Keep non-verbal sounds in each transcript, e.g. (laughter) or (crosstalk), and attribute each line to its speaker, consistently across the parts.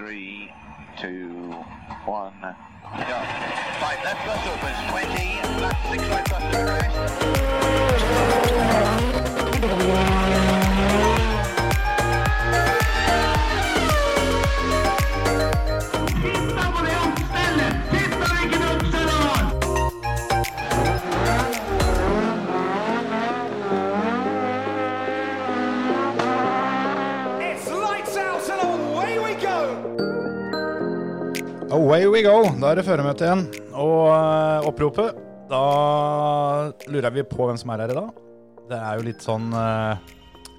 Speaker 1: three, two, one, go. Right, left bus opens, 20, left six right bus turn right.
Speaker 2: It's lights out and away we go!
Speaker 3: Away we go. Da er det føremøte igjen. Og eh, oppropet Da lurer vi på hvem som er her i dag. Det er jo litt sånn eh,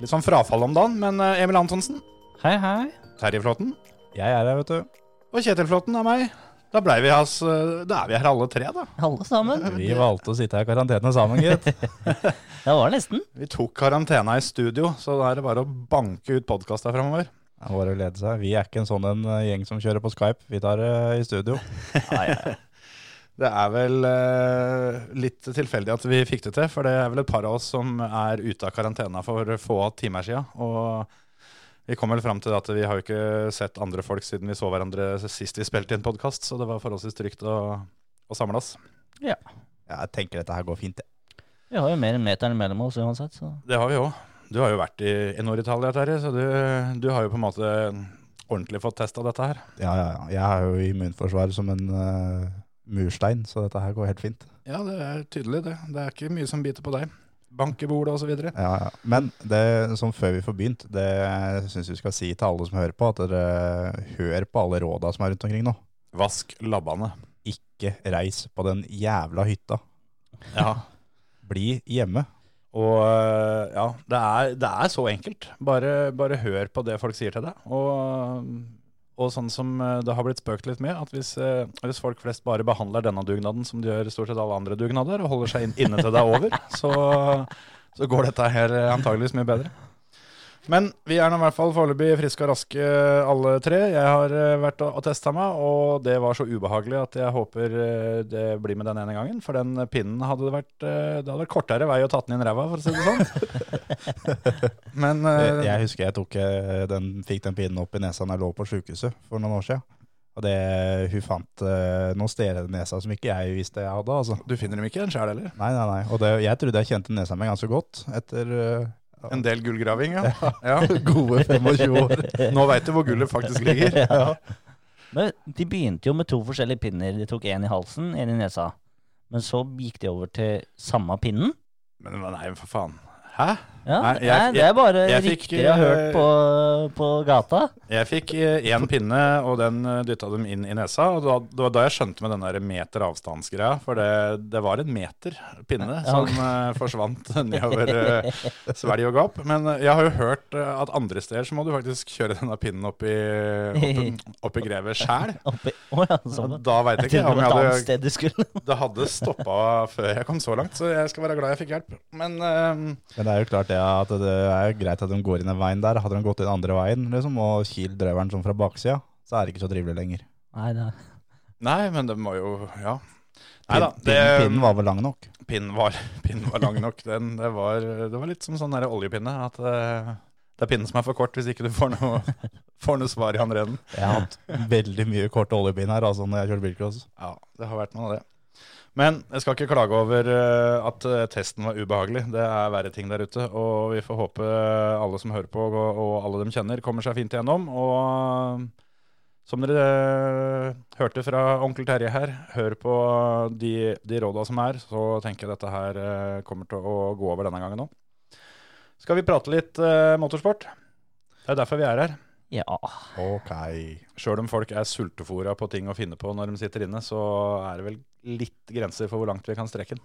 Speaker 3: Litt sånn frafall om dagen, men eh, Emil Antonsen,
Speaker 4: Hei, hei.
Speaker 3: Terje Flåten
Speaker 4: Jeg er her, vet du.
Speaker 3: og Kjetil Flåten er meg. Da, blei vi hans, eh, da er vi her alle tre, da.
Speaker 4: Alle sammen. Vi valgte å sitte her i karantene sammen, gitt. det var nesten.
Speaker 3: Vi tok karantena i studio, så da er det bare å banke ut podkast her framover.
Speaker 4: Det var å lede seg. Vi er ikke en sånn en eh, gjeng som kjører på Skype. Vi tar det i
Speaker 3: (laughs)
Speaker 4: studio.
Speaker 3: Det er vel eh, litt tilfeldig at vi fikk det til, for det er vel et par av oss som er ute av karantena for få timer siden. Og vi kom vel fram til at vi har jo ikke sett andre folk siden vi så hverandre sist vi spilte inn podkast, så det var forholdsvis trygt å, å samle oss.
Speaker 4: Ja.
Speaker 3: Jeg tenker dette her går fint, det.
Speaker 4: Vi har jo mer enn meteren mellom oss uansett, så
Speaker 3: Det har vi òg. Du har jo vært i, i Nord-Italia, Terje, så du, du har jo på en måte ordentlig fått testa dette her.
Speaker 5: Ja, ja, ja. Jeg har jo immunforsvar som en eh, murstein, så dette her går helt fint.
Speaker 3: Ja, det er tydelig, det. Det er ikke mye som biter på deg. Bank i bordet og så videre.
Speaker 5: Ja, ja. Men det som før vi får begynt, det syns vi skal si til alle som hører på, at dere hører på alle råda som er rundt omkring nå.
Speaker 3: Vask labbene.
Speaker 5: Ikke reis på den jævla hytta.
Speaker 3: Ja.
Speaker 5: Bli hjemme.
Speaker 3: Og øh, ja, det er, det er så enkelt. Bare, bare hør på det folk sier til deg. Og, og sånn som øh, det har blitt spøkt litt med, at hvis, øh, hvis folk flest bare behandler denne dugnaden som de gjør stort sett alle andre dugnader, og holder seg inn, inne til det er over, så, så går dette her øh, antageligvis mye bedre. Men vi er nå i hvert fall foreløpig friske og raske øh, alle tre. Jeg har øh, vært og testa meg, og det var så ubehagelig at jeg håper øh, det blir med den ene gangen. For den pinnen hadde det vært, øh, det hadde vært kortere vei å ta den inn ræva, for å si det sånn. Men øh,
Speaker 5: Jeg jeg husker jeg tok, eh, den, fikk den pinnen opp i nesa da jeg lå på sjukehuset for noen år siden. Og det, hun fant eh, noen steder i nesa som ikke jeg visste jeg hadde. altså.
Speaker 3: du finner dem ikke en sjæl heller.
Speaker 5: Nei, nei, nei. Og det, jeg trodde jeg kjente nesa mi ganske godt etter eh, (laughs)
Speaker 3: En del gullgraving, ja. ja.
Speaker 5: gode 25 år.
Speaker 3: Nå veit du hvor gullet faktisk
Speaker 6: (laughs)
Speaker 3: ligger.
Speaker 6: Men de begynte jo med to forskjellige pinner. De tok én i halsen, én i nesa. Men så gikk de over til samme pinnen.
Speaker 3: Men nei, for faen. Hæ?
Speaker 6: Ja,
Speaker 3: Nei, jeg-
Speaker 6: nei, Det er bare
Speaker 3: jeg- jeg fikk, eh,
Speaker 6: rykter jeg har hørt på, på gata.
Speaker 3: Jeg fikk én pinne, og den eh, dytta dem inn i nesa. Og da, da, da jeg skjønte med den der meter avstandsgreia, for det, det var en meter pinne
Speaker 6: Ja,
Speaker 3: som
Speaker 6: ok.
Speaker 3: eh, forsvant (laughs) nedover uh, svelg og gap. Men eh, jeg har jo hørt eh, at andre steder så må du faktisk kjøre denne pinnen opp i, opp, opp i grevet sjæl.
Speaker 6: Oppi, oh, ja, sånn.
Speaker 3: Da veit
Speaker 6: Jeg
Speaker 3: jeg ikke
Speaker 6: trodde
Speaker 3: om jeg
Speaker 6: det var et
Speaker 3: hadde
Speaker 6: annet sted du skulle.
Speaker 3: Det hadde stoppa før jeg kom så langt, så jeg skal være glad jeg fikk hjelp. Men eh,
Speaker 5: Men det er jo klart det at det er jo greit at de går inn den veien der. Hadde de gått inn andre veien liksom, og kilt drøveren sånn fra baksida, så er det ikke så trivelig lenger.
Speaker 6: Nei, da.
Speaker 3: Nei, men det må jo Ja. Nei
Speaker 5: Pin,
Speaker 3: da. Det,
Speaker 5: pinnen, pinnen var vel lang nok.
Speaker 3: pinnen var, pinnen var lang nok. Den, det, var, det var litt som sånn der oljepinne. At eh, det er pinnen som er for kort hvis ikke du får noe, (laughs) får noe svar i andre enden.
Speaker 5: Jeg har hatt veldig mye korte oljepinn her altså, når jeg kjørte bilcross.
Speaker 3: Ja, det har vært noe av det. Men jeg skal ikke klage over eh, at eh, testen var ubehagelig. Det er verre ting der ute. Og vi får håpe eh, alle som hører på, og, og alle de kjenner, kommer seg fint igjennom. Og eh, som dere eh, hørte fra onkel Terje her, hør på de, de råda som er. Så tenker jeg dette her eh, kommer til å gå over denne gangen òg. Skal vi prate litt eh, motorsport? Det er derfor vi er her.
Speaker 6: Ja.
Speaker 5: Ok.
Speaker 3: Sjøl om folk er sultefòra på ting å finne på når de sitter inne, så er det vel litt grenser for hvor langt vi kan strekke den.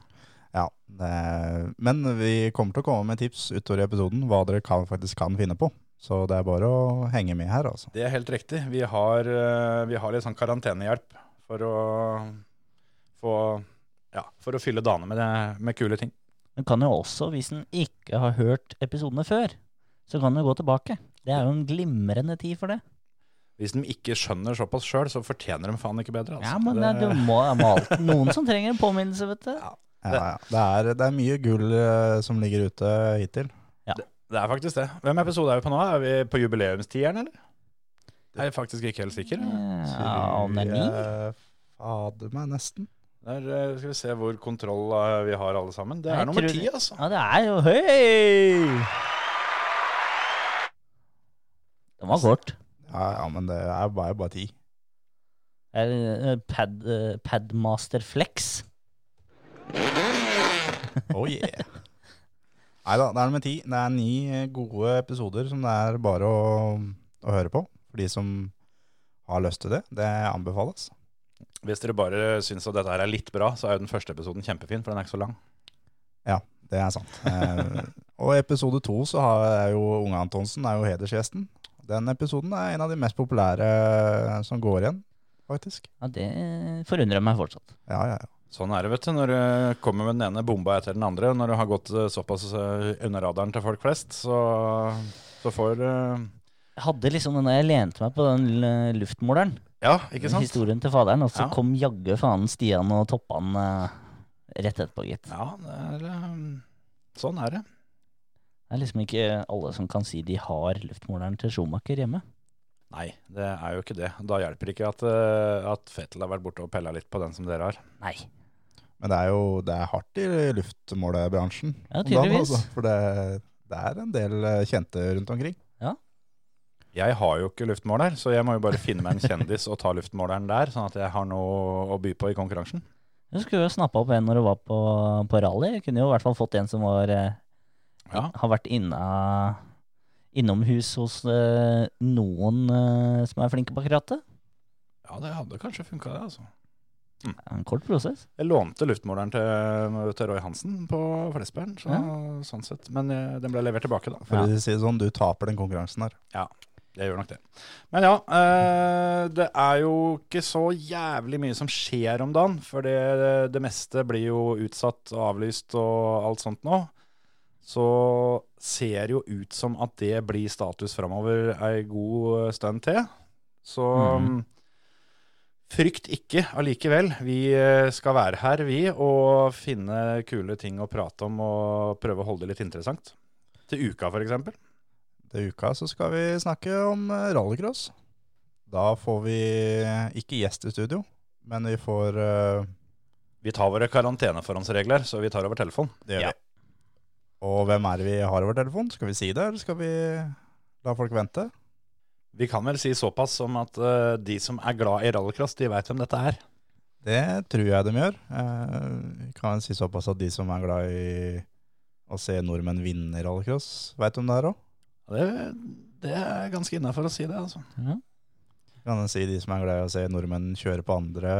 Speaker 5: Ja, det- men vi kommer til å komme med tips utover i episoden hva dere kan, faktisk kan finne på. Så det er bare å henge med her, altså.
Speaker 3: Det er helt riktig. Vi har, eh, vi har litt sånn karantenehjelp for å få ja, for å fylle dagene med, det- med kule ting.
Speaker 6: Men kan jo også, hvis en ikke har hørt episodene før, så kan en gå tilbake. Det er jo en glimrende tid for det.
Speaker 3: Hvis de ikke skjønner såpass sjøl, så fortjener de faen ikke bedre. Altså.
Speaker 6: Ja, men det,
Speaker 3: Det-
Speaker 6: du må, det må alltid noen som trenger en påminnelse, vet du.
Speaker 5: Ja, ja. Det, er, det er mye gull eh, som ligger ute hittil.
Speaker 3: det er faktisk det. Hvem episode er vi på nå? Er vi på jubileumstieren, eller? Jeg er faktisk ikke helt sikker.
Speaker 6: Ja, om det er ni?
Speaker 5: Eh, Fader meg, nesten.
Speaker 3: Der eh, skal vi se hvor kontroll eh, vi har alle sammen. Det
Speaker 6: Jeg
Speaker 3: er nummer
Speaker 6: tror
Speaker 3: ti,
Speaker 6: det-
Speaker 3: altså.
Speaker 6: Ja, det er jo Høy! Den var kort.
Speaker 5: Ja, ja, men det er bare, bare ti.
Speaker 6: Er, eh, Pad, eh, Padmaster Flex.
Speaker 5: Oh (laughs) yeah. Nei da, det er nummer ti. Det er ni eh, gode episoder som det er bare å, å høre på. For de som har lyst til det. Det anbefales.
Speaker 3: Hvis dere bare syns at dette her er litt bra, så er jo den første episoden kjempefin, for den er ikke så lang.
Speaker 5: Det er sant. Eh, og i episode to så har er jo Unge Antonsen er jo hedersgjesten. Den episoden er en av de mest populære eh, som går igjen, faktisk.
Speaker 6: Ja, det forundrer meg fortsatt.
Speaker 5: Ja, ja, ja.
Speaker 3: Sånn er det, vet du. Når du kommer med den ene bomba etter den andre, og når du har gått eh, såpass eh, under radaren til folk flest, så, så får eh,
Speaker 6: Jeg hadde liksom den der jeg lente meg på den lille luftmåleren.
Speaker 3: Ja, ikke sant?
Speaker 6: Historien til faderen, og så
Speaker 3: Ja.
Speaker 6: kom jaggu faen Stian og Toppan eh, rett etterpå, gitt.
Speaker 3: Ja, det er, eh, sånn er det.
Speaker 6: Det er liksom ikke alle som kan si de har luftmåleren til Schumacher hjemme.
Speaker 3: Nei, det er jo ikke det. Da hjelper det ikke at, eh, at Fettel har vært borte og pella litt på den som dere har.
Speaker 6: Nei.
Speaker 5: Men det er jo det er hardt i luftmålebransjen.
Speaker 6: Ja,
Speaker 5: om dagen,
Speaker 6: tydeligvis.
Speaker 5: altså. for det, det er en del eh, kjente rundt omkring.
Speaker 3: Jeg har jo ikke luftmåler, så jeg må jo bare finne meg en kjendis og ta luftmåleren der, sånn at jeg har noe å by på i konkurransen.
Speaker 6: Du skulle jo snappa opp en når du var på, på rally. Jeg kunne jo i hvert fall fått en som var, eh,
Speaker 3: Ja.
Speaker 6: har vært inna, innomhus hos eh, noen eh, som er flinke bak rattet.
Speaker 3: Ja, det hadde kanskje funka, det. altså.
Speaker 6: Det er En kort prosess.
Speaker 3: Jeg lånte luftmåleren til, til Roy Hansen på Flesberg, så, sånn sett. Men eh, den ble levert tilbake, da.
Speaker 5: For å si det sånn, du taper den konkurransen her.
Speaker 3: Jeg gjør nok det. Men ja, eh, det er jo ikke så jævlig mye som skjer om dagen. For det, det meste blir jo utsatt og avlyst og alt sånt nå. Så ser jo ut som at det blir status framover ei god stund til. Så
Speaker 5: Mm.
Speaker 3: mm,
Speaker 6: Mhm.
Speaker 3: frykt ikke allikevel. Vi eh, skal være her, vi, og finne kule ting å prate om og prøve å holde det litt interessant. Til uka, for eksempel.
Speaker 5: Til uka så skal vi snakke om eh, rallycross. Da får vi eh, ikke gjest i studio, men vi får eh,
Speaker 3: Vi tar våre karanteneforhåndsregler, så vi tar over telefon.
Speaker 5: Det gjør
Speaker 6: Ja.
Speaker 5: vi. Og hvem er det vi har over telefon? Skal vi si det, eller skal vi la folk vente?
Speaker 3: Vi kan vel si såpass som at eh, de som er glad i rallycross, de veit hvem dette er.
Speaker 5: Det tror jeg de gjør. Eh, vi kan si såpass at de som er glad i å se nordmenn vinne rallycross, veit om det her òg.
Speaker 3: Det, det er ganske innafor å si det, altså. (laughs)
Speaker 5: Kan jeg si de som er glad i å se nordmenn kjøre på andre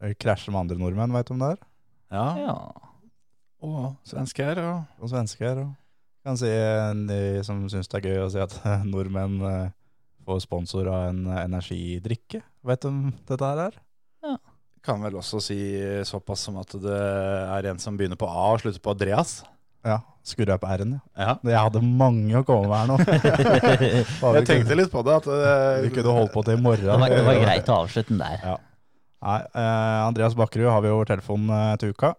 Speaker 5: eh, Krasje med andre nordmenn, veit om det her.
Speaker 3: Ja,
Speaker 6: Ja.
Speaker 3: og svensker og
Speaker 5: Og svensker. Og kan si eh, de som syns det er gøy å se at nordmenn eh, får sponsor av en eh, energidrikke. Veit du om dette her er?
Speaker 3: Kan vel også si såpass som at det er en som begynner på A og slutter på Andreas.
Speaker 5: Ja. Skurra på r-en, ja.
Speaker 6: (laughs)
Speaker 3: Ja.
Speaker 5: Jeg hadde mange å komme med her nå. Bare
Speaker 3: Jeg tenkte litt på det. at
Speaker 5: vi
Speaker 3: eh,
Speaker 5: kunne holdt på til i morgen.
Speaker 6: Det var, det var greit å avslutte den der.
Speaker 5: Nei, eh, Andreas Bakkerud har vi over telefonen eh, til uka.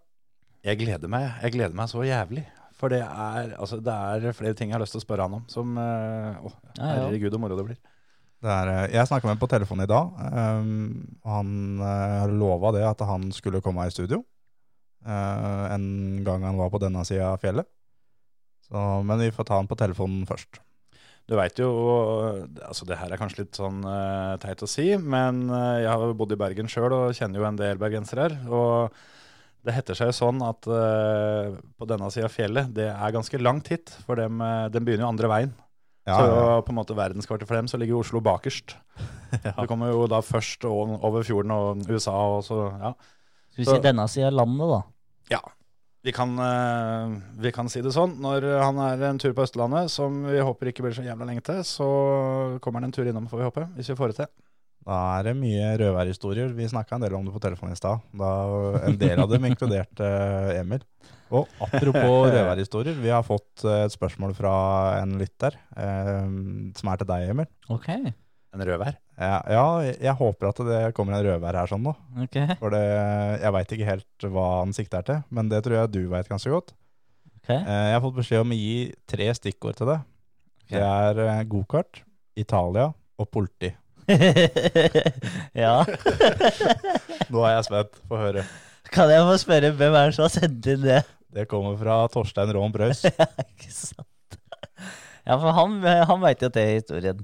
Speaker 3: Jeg gleder meg. Jeg gleder meg så jævlig. For det er, altså, det er flere ting jeg har lyst til å spørre han om. Som eh, Å,
Speaker 6: Ja, ja.
Speaker 3: herregud, så moro det blir.
Speaker 5: Det er, eh, jeg snakka med ham på telefonen i dag. ehm, og han eh, har lova det at han skulle komme her i studio eh, en gang han var på denne sida av fjellet. Så, men vi får ta han på telefonen først.
Speaker 3: Du veit jo altså Det her er kanskje litt sånn eh, teit å si, men eh, jeg har jo bodd i Bergen sjøl og kjenner jo en del bergensere her. Og det heter seg jo sånn at eh, på denne sida av fjellet, det er ganske langt hit. For dem, eh, den begynner jo andre veien.
Speaker 5: Ja,
Speaker 3: så
Speaker 5: ja.
Speaker 3: på en måte verdenskartet for dem, så ligger jo Oslo
Speaker 5: (laughs)
Speaker 3: bakerst. Du kommer jo da først o- over fjorden og USA og så Ja.
Speaker 6: Skal vi
Speaker 3: Så-
Speaker 6: si denne sida av landet, da?
Speaker 3: Vi kan, eh, vi kan si det sånn. Når han er en tur på Østlandet, som vi håper ikke blir så jævla lenge til, så kommer han en tur innom, får vi håpe. Hvis vi får det til.
Speaker 5: Da er det mye rødværhistorier. Vi snakka en del om det på telefonen i stad. da En del av dem inkluderte eh, Emil. Og apropos rødværhistorier, vi har fått eh, et spørsmål fra en lytter, eh, som er til deg, Emil.
Speaker 6: Ok.
Speaker 3: En rødvær?
Speaker 5: Ja, ja, jeg håper at det kommer en rødvær her sånn nå.
Speaker 6: ok.
Speaker 5: For det, jeg veit ikke helt hva han sikter til, men det tror jeg du veit ganske godt.
Speaker 6: ok. (laughs)
Speaker 5: Eh, Jeg har fått beskjed om å gi tre stikkord til det. Det er eh, gokart, Italia og politi.
Speaker 6: ja.
Speaker 5: Nå er jeg spent. Få høre.
Speaker 6: Kan jeg få spørre hvem er det som har sendt inn det?
Speaker 5: Det kommer fra Torstein Rån Brøys.
Speaker 6: Ikke sant? Ja, for han, han veit jo at det er historien.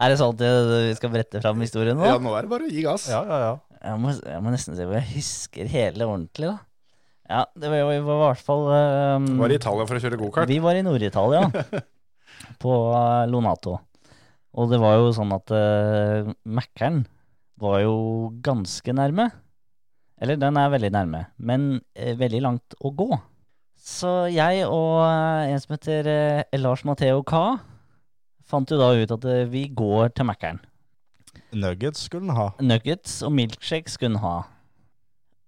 Speaker 6: Er det sånn at eh, vi skal brette fram historien nå?
Speaker 7: Ja, nå er det bare å gi gass.
Speaker 5: Ja, ja, ja.
Speaker 6: Jeg må, jeg må nesten se hvor jeg husker hele ordentlig, da. Ja, det var, vi var i hvert fall um,
Speaker 3: Var i Italia for å kjøre gokart.
Speaker 6: Vi var i Nord-Italia, på eh, Lonato. Og det var jo sånn at uh, Mækkern var jo ganske nærme. Eller den er veldig nærme, men eh, veldig langt å gå. Så jeg og eh, en som heter eh, Lars Matheo K, fant jo da ut at eh, vi går til Mækkern.
Speaker 5: Nuggets skulle den ha.
Speaker 6: Nuggets og milkshakes kunne ha.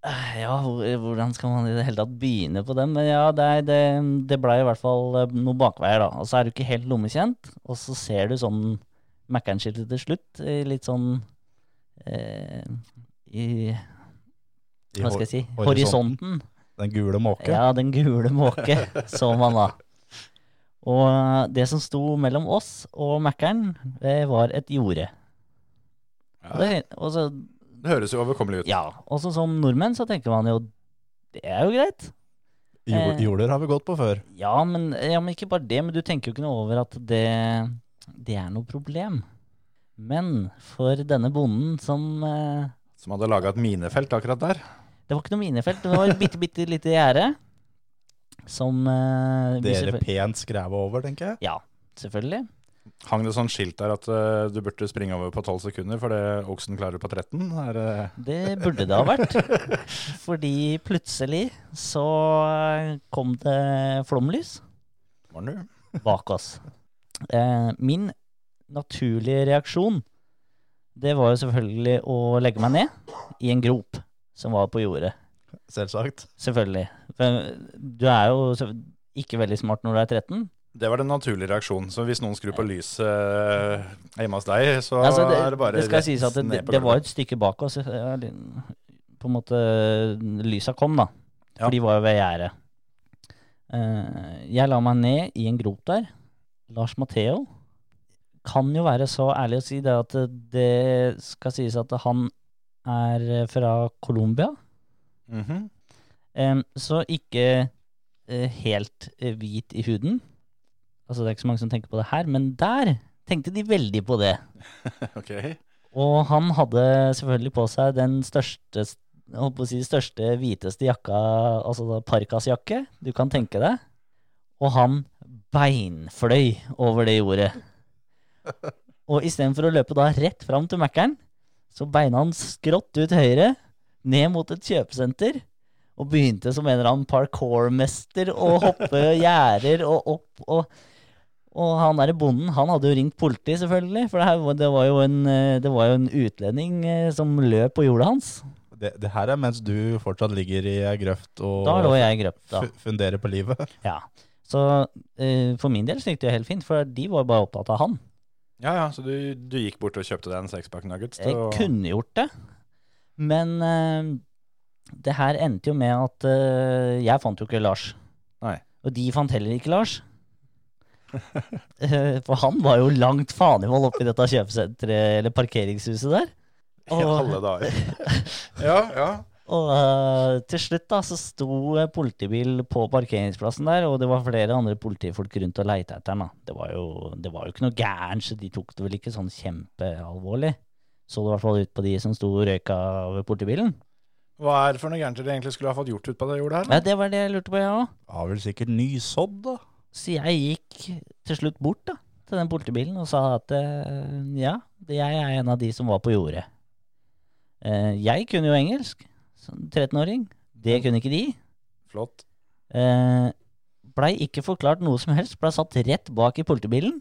Speaker 6: Eh, Ja, hvor- hvordan skal man i det hele tatt begynne på den? Men ja, det, er- det, det blei i hvert fall eh, noen bakveier, da. Og så er du ikke helt lommekjent, og så ser du sånn Mækkern-skiltet til slutt, i litt sånn eh, I
Speaker 5: I
Speaker 6: Hva skal jeg si?
Speaker 5: hor- horisonten.
Speaker 6: Horisonten.
Speaker 5: Den gule måke.
Speaker 6: Ja, den gule
Speaker 5: (laughs)
Speaker 6: måke, så man da. Og eh, det som sto mellom oss og Mækkern, det var et jorde. Og, det, og så
Speaker 3: Det høres jo overkommelig ut.
Speaker 6: ja, også som nordmenn så tenker man jo det er jo greit.
Speaker 5: Jord,
Speaker 6: Eh.
Speaker 5: jorder har vi gått på før.
Speaker 6: Ja, men, ja, men ikke bare det. Men du tenker jo ikke noe over at det, det er noe problem. Men for denne bonden som eh,
Speaker 3: Som hadde laga et minefelt akkurat der.
Speaker 6: Det var ikke noe minefelt, det var et bitte, bitte lite gjerde. Som eh, vi
Speaker 5: Dere
Speaker 6: selvføl-
Speaker 5: pent skrevet over, tenker jeg.
Speaker 6: Ja, selvfølgelig.
Speaker 3: Hang det sånn skilt der at eh, du burde springe over på 12 sekunder fordi oksen klarer på 13? Er, eh,
Speaker 6: Det burde det ha vært. Fordi plutselig så eh, kom det flomlys.
Speaker 3: var den du?
Speaker 6: bak oss. Eh, min naturlige reaksjon, det var jo selvfølgelig å legge meg ned i en grop som var på jordet.
Speaker 5: Selvsagt.
Speaker 6: Selvfølgelig. For du er jo så- ikke veldig smart når du er 13.
Speaker 3: det var den naturlige reaksjonen. Så hvis noen skrur på lyset eh, hjemme hos deg, så
Speaker 6: Altså,
Speaker 3: er det bare
Speaker 6: det skal
Speaker 3: rett
Speaker 6: sies at
Speaker 3: ned
Speaker 6: det,
Speaker 3: på
Speaker 6: det var
Speaker 3: gulvet.
Speaker 6: et stykke bak oss. eh, ja, det- På en måte Lysa kom, da.
Speaker 3: Ja.
Speaker 6: For de var jo ved gjerdet. Eh, jeg la meg ned i en grop der. Lars Matheo kan jo være så ærlig å si det at det skal sies at han er eh, fra Colombia.
Speaker 3: Mhm.
Speaker 6: Em, så ikke eh, helt eh, hvit i huden. Altså Det er ikke så mange som tenker på det her, men der tenkte de veldig på det.
Speaker 3: Ok.
Speaker 6: Og han hadde selvfølgelig på seg den største, jeg holdt på å si, største hviteste jakka, altså da parkasjakke, du kan tenke deg. Og han beinfløy over det jordet. Og istedenfor å løpe da rett fram til Mækkern, så beina han skrått ut høyre, ned mot et kjøpesenter, og begynte som en eller annen parkourmester å hoppe gjerder og opp og og han derre bonden, han hadde jo ringt politi, selvfølgelig. For det, her, var- det, var jo en, eh, det var jo en utlending eh, som løp på jordet hans.
Speaker 5: Det, det her er mens du fortsatt ligger i ei grøft og
Speaker 6: Da lå jeg i grøft, da.
Speaker 5: fu- funderer på livet. (laughs)
Speaker 6: Ja. Så eh, for min del så gikk det jo helt fint, for de var bare opptatt av han.
Speaker 3: Ja ja, så du, du gikk bort og kjøpte deg en sexpack nuggets?
Speaker 6: Jeg
Speaker 3: og-
Speaker 6: kunne gjort det. Men eh, det her endte jo med at eh, jeg fant jo ikke Lars.
Speaker 3: Nei.
Speaker 6: Og de fant heller ikke Lars. Eh, for han var jo langt fanevold oppi dette kjøpesenteret, eller parkeringshuset der.
Speaker 3: I alle dager. ja, ja.
Speaker 6: Og eh, til slutt da, så sto eh, politibil på parkeringsplassen der, og det var flere andre politifolk rundt og leita etter den. da. Det var, jo, det var jo ikke noe gærent, så de tok det vel ikke sånn kjempealvorlig. Så det i hvert fall ut på de som sto og røyka ved politibilen.
Speaker 3: Hva er det for noe gærent dere egentlig skulle ha fått gjort ut på det jordet her?
Speaker 6: Ja, det var det jeg lurte på, jeg òg.
Speaker 5: Har vel sikkert nysådd, da.
Speaker 6: Så jeg gikk til slutt bort da, til den politibilen og sa at eh, ja, jeg er en av de som var på jordet. Eh, jeg kunne jo engelsk som 13-åring. Det kunne ikke de.
Speaker 3: Flott.
Speaker 6: Eh, blei ikke forklart noe som helst. Blei satt rett bak i politibilen.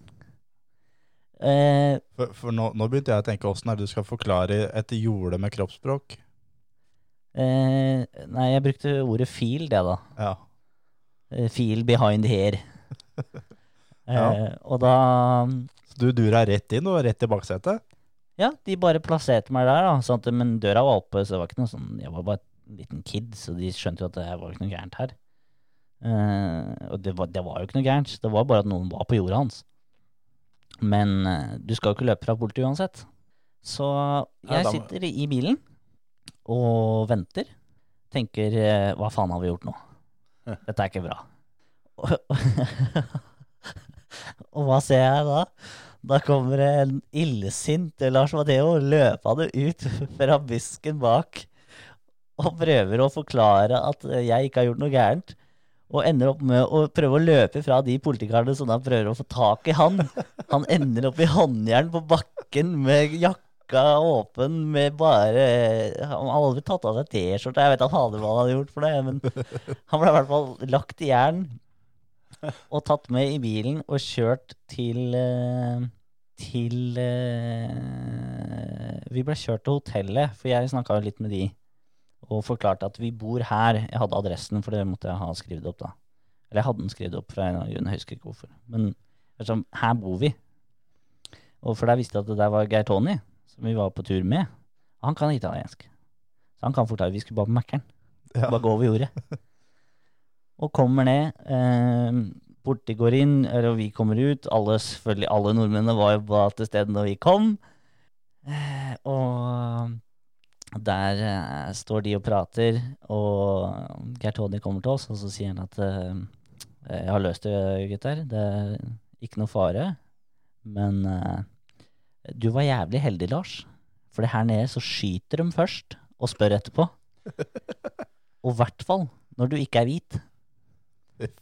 Speaker 6: Eh,
Speaker 5: For, for nå, nå begynte jeg å tenke åssen er det du skal forklare et jorde med kroppsspråk?
Speaker 6: eh, nei, jeg brukte ordet feel, det, da.
Speaker 5: Ja.
Speaker 6: Eh, feel behind here. Eh,
Speaker 5: Ja.
Speaker 6: Og da
Speaker 5: Så du dura rett inn og rett i baksetet?
Speaker 6: Ja, de bare plasserte meg der, da. Sånn at, men døra var oppe, så det var ikke noe sånn Jeg var bare en liten kid, så de skjønte jo at det var ikke noe gærent her. Eh, og det var, det var jo ikke noe gærent. Det var bare at noen var på jorda hans. Men eh, du skal jo ikke løpe fra politiet uansett. Så
Speaker 3: Nei,
Speaker 6: jeg
Speaker 3: da må-
Speaker 6: sitter i bilen og venter. Tenker eh, hva faen har vi gjort nå?
Speaker 3: Ja.
Speaker 6: Dette er ikke bra. (laughs) Og, og hva ser jeg da? Da kommer det en illsint Lars Matheo løpende ut (laughs) fra busken bak og prøver å forklare at eh, jeg ikke har gjort noe gærent. Og ender opp med å prøve å løpe fra de politikarene som da prøver å få tak i han. Han ender opp i håndjern på bakken med jakka åpen med bare Han hadde aldri tatt av seg T-skjorta, jeg vet han hadde hva han hadde gjort for det, men han ble i hvert fall lagt i jern og tatt med i bilen og kjørt til eh, Til eh, Vi ble kjørt til hotellet, for jeg snakka jo litt med de og forklarte at vi bor her. Jeg hadde adressen, for det måtte jeg ha skrevet opp, da. Eller jeg hadde den skrevet opp, for jeg jeg husker ikke hvorfor. Men liksom, her bor vi. Og for der visste jeg at det der var Geir Tony, som vi var på tur med. Og han kan italiensk. Så han kan forklare. Vi skulle bare på Mækkern.
Speaker 5: Ja.
Speaker 6: Bare gå over jordet. Og kommer ned. Eh, Borti går inn, eller vi kommer ut. Alle, selvfølgelig, alle nordmennene var jo bare til stede når vi kom. Eh, og der eh, står de og prater, og Geir Tony kommer til oss, og så sier han at eh, jeg har løst det, gutter. Det er ikke noe fare. Men eh, du var jævlig heldig, Lars. For det her nede så skyter de først, og spør etterpå. Og i hvert fall når du ikke er hvit.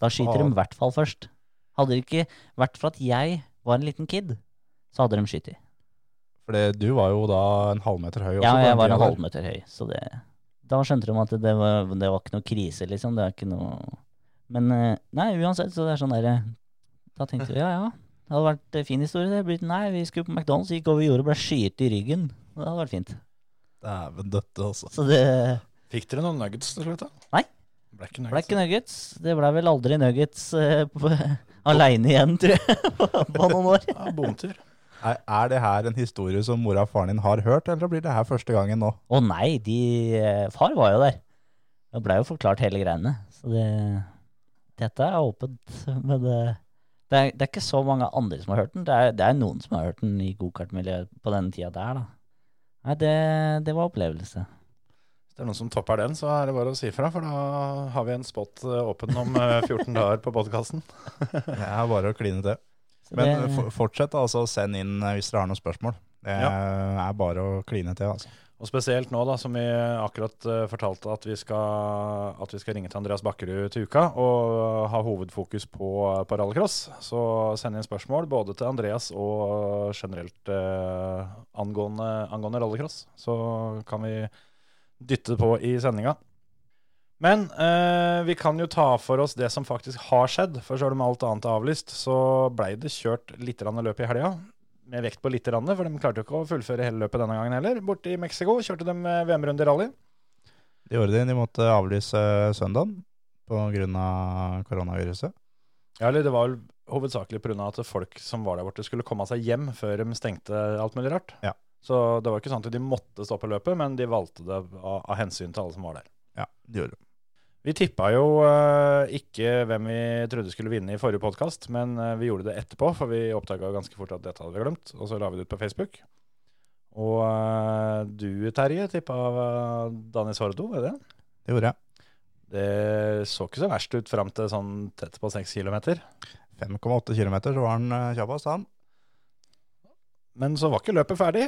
Speaker 6: Da skyter de i hvert fall først. Hadde det ikke vært for at jeg var en liten kid, så hadde de skutt.
Speaker 5: For du var jo da en halvmeter høy. Også,
Speaker 6: Ja,
Speaker 5: på den
Speaker 6: jeg var
Speaker 5: tiden
Speaker 6: en
Speaker 5: der.
Speaker 6: halvmeter høy, så det Da skjønte de at det var, det var ikke noe krise, liksom. Det var ikke noe Men eh, nei, uansett, så det er sånn derre Da tenkte vi ja, ja. Det hadde vært en fin historie. Det blitt, nei, vi skulle på McDonald's, gikk over jordet og ble skyet i ryggen. Det hadde vært fint.
Speaker 5: Dæven døtte, altså.
Speaker 6: Så det
Speaker 3: Fikk dere noen nuggets til slutt, da?
Speaker 6: Nei.
Speaker 3: Ble ikke
Speaker 6: ble
Speaker 3: nuggets.
Speaker 6: ikke nuggets. Det ble vel aldri nuggets uh, (laughs) aleine igjen, tror jeg, (laughs) på noen år.
Speaker 3: Ja, bomtur.
Speaker 5: Er, er det her en historie som mora og faren din har hørt, eller blir det her første gangen nå? (laughs)
Speaker 6: Å nei, de eh, Far var jo der. Det blei jo forklart hele greiene. Så det Dette er åpent, men det det er, det er ikke så mange andre som har hørt den. Det er, det er noen som har hørt den i gokartmiljøet på den tida der, da. Nei, det, det var opplevelse.
Speaker 3: Hvis det er noen som topper den, så er det bare å si fra, for da har vi en spot eh, åpen om eh, 14 dager på podkasten.
Speaker 5: Det er bare å kline til.
Speaker 6: Så
Speaker 5: Men
Speaker 6: det,
Speaker 5: eh, for- fortsett altså å sende inn eh, hvis dere har noen spørsmål. Det er bare å kline til, altså.
Speaker 3: Og spesielt nå da, som vi akkurat eh, fortalte at vi, skal, at vi skal ringe til Andreas Bakkerud til uka og ha hovedfokus på, eh, på rallycross, så send inn spørsmål både til Andreas og generelt eh, angående, angående rallycross. Så kan vi dytte på i sendinga. Men eh, vi kan jo ta for oss det som faktisk har skjedd, for selv om alt annet er avlyst, så blei det kjørt litt grann løp i helga med vekt på litt, randet, for de klarte jo ikke å fullføre hele løpet denne gangen heller. Borte i Mexico kjørte de eh, VM-runde i rally.
Speaker 5: De gjorde det, de måtte avlyse søndagen på grunn av koronaviruset.
Speaker 3: Ja, eller det var vel hovedsakelig pga. at folk som var der borte, skulle komme seg hjem før de stengte alt mulig rart.
Speaker 5: Ja.
Speaker 3: Så det var ikke sånn at de måtte stoppe løpet, men de valgte det av, av hensyn til alle som var der.
Speaker 5: Ja, de gjorde det.
Speaker 3: Vi tippa jo eh, ikke hvem vi trodde skulle vinne i forrige podkast, men eh, vi gjorde det etterpå, for vi oppdaga ganske fort at dette hadde vi glemt, og så la vi det ut på Facebook. Og eh, du, Terje, tippa eh, Dani Sordo, var det det?
Speaker 5: Det gjorde jeg.
Speaker 3: Det så ikke så verst ut fram til sånn tett på 6 km.
Speaker 5: 5,8 km, så var han eh, kjappest, han.
Speaker 3: Men så var ikke løpet ferdig.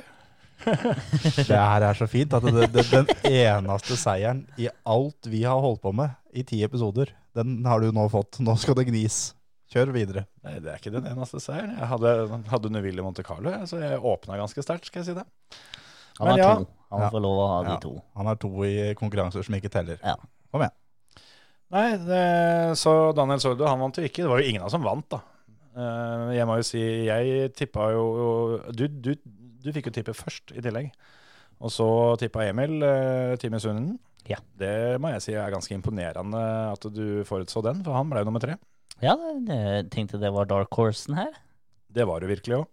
Speaker 5: Det her er så fint at det, det, den eneste seieren i alt vi har holdt på med i ti episoder, den har du nå fått. Nå skal det gnis. Kjør videre.
Speaker 3: Nei, det er ikke den eneste seieren. Jeg hadde, hadde Nuvilli Monte Carlo, jeg, så jeg åpna ganske sterkt, skal jeg si det.
Speaker 6: han har
Speaker 3: men ja.
Speaker 6: to. Han
Speaker 5: Ja.
Speaker 6: får lov å ha de
Speaker 5: Ja.
Speaker 6: to.
Speaker 5: Han har to i konkurranser som ikke teller.
Speaker 3: Nei, det, så Daniel Sordo, han vant jo ikke. Det var jo ingen av oss som vant, da. Eh, Jeg må jo si, jeg tippa jo Du, du, du fikk jo tippet først, i tillegg. Og så tippa Emil eh, Team Sunden.
Speaker 6: Ja.
Speaker 3: Det må jeg si er ganske imponerende at du forutså den, for han ble jo nummer tre.
Speaker 6: Ja, det- jeg tenkte det var dark horsen her.
Speaker 3: Det var det virkelig òg.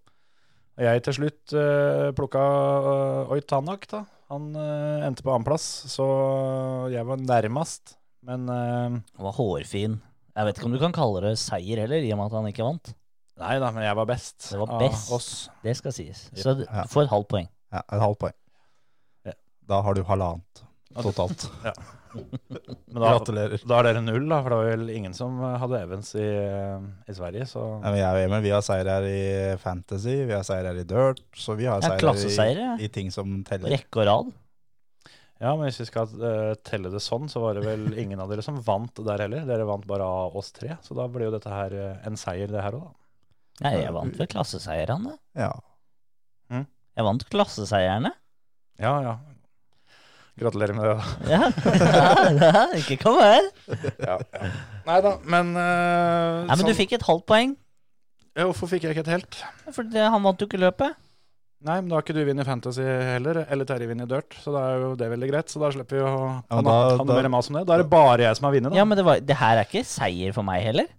Speaker 3: Jeg til slutt uh, plukka uh, Oit Tanak, da. Han eh, endte på annenplass, så jeg var nærmest. Men eh,
Speaker 6: Han var hårfin. Jeg vet ikke om du kan kalle det seier heller, i og med at han ikke vant.
Speaker 3: Nei da, men jeg var best.
Speaker 6: Det var
Speaker 3: av
Speaker 6: best.
Speaker 3: Oss.
Speaker 6: Det skal sies. Så du
Speaker 5: Ja.
Speaker 6: får et halvt poeng.
Speaker 5: Ja, et halvt poeng.
Speaker 3: Ja.
Speaker 5: Da har du halvannet totalt.
Speaker 3: Men da,
Speaker 5: Gratulerer.
Speaker 3: da er dere null, da, for det var vel ingen som hadde Evans i, eh, i Sverige, så
Speaker 5: Ja, men jeg og Emil, vi har seier her i Fantasy, vi har seier her i Dirt, så vi har
Speaker 6: Ja,
Speaker 5: seier her
Speaker 6: Klasseseiere.
Speaker 5: i, i ting som teller.
Speaker 6: Rekke og rad.
Speaker 3: Ja, men hvis vi skal eh, telle det sånn, så var det vel ingen av dere som vant der heller. Dere vant bare av oss tre, så da blir jo dette her eh, en seier, det her òg, da.
Speaker 6: Nei, jeg vant vel klasseseierne.
Speaker 5: Ja.
Speaker 6: Jeg vant klasseseierne.
Speaker 3: Ja, ja. Gratulerer med det. da.
Speaker 6: Ja, (laughs) ja, ikke kom her.
Speaker 3: Nei da, men, eh,
Speaker 6: Nei, men du
Speaker 3: sånn-
Speaker 6: fikk et halvt poeng,
Speaker 3: Ja, Hvorfor fikk jeg ikke et helt?
Speaker 6: for det, han vant jo ikke løpet.
Speaker 3: Nei, men da har ikke du vunnet Fantasy heller, eller Terje vunnet Dirt, så da er jo det veldig greit. Så da slipper vi å
Speaker 5: Ja,
Speaker 3: ha
Speaker 5: men da-
Speaker 3: noe
Speaker 5: da-
Speaker 3: mer mas om det. Da er det bare jeg som har vunnet, da.
Speaker 6: Ja, men det, var, det her er ikke seier for meg heller.
Speaker 5: (laughs)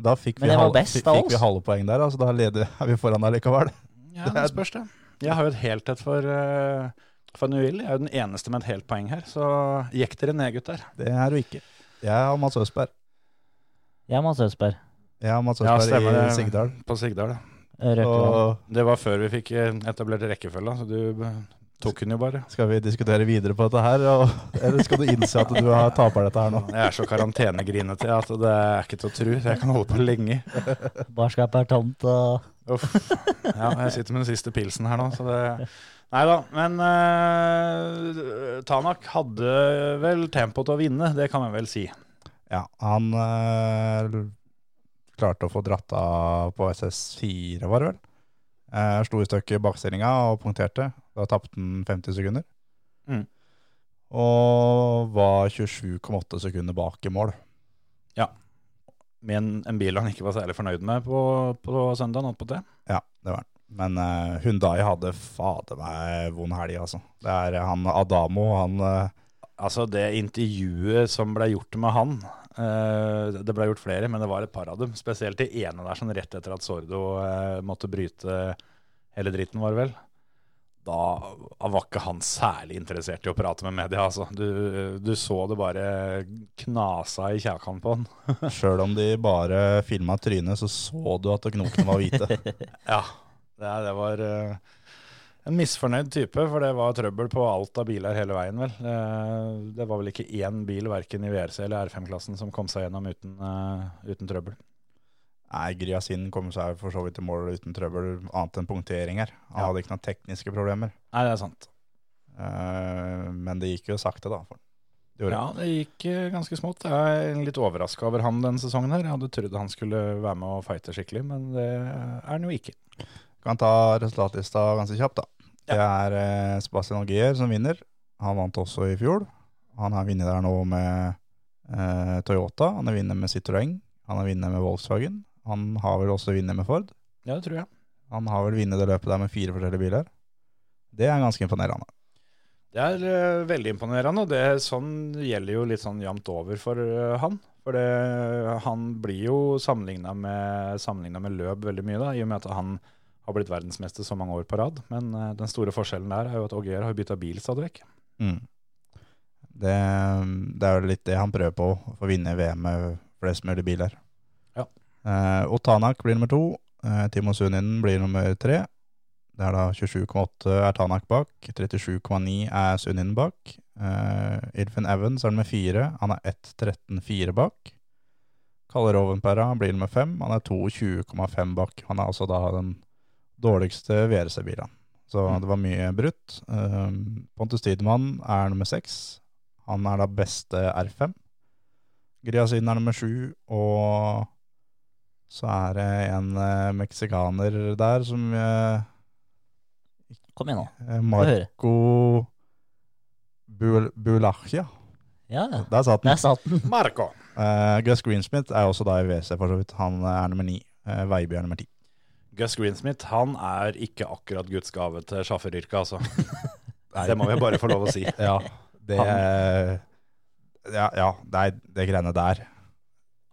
Speaker 5: Da fikk
Speaker 6: Men
Speaker 5: vi,
Speaker 6: det var
Speaker 5: halv,
Speaker 6: best
Speaker 5: fikk,
Speaker 6: av
Speaker 5: fikk vi
Speaker 6: oss.
Speaker 5: halve poeng der, altså da leder, (laughs) er vi foran allikevel.
Speaker 3: Ja, det spørs det. Jeg har jo et helthet for, eh, for Nuil. Jeg er jo den eneste med et helt poeng her, så gikk dere ned, gutter.
Speaker 5: Det er du ikke. Jeg har Mats Østberg.
Speaker 6: Jeg må Østberg.
Speaker 5: Jeg har Mats
Speaker 3: Ja,
Speaker 5: Østberg
Speaker 3: stemmer
Speaker 5: i
Speaker 3: det.
Speaker 5: Sigdal.
Speaker 3: På Sigdal, ja.
Speaker 6: Røkland.
Speaker 5: Og
Speaker 3: Det var før vi fikk eh, etablert rekkefølga, så du eh, tok den jo bare.
Speaker 5: skal vi diskutere videre på dette her, og, eller skal du innse at du har taper dette her nå?
Speaker 3: Jeg er så karantenegrinete at det er ikke til å tro. så Jeg kan holde på lenge.
Speaker 6: Barskapet er tomt og
Speaker 3: Uff. Ja, jeg sitter med den siste pilsen her nå, så det Nei da, men eh, Tanak hadde vel tempo til å vinne, det kan jeg vel si.
Speaker 5: Ja, han eh, klarte å få dratt av på SS4, var det vel? Eh, slo i stykker bakstillinga og punkterte. Da tapte han 50 sekunder.
Speaker 3: Mm.
Speaker 5: Og var 27,8 sekunder bak i mål.
Speaker 3: Med en, en bil han ikke var særlig fornøyd med på, på søndag. natt på det.
Speaker 5: Ja, det var han. Men eh, Hyundai hadde fader meg vond helg, altså. Det er han Adamo, han eh,
Speaker 3: Altså Det intervjuet som ble gjort med han eh, Det ble gjort flere, men det var et par av dem. Spesielt det ene der sånn rett etter at Sordo eh, måtte bryte hele dritten, var det vel. Da var ikke han særlig interessert i å prate med media, altså. Du, du så det bare knasa i kjakan på han.
Speaker 5: Sjøl om de bare filma trynet, så så du at knokene var hvite.
Speaker 3: Ja, det, det var eh, en misfornøyd type, for det var trøbbel på alt av biler hele veien, vel. Eh, det var vel ikke én bil, verken i VRC eller R5-klassen, som kom seg gjennom uten, eh, uten trøbbel.
Speaker 5: Nei, Gryasin kommer seg for så vidt i mål uten trøbbel, annet enn punktering her. Han hadde ikke noen tekniske problemer.
Speaker 3: Nei, det er sant.
Speaker 5: Eh, men det gikk jo sakte, da. For. Gjorde.
Speaker 3: Ja, det gikk eh, ganske smått. Jeg er litt overraska over han denne sesongen her. Jeg hadde trodd han skulle være med og fighte skikkelig, men det er han jo ikke.
Speaker 5: Kan ta resultatlista ganske kjapt, da. Det er eh, Sebastian Algier som vinner. Han vant også i fjor. Han har vunnet der nå med eh, Toyota, han har vunnet med Citroën, han har vunnet med Volkswagen. Han har vel også vunnet med Ford.
Speaker 3: Ja, det tror jeg.
Speaker 5: Han har vel vunnet det løpet der med fire forskjellige biler. Det er ganske imponerende.
Speaker 3: Det er eh, veldig imponerende, og det sånn gjelder jo litt sånn jevnt over for eh, han. For det, han blir jo sammenligna med, sammenlignet med Løb veldig mye, da, i og med at han har blitt verdensmester så mange år på rad. Men eh, den store forskjellen der er jo at Auger har bytta bil stadig vekk.
Speaker 5: Mm. Det, det er jo litt det han prøver på, å få vinne VM med flest mulig biler.
Speaker 3: Ja.
Speaker 5: Eh, Otanak blir nummer to. Eh, Timo Suninen blir nummer tre. Det er da 27,8 er Tanak bak. 37,9 er Suninen bak. Eh, Irfin Evans er nummer fire. Han er 1.13,4 bak. Kalle Rovenpera blir nummer fem. Han er 22,5 bak. Han er altså da den dårligste VRC-bilen. Så
Speaker 3: Mm.
Speaker 5: det var mye brutt. Um, Pontus Tidemann er nummer seks. Han er da beste R5. Gryasin er nummer sju, og så er det en eh, meksikaner der som eh,
Speaker 6: Kom igjen, nå.
Speaker 5: eh,
Speaker 6: Få høre.
Speaker 5: Marco Bul Bulachia.
Speaker 6: Ja, ja.
Speaker 5: Der satt den.
Speaker 6: der satt den.
Speaker 3: Marco!
Speaker 5: Eh, Gus Greensmith er også da i WC, for så vidt. Han er nummer ni. Eh, Veiby er nummer ti.
Speaker 3: Gus Greensmith han er ikke akkurat Guds gave til sjåføryrket, altså. Det må vi bare få lov å si.
Speaker 5: (laughs) Ja, det Ja, ja det, er, det greiene der.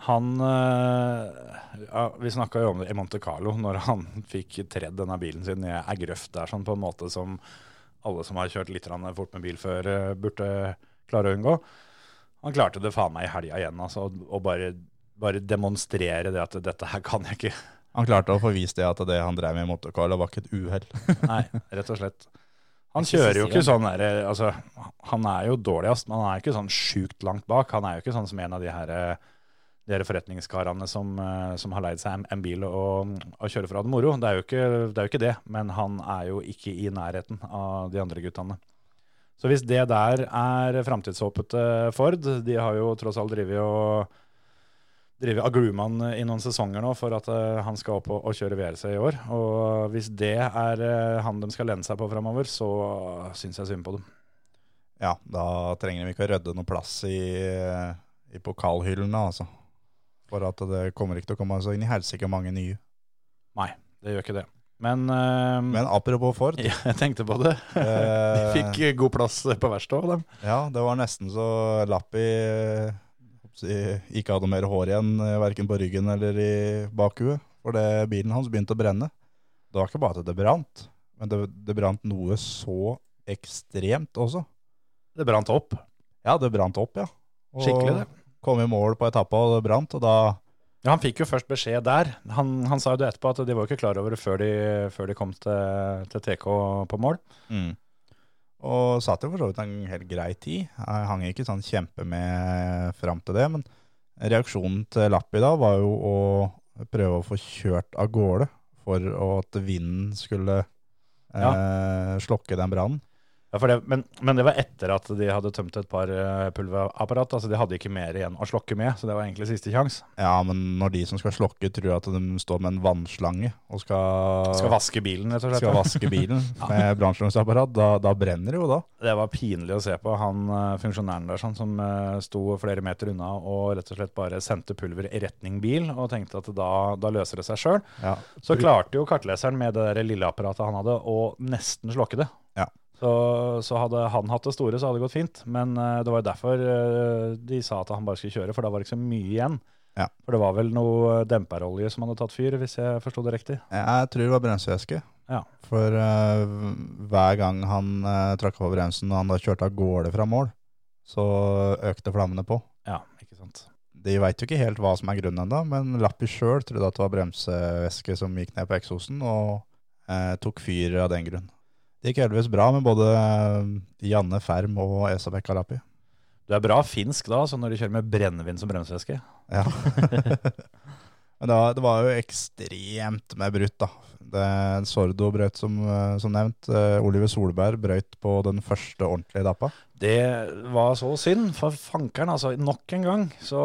Speaker 3: Han eh, ja, Vi snakka jo om det i Monte Carlo, når han (laughs) fikk tredd denne bilen sin i ei grøft der, sånn på en måte som alle som har kjørt litt grann fort med bil før, eh, burde klare å unngå. Han klarte det faen meg i helga igjen, altså, og- og bare, bare demonstrere det at dette her kan jeg ikke.
Speaker 5: Han klarte å få vist det at det han drev med i motorcoil, var ikke et uhell. (laughs)
Speaker 3: Nei, rett og slett. Han kjører jo ikke sånn der, eh, altså, Han er jo dårligst, men han er ikke sånn sjukt langt bak. Han er jo ikke sånn som en av de her, eh, de her forretningskarene som, eh, som har leid seg en, en bil og, og kjører for å ha det moro. Det er, jo ikke, det er jo ikke det, men han er jo ikke i nærheten av de andre guttene. Så hvis det der er framtidshåpet til Ford De har jo tross alt drevet og drevet av Gluman eh, i noen sesonger nå for at eh, han skal opp og, og kjøre VRC i år. Og hvis det er eh, han de skal lene seg på framover, så eh, syns jeg synd på dem.
Speaker 5: Ja, da trenger de ikke å rydde noe plass i, i pokalhyllene, altså. For at det kommer ikke til å komme så inn i helsike mange nye.
Speaker 3: Det gjør ikke det. Men, eh,
Speaker 5: Men apropos Ford.
Speaker 3: ja, (laughs) jeg tenkte på det. De
Speaker 5: eh,
Speaker 3: fikk eh, god plass på verkstedet, dem.
Speaker 5: Ja, det var nesten så Lappi eh, hoppsi, ikke hadde mer hår igjen, eh, verken på ryggen eller i bakhuet. For det, bilen hans begynte å brenne. Det var ikke bare at det brant, men det, det brant noe så ekstremt også.
Speaker 3: Det brant opp.
Speaker 5: Ja, det brant opp, ja. Og
Speaker 3: Skikkelig, det.
Speaker 5: Kom i mål på etappa, og det brant, og da
Speaker 3: Ja, han fikk jo først beskjed der. Han, han sa jo det etterpå, at de var jo ikke klar over det før de, før de kom til, til TK på mål. Mm.
Speaker 5: Og satt jo for så vidt en helt grei tid. Jeg hang ikke sånn kjempe med fram til det, men reaksjonen til Lappi da var jo å prøve å få kjørt av gårde for å- at vinden skulle eh, slokke den brannen.
Speaker 3: Ja, for det, men, men det var etter at de hadde tømt et par eh, pulverapparat. altså De hadde ikke mer igjen å slokke med, så det var egentlig siste sjanse.
Speaker 5: Ja, men når de som skal slokke, tror at de står med en vannslange og skal,
Speaker 3: Skal vaske bilen, rett og slett.
Speaker 5: skal vaske bilen
Speaker 3: (laughs)
Speaker 5: med brannslukningsapparat, da, da brenner det jo da.
Speaker 3: Det var pinlig å se på han eh, funksjonæren der sånn, som eh, sto flere meter unna og rett og slett bare sendte pulver i retning bil og tenkte at da, da løser det seg sjøl.
Speaker 5: Ja.
Speaker 3: Så klarte jo kartleseren med det der lille apparatet han hadde å nesten slokke det.
Speaker 5: Ja.
Speaker 3: Så, så hadde han hatt det store, så hadde det gått fint. Men eh, det var jo derfor eh, de sa at han bare skulle kjøre, for da var det ikke så mye igjen.
Speaker 5: Ja.
Speaker 3: For det var vel noe eh, demperolje som hadde tatt fyr, hvis jeg forsto det riktig.
Speaker 5: Jeg tror det var bremsevæske.
Speaker 3: Ja.
Speaker 5: For eh, hver gang han eh, trakk på bremsen og han da kjørte av gårde fra mål, så økte flammene på.
Speaker 3: Ja, ikke sant.
Speaker 5: De veit jo ikke helt hva som er grunnen ennå, men Lappi sjøl trodde at det var bremsevæske som gikk ned på eksosen, og eh, tok fyr av den grunn. Det gikk heldigvis bra med både eh, Janne Ferm og Esabekka Lappi.
Speaker 3: Du er bra finsk da, så når de kjører med brennevin som bremsevæske.
Speaker 5: Ja. (laughs) Men det var, det var jo ekstremt med brutt, da. Det, Sordo brøt, som, eh, som nevnt. Eh, Oliver Solberg brøt på den første ordentlige dappa.
Speaker 3: Det var så synd, for fankeren, altså. Nok en gang. Så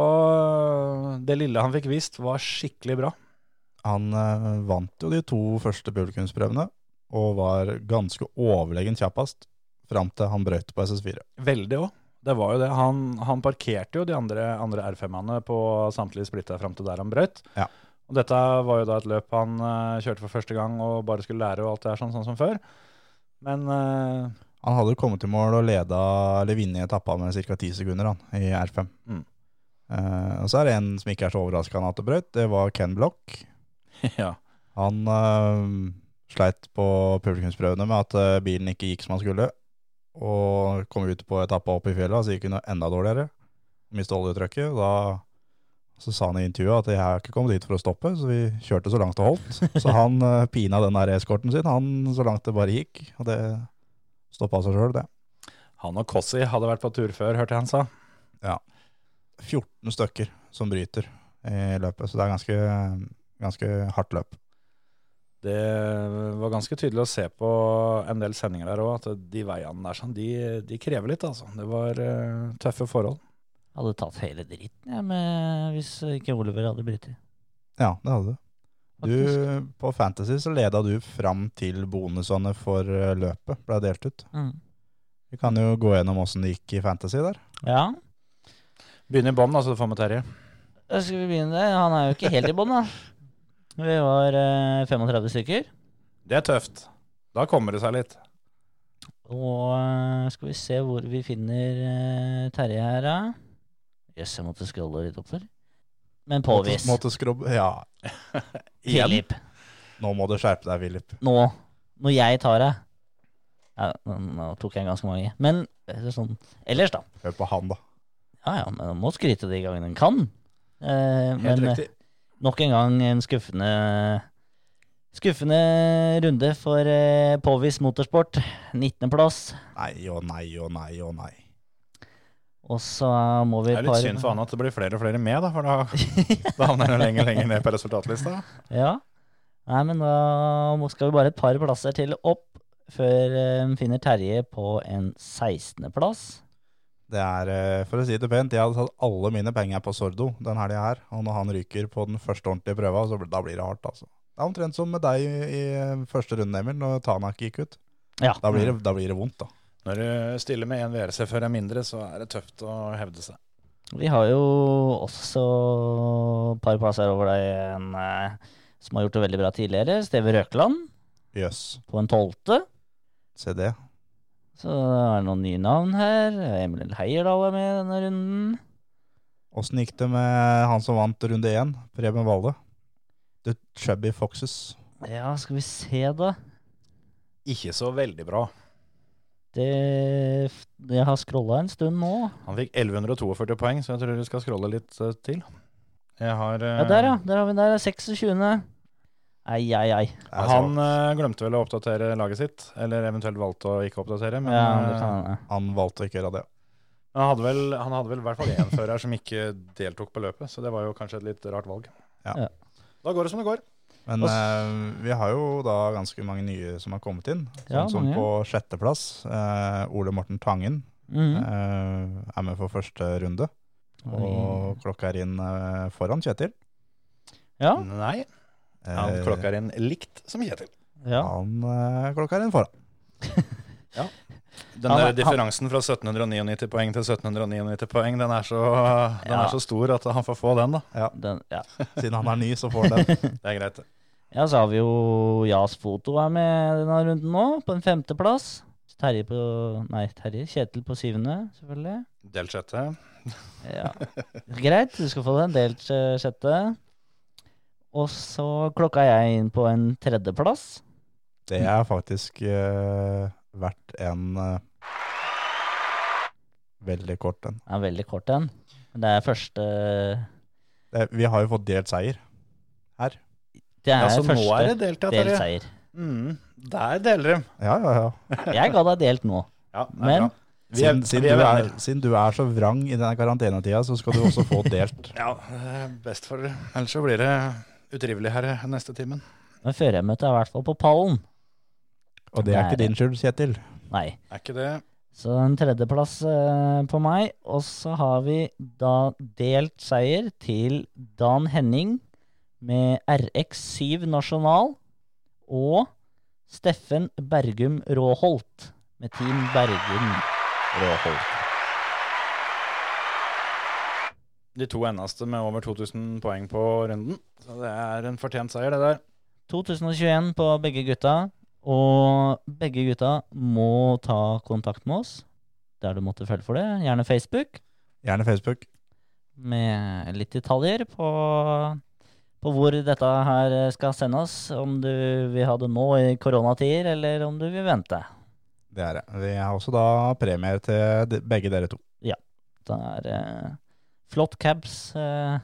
Speaker 3: det lille han fikk vist, var skikkelig bra.
Speaker 5: Han eh, vant jo de to første publikumsprøvene, og var ganske overlegen kjappest fram til han brøt på SS4.
Speaker 3: Veldig òg. Det var jo det. Han, han parkerte jo de andre, andre R5-ene på samtlige splitter fram til der han brøt.
Speaker 5: Ja.
Speaker 3: Og dette var jo da et løp han eh, kjørte for første gang og bare skulle lære og alt det her sånn, sånn som før. Men eh,
Speaker 5: Han hadde kommet i mål og leda, eller vunnet etappa med ca. 10 sekunder han, i R5.
Speaker 3: Mm.
Speaker 5: Eh, og så er det en som ikke er så overraskende at det brøt. Det var Ken Block.
Speaker 3: (laughs) ja.
Speaker 5: Han øhm, sleit på publikumsprøvene med at øh, bilen ikke gikk som han skulle, og kom ut på etappa opp i fjellet, så gikk hun enda dårligere. Mistet oljetrykket. Da så sa han i intervjuet at jeg har ikke kommet hit for å stoppe, så vi kjørte så langt det holdt. Så han øh, pina den der eskorten sin, han så langt det bare gikk. Og det stoppa seg sjøl, det.
Speaker 3: Han og Kossi hadde vært på tur før, hørte jeg han sa.
Speaker 5: 14 stykker som bryter i løpet, så det er ganske, ganske hardt løp.
Speaker 3: Det var ganske tydelig å se på en del sendinger der òg, at de veiene der sånn, de, de krever litt, altså. Det var eh, tøffe forhold.
Speaker 6: Hadde tatt hele dritten jeg, med, hvis ikke Oliver hadde blitt i.
Speaker 5: Ja, det hadde du.
Speaker 6: faktisk.
Speaker 5: Du, på Fantasy så leda du fram til bonusene for eh, løpet ble delt ut.
Speaker 6: Mm.
Speaker 5: Vi kan jo gå gjennom åssen det gikk i Fantasy der.
Speaker 6: Ja,
Speaker 3: Begynn i bånn, da, så du får med Terje.
Speaker 6: da skal vi begynne der. Han er jo ikke helt i bånn, da. Vi var eh, 35 stykker.
Speaker 3: Det er tøft. Da kommer det seg litt.
Speaker 6: Og eh, skal vi se hvor vi finner eh, Terje her, da. Jøss, jeg måtte scrolle litt oppover. Men påvis.
Speaker 5: Måtte, måtte skrubbe Ja,
Speaker 3: Igjen.
Speaker 6: Filip,
Speaker 5: nå må du skjerpe deg, Philip.
Speaker 6: nå. Når jeg tar deg ja, nå- Nå tok jeg ganske mange. Men eh, sånn ellers, da.
Speaker 5: Hør på han, da.
Speaker 6: Ja ja, men man må skryte de gangene en kan. Eh, men
Speaker 3: Helt
Speaker 6: eh,
Speaker 3: riktig.
Speaker 6: Nok en gang en skuffende Skuffende runde for eh, Påvis Motorsport. 19.-plass.
Speaker 5: Nei og nei og nei og nei.
Speaker 6: Og så må vi
Speaker 3: Det er litt synd for han at det blir flere og flere med, da, for
Speaker 6: (laughs)
Speaker 3: da, da havner han lenger lenger ned på resultatlista.
Speaker 6: Ja. Nei, men da må- skal vi bare et par plasser til opp før eh, vi finner Terje på en 16.-plass.
Speaker 5: Det er, eh, for å si det pent, jeg hadde tatt alle mine penger på Sordo den helga her. Og når han ryker på den første ordentlige prøva, så bl- da blir det hardt, altså. Det er omtrent som med deg i, i første runden, Emil, når Tanak gikk ut.
Speaker 6: Ja.
Speaker 5: Da blir det, da blir det vondt, da.
Speaker 3: Når du stiller med en VRC før er mindre, så er det tøft å hevde seg.
Speaker 6: Mm. Vi har jo også et par plasser over deg en, eh, som har gjort det veldig bra tidligere. Steve Røkland
Speaker 5: Jøss.
Speaker 6: på en tolvte.
Speaker 5: Se det.
Speaker 6: Så er det noen nye navn her. Emil Heierdal er med i denne runden.
Speaker 5: Åssen gikk det med han som vant runde én, Preben Valle? The Chubby Foxes.
Speaker 6: Ja, skal vi se, da.
Speaker 3: Ikke så veldig bra.
Speaker 6: Det, jeg har scrolla en stund nå.
Speaker 3: Han fikk 1142 poeng, så jeg tror du skal scrolle litt eh, til. Jeg har eh,
Speaker 6: Ja, der, ja. Der har vi den. der, 26. Ai, ai, ai.
Speaker 5: Det er så-
Speaker 3: Han eh, glemte vel å oppdatere laget sitt, eller eventuelt valgte å ikke oppdatere. Men
Speaker 6: Ja, det
Speaker 3: eh,
Speaker 6: kan hende.
Speaker 5: han valgte å ikke å gjøre det.
Speaker 3: han, hadde vel, han hadde vel i hvert fall én fører som ikke deltok på løpet, så det var jo kanskje et litt rart valg.
Speaker 5: Ja.
Speaker 6: Ja.
Speaker 3: Da går det som det går.
Speaker 5: Men
Speaker 6: Og s-
Speaker 5: eh, vi har jo da ganske mange nye som har kommet inn. Sånn
Speaker 6: Ja,
Speaker 5: som
Speaker 6: mange.
Speaker 5: på sjetteplass, eh, Ole Morten Tangen
Speaker 6: Mhm.
Speaker 5: eh, er med for første runde. Og klokka er inn eh, foran Kjetil.
Speaker 6: Ja.
Speaker 3: Nei, han
Speaker 5: Eh,
Speaker 3: klokker inn likt som Kjetil.
Speaker 6: ja.
Speaker 5: han, eh, klokka er inn foran.
Speaker 3: Den
Speaker 6: Han er-
Speaker 3: der differansen fra 1799 poeng til 1799 poeng, den er så, den
Speaker 6: Ja.
Speaker 3: er så stor at han får få den, da.
Speaker 6: Den, ja.
Speaker 5: Siden han er ny, så får han den.
Speaker 3: Det er greit. det.
Speaker 6: ja, så har vi jo Jas Foto er med denne runden nå, på en femteplass. Terje på Nei, Terje. Kjetil på syvende, selvfølgelig.
Speaker 3: Delt sjette. (laughs)
Speaker 6: Ja. Greit, du skal få den delt eh, sjette. Og så klokka jeg inn på en tredjeplass.
Speaker 5: Det er faktisk eh, verdt en eh, veldig kort en.
Speaker 6: Det er veldig kort en. Men det er første
Speaker 5: Det, vi har jo fått delt seier.
Speaker 6: Det er
Speaker 3: Ja, så nå
Speaker 6: første
Speaker 3: er det delt, ja, Terje.
Speaker 6: delseier.
Speaker 3: Mm, der deler de.
Speaker 5: Ja, ja, ja.
Speaker 6: Jeg ga deg delt nå.
Speaker 3: Ja, det er
Speaker 6: Men-
Speaker 3: bra. Vi er,
Speaker 5: Siden, siden,
Speaker 3: vi er
Speaker 5: du er,
Speaker 3: venner.
Speaker 5: siden du er så vrang i denne karantenetida, så skal du også få (laughs) delt.
Speaker 3: Ja, det er best for dere. Ellers så blir det utrivelig her eh, neste timen.
Speaker 6: Men førermøtet er i hvert fall på pallen.
Speaker 5: Og det er ikke din skyld, Kjetil.
Speaker 6: Nei.
Speaker 3: Er ikke det
Speaker 6: Så en tredjeplass eh, på meg. Og så har vi da delt seier til Dan Henning med RX7 Nasjonal og Steffen Bergum Råholt med Team Bergum Råholt.
Speaker 3: de to eneste med over 2000 poeng på runden? Så det er en fortjent seier, det der.
Speaker 6: 2021 på begge gutta. Og begge gutta må ta kontakt med oss der du måtte følge for det. Gjerne Facebook.
Speaker 5: Gjerne Facebook.
Speaker 6: med litt detaljer på, på hvor dette her skal sendes. Om du vil ha det nå i koronatider, eller om du vil vente.
Speaker 5: Det er det. Vi har også da premier til de- begge dere to.
Speaker 6: Det er eh, flott cabs, eh,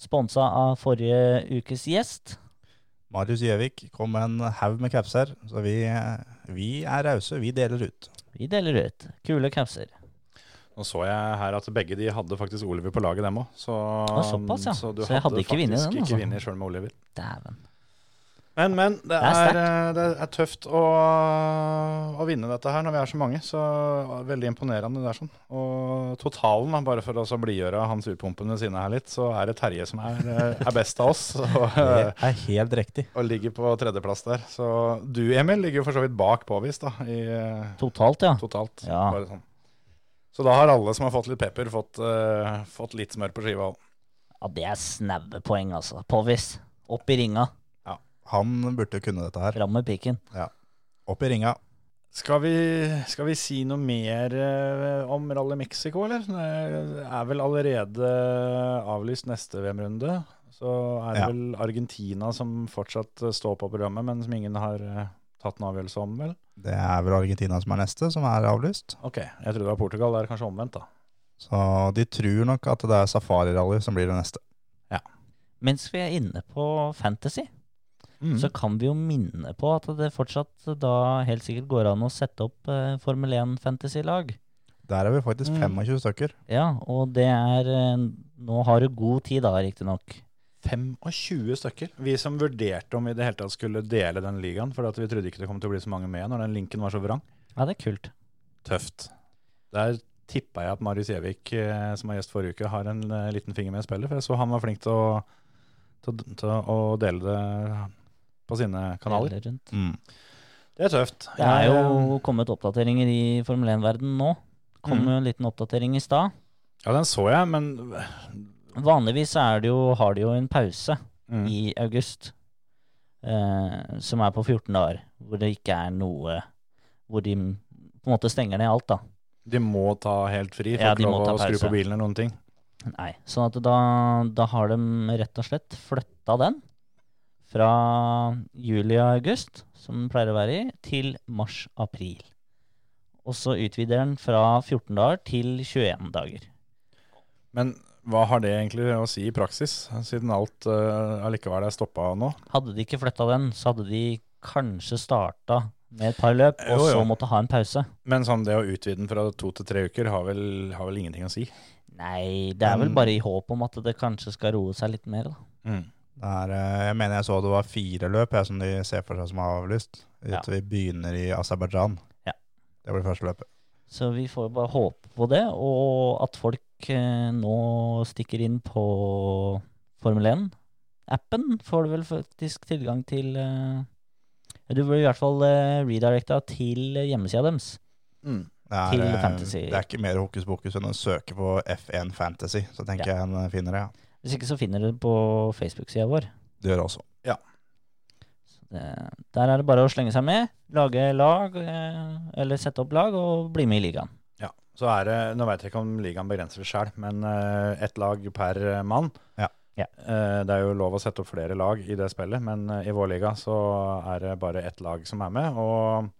Speaker 6: sponsa av forrige ukes gjest.
Speaker 5: Marius Gjøvik kom med en haug med caps her, så vi, vi er rause. Vi deler (laughs) ut.
Speaker 6: Vi deler ut kule capser.
Speaker 3: Nå så jeg her at begge de hadde faktisk Oliver på laget, dem òg. Så,
Speaker 6: såpass, ja.
Speaker 3: så du
Speaker 6: Så jeg hadde ikke vunnet
Speaker 3: faktisk
Speaker 6: den, altså.
Speaker 3: ikke vunnet sjøl med Oliver.
Speaker 6: Dæven.
Speaker 3: Men, men. Det,
Speaker 6: er
Speaker 3: er, eh, det er tøft å, å vinne dette her når vi er så mange. Så veldig imponerende det er sånn. Og totalen, da, bare for å så blidgjøre han surpumpen ved siden av her litt, så er det Terje som er, eh, er best av oss.
Speaker 6: (laughs)
Speaker 3: Og,
Speaker 5: Det er helt riktig.
Speaker 3: og ligger på tredjeplass der. Så du, Emil, ligger jo for så vidt bak påvist da, i eh,
Speaker 6: Totalt, ja.
Speaker 3: totalt.
Speaker 6: Ja.
Speaker 3: Bare sånn. Så da har alle som har fått litt pepper, fått, eh, fått litt smør på skiva.
Speaker 6: ja. Det er snaue poeng, altså. Påvis. Opp i ringa.
Speaker 5: Han burde kunne dette her.
Speaker 6: Fram med piken.
Speaker 5: Opp i ringa.
Speaker 3: Skal vi, skal vi si noe mer eh, om Rally Mexico, eller? Det er vel allerede avlyst neste VM-runde. Så er det
Speaker 5: Ja.
Speaker 3: vel Argentina som fortsatt eh, står på programmet, men som ingen har eh, tatt en avgjørelse om, vel?
Speaker 5: Det er vel Argentina som er neste, som er avlyst.
Speaker 3: Ok, jeg trodde det var Portugal. Det er kanskje omvendt, da.
Speaker 5: Så de tror nok at det er safarirally som blir det neste.
Speaker 6: Mens vi er inne på fantasy,
Speaker 3: Mm.
Speaker 6: så kan vi jo minne på at det fortsatt eh, da helt sikkert går an å sette opp eh, Formel 1-fantasy-lag.
Speaker 5: Der er vi faktisk 25 stykker.
Speaker 6: Ja, og det er eh, Nå har du god tid da, riktignok.
Speaker 3: 25 stykker. Vi som vurderte om vi i det hele tatt skulle dele den ligaen, for at vi trodde ikke det kom til å bli så mange med når den linken var så vrang.
Speaker 6: Ja, det er kult.
Speaker 3: Tøft. Der tippa jeg at Marius Gjevik, eh, som var gjest forrige uke, har en eh, liten finger med i spillet, for jeg så han var flink til å, til, å- til å dele det på sine kanaler.
Speaker 6: Eller rundt.
Speaker 3: Det er tøft.
Speaker 6: Det er
Speaker 3: Jeg, eh,
Speaker 6: jo kommet oppdateringer i Formel 1-verden nå. Kom
Speaker 3: Mm.
Speaker 6: jo en liten oppdatering i stad.
Speaker 3: Ja, den så jeg, men
Speaker 6: Vanligvis er det jo, har de jo en pause
Speaker 3: mm.
Speaker 6: i august, eh, som er på 14 dager, hvor det ikke er noe Hvor de m- på en måte stenger ned alt, da.
Speaker 3: De må ta helt fri,
Speaker 6: Ja,
Speaker 3: får
Speaker 6: de
Speaker 3: ikke
Speaker 6: må
Speaker 3: lov
Speaker 6: ta
Speaker 3: å skru
Speaker 6: pause.
Speaker 3: på bilen eller noen ting.
Speaker 6: Nei. Sånn at da, da har de rett og slett flytta den fra juli og august, som den pleier å være i, til mars-april. Og så utvider den fra 14 dager til 21 dager.
Speaker 3: Men hva har det egentlig å si i praksis, siden alt eh, allikevel er stoppa nå?
Speaker 6: Hadde de ikke flytta den, så hadde de kanskje starta med et par løp, og
Speaker 3: Jo, jo.
Speaker 6: så måtte ha en pause.
Speaker 3: Men sånn det å utvide den fra to til tre uker har vel, har vel ingenting å si.
Speaker 6: Nei, det er vel
Speaker 3: Men-
Speaker 6: bare i håp om at det kanskje skal roe seg litt mer, da.
Speaker 5: Det er, eh, jeg mener jeg så det var fire løp jeg, som de ser for seg som er avlyst.
Speaker 6: Ja.
Speaker 5: At Vi begynner i Aserbajdsjan.
Speaker 6: Ja.
Speaker 5: Det blir første løpet.
Speaker 6: Så vi får bare håpe på det, og at folk eh, nå stikker inn på Formel 1-appen. Får du vel faktisk tilgang til eh, Du blir i hvert fall eh, redirecta til hjemmesida deres.
Speaker 5: Det er,
Speaker 6: Til
Speaker 5: eh,
Speaker 6: fantasy.
Speaker 5: Det er ikke mer hokus pokus enn å søke på F1 Fantasy. Så tenker jeg en finner det. Ja.
Speaker 6: Hvis ikke så finner du det på Facebook-sida vår.
Speaker 5: Det gjør jeg også.
Speaker 6: Så det, der er det bare å slenge seg med, lage lag, eh, eller sette opp lag, og bli med i ligaen.
Speaker 3: Så er det, Nå veit jeg ikke om ligaen begrenser det sjøl, men eh, ett lag per eh, mann.
Speaker 5: Ja.
Speaker 6: Ja.
Speaker 3: Eh, det er jo lov å sette opp flere lag i det spillet, men eh, i vår liga så er det bare ett lag som er med. Og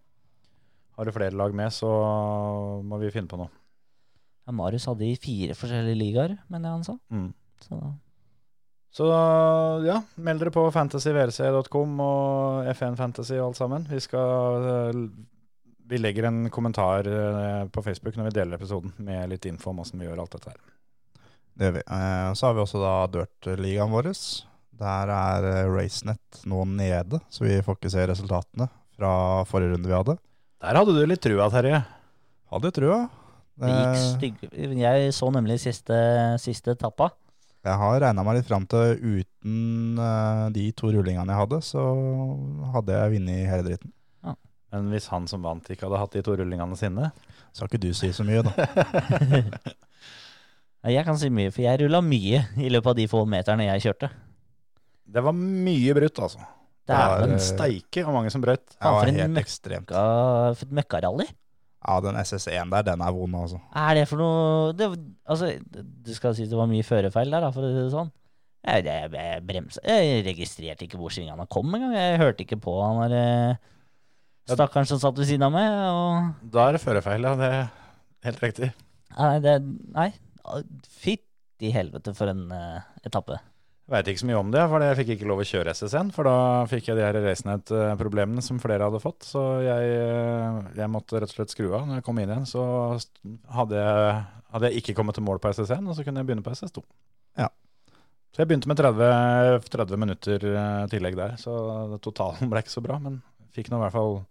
Speaker 3: har du flere lag med, så må vi finne på noe.
Speaker 6: Ja, Marius hadde i fire forskjellige ligaer, mener jeg han sa.
Speaker 3: Mm.
Speaker 6: Så
Speaker 3: Så ja, meld dere på fantasyvrc.com og FN Fantasy og alt sammen. Vi skal eh, Vi legger en kommentar eh, på Facebook når vi deler episoden, med litt info om åssen vi gjør alt dette her.
Speaker 5: Det gjør vi. Eh, Så har vi også da Dirt-ligaen vår. Der er eh, RaceNet nå nede, så vi får ikke se resultatene fra forrige runde vi hadde.
Speaker 3: Der hadde du litt trua, Terje.
Speaker 5: Hadde jo trua.
Speaker 6: Det gikk
Speaker 5: Eh,
Speaker 6: stygg Jeg så nemlig siste, siste etappa.
Speaker 5: Jeg har regna meg litt fram til uten eh, de to rullingene jeg hadde, så hadde jeg vunnet hele dritten.
Speaker 3: Men hvis han som vant ikke hadde hatt de to rullingene sine
Speaker 5: Skal ikke du si så
Speaker 6: (laughs)
Speaker 5: mye, da.
Speaker 6: Nei, Jeg kan si mye, for jeg rulla mye i løpet av de få meterne jeg kjørte.
Speaker 3: Det var mye brutt, altså. Det
Speaker 5: Ja,
Speaker 3: er
Speaker 6: Dæven
Speaker 5: det-
Speaker 3: en steike og mange som brøt.
Speaker 5: Jeg
Speaker 6: for
Speaker 5: var
Speaker 6: en
Speaker 5: helt
Speaker 6: møkk-
Speaker 5: ekstremt.
Speaker 6: møkka- for et møkkarally.
Speaker 5: Ja, den SS1 der, den er vond, altså.
Speaker 6: Er det for noe det, Altså, du skal si det var mye førefeil der, da, for å si det sånn. Jeg, jeg, jeg bremsa Jeg registrerte ikke hvor svingene kom engang. Jeg hørte ikke på han der eh, stakkaren som satt ved siden av meg. Og
Speaker 3: Da er det førerfeil, ja. Det er helt riktig.
Speaker 6: Nei, det Nei. Fytti helvete for en eh, etappe.
Speaker 3: Veit ikke så mye om det, for jeg fikk ikke lov å kjøre SSN. For da fikk jeg de her Racenet-problemene som flere hadde fått. Så jeg, eh, jeg måtte rett og slett skru av. Når jeg kom inn igjen, så st- hadde jeg, hadde jeg ikke kommet til mål på SSN, og så kunne jeg begynne på SS2.
Speaker 5: Ja.
Speaker 3: Så jeg begynte med 30, 30 minutter eh, tillegg der, så totalen ble ikke så bra. Men fikk nå i hvert fall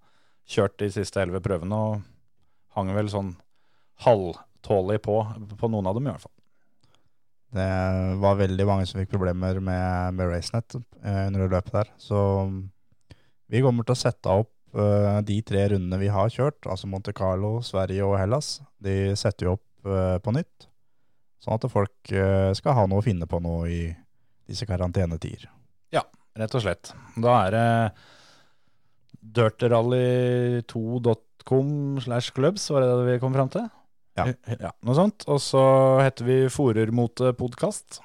Speaker 3: kjørt de siste elleve prøvene, og hang vel sånn halvtålig på på noen av dem, i hvert fall.
Speaker 5: Det var veldig mange som fikk problemer med, med RaceNet eh, under løpet der. Så mm, vi kommer til å sette opp eh, de tre rundene vi har kjørt, altså Monte Carlo, Sverige og Hellas. De setter vi opp eh, på nytt, sånn at folk eh, skal ha noe å finne på nå i disse karantenetider.
Speaker 3: Rett og slett. Da er det dirtrally2.com slash clubs, var det det vi kom fram til? Eh,
Speaker 5: Ja.
Speaker 3: Noe sånt. Og så heter vi Forermotepodkast.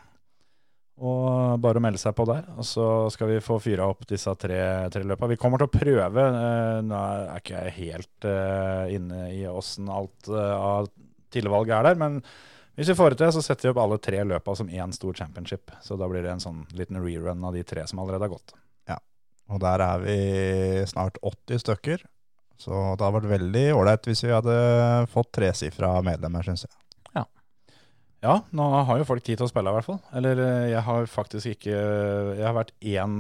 Speaker 3: Og bare å melde seg på der, og så skal vi få fyra opp disse tre, tre løpa. Vi kommer til å prøve eh, Nå er ikke jeg helt eh, inne i åssen alt eh, av tilvalg er der, men Hvis vi får det til, så setter vi opp alle tre løpa som én stor championship. Så da blir det en sånn liten rerun av de tre som allerede har gått.
Speaker 5: Og der er vi snart 80 stykker. Så det hadde vært veldig ålreit hvis vi hadde fått tresifra medlemmer, syns jeg.
Speaker 3: Ja, nå har jo folk tid til å spille i hvert fall. Eller eh, jeg har faktisk ikke eh, Jeg har vært én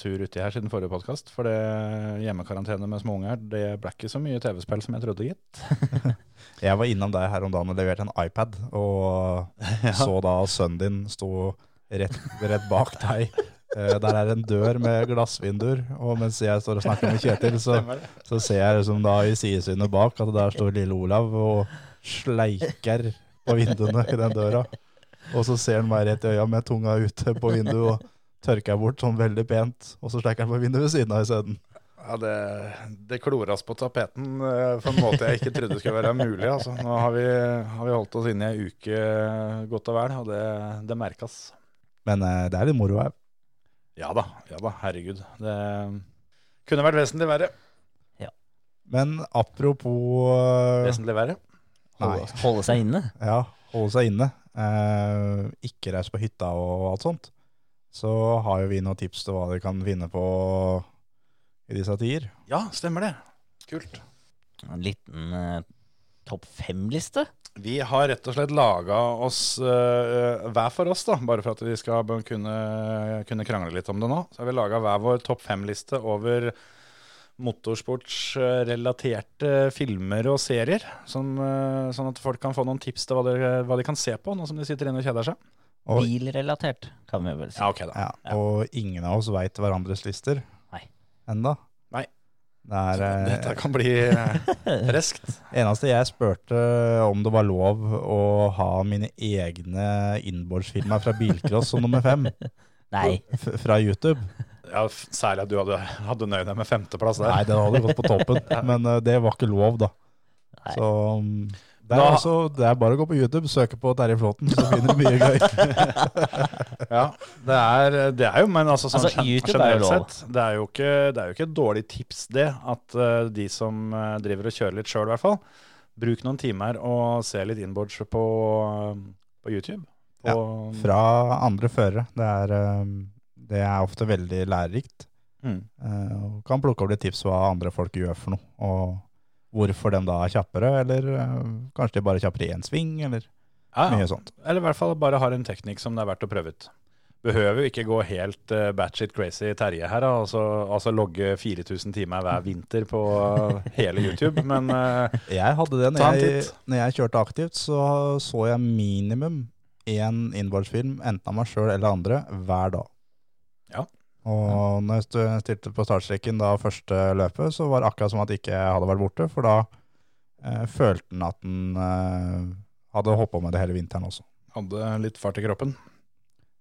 Speaker 3: tur uti her siden forrige podkast. For det hjemmekarantene med småunger, det ble ikke så mye TV-spill som jeg trodde, gitt.
Speaker 5: Jeg var innom deg her om dagen og leverte en iPad, og så da sønnen din sto rett, rett bak deg. Eh, Der er en dør med glassvinduer, og mens jeg står og snakker med Kjetil, så, så ser jeg liksom da i sidesynet bak at der står lille Olav og sleiker på vinduene i den døra. Og så ser han meg rett i øya med tunga ute på vinduet og tørker bort sånn veldig pent, og så sleiker han på vinduet ved siden av isteden.
Speaker 3: Ja, det, det kloras på tapeten eh, på en måte jeg ikke trodde skulle være mulig. Altså. Nå har vi, har vi holdt oss inne i ei uke godt og vel, og det, det merkes.
Speaker 5: Men eh, det er litt moro her.
Speaker 3: Ja da, ja da, herregud. Det kunne vært vesentlig verre.
Speaker 5: Men apropos eh,
Speaker 3: Vesentlig verre.
Speaker 5: Nei.
Speaker 6: Holde, holde seg inne.
Speaker 5: Ja, holde seg inne. Eh, ikke reise på hytta og alt sånt. Så har jo vi noen tips til hva dere kan finne på i disse tider.
Speaker 3: Ja, stemmer det. Kult.
Speaker 6: En liten eh, topp fem-liste.
Speaker 3: Vi har rett og slett laga oss eh, hver for oss, da, bare for at vi skal b- kunne, kunne krangle litt om det nå. Så har vi laga hver vår topp fem-liste over motorsportsrelaterte filmer og serier. Som, eh, sånn at folk kan få noen tips til hva de, hva de kan se på, nå som de sitter inne og kjeder seg.
Speaker 5: Oi.
Speaker 6: Bilrelatert, kan vi vel si.
Speaker 3: Ja, ok da.
Speaker 5: Ja, og ingen av oss veit hverandres lister
Speaker 6: Nei.
Speaker 5: enda.
Speaker 3: Nei.
Speaker 5: Det er, eh,
Speaker 3: Dette kan bli (laughs) eh, freskt.
Speaker 5: eneste jeg spurte om det var lov å ha mine egne innbordsfilmer fra bilcross som nummer fem
Speaker 6: (laughs) Nei.
Speaker 5: f fra YouTube.
Speaker 3: Ja, f- særlig at du hadde, hadde nøyd deg med femteplass der.
Speaker 5: Nei, det hadde gått på toppen, men eh, det var ikke lov, da.
Speaker 6: Nei.
Speaker 5: Så mm, det er,
Speaker 3: Da-
Speaker 5: altså, det er bare å gå på YouTube, søke på Terje Flåten, så finner du mye gøy.
Speaker 3: (laughs) Ja, det er, det er jo, men altså, sånn
Speaker 6: Altså,
Speaker 3: gen-
Speaker 6: YouTube er jo
Speaker 3: generelt
Speaker 6: lov.
Speaker 3: sett, det er jo, ikke, det er jo ikke et dårlig tips det, at eh, de som eh, driver og kjører litt sjøl, i hvert fall, bruk noen timer og se litt inboards på, eh, på YouTube.
Speaker 5: Ja,
Speaker 3: På-
Speaker 5: Fra andre førere. Det er, eh, det er ofte veldig lærerikt.
Speaker 3: Mm.
Speaker 5: eh, Og kan plukke opp litt tips hva andre folk gjør for noe, og hvorfor de da er kjappere, eller eh, kanskje de bare er kjappere i én sving, eller
Speaker 3: Ja, ja.
Speaker 5: mye sånt.
Speaker 3: Eller i hvert fall bare har en teknikk som det er verdt å prøve ut. Behøver jo ikke gå helt uh, batshit crazy Terje her, da, altså, altså logge 4000 timer hver vinter på eh, hele YouTube, men eh,
Speaker 5: Jeg hadde det
Speaker 3: Ta en
Speaker 5: når jeg,
Speaker 3: titt.
Speaker 5: når jeg kjørte aktivt, så så jeg minimum én innbordsfilm, enten av meg sjøl eller andre, hver dag.
Speaker 3: Ja.
Speaker 5: Og når jeg stu- stilte på startstreken da første løpet, så var det akkurat som at ikke jeg hadde vært borte, for da eh, følte han at han eh, hadde holdt på med det hele vinteren også.
Speaker 3: hadde litt fart i kroppen.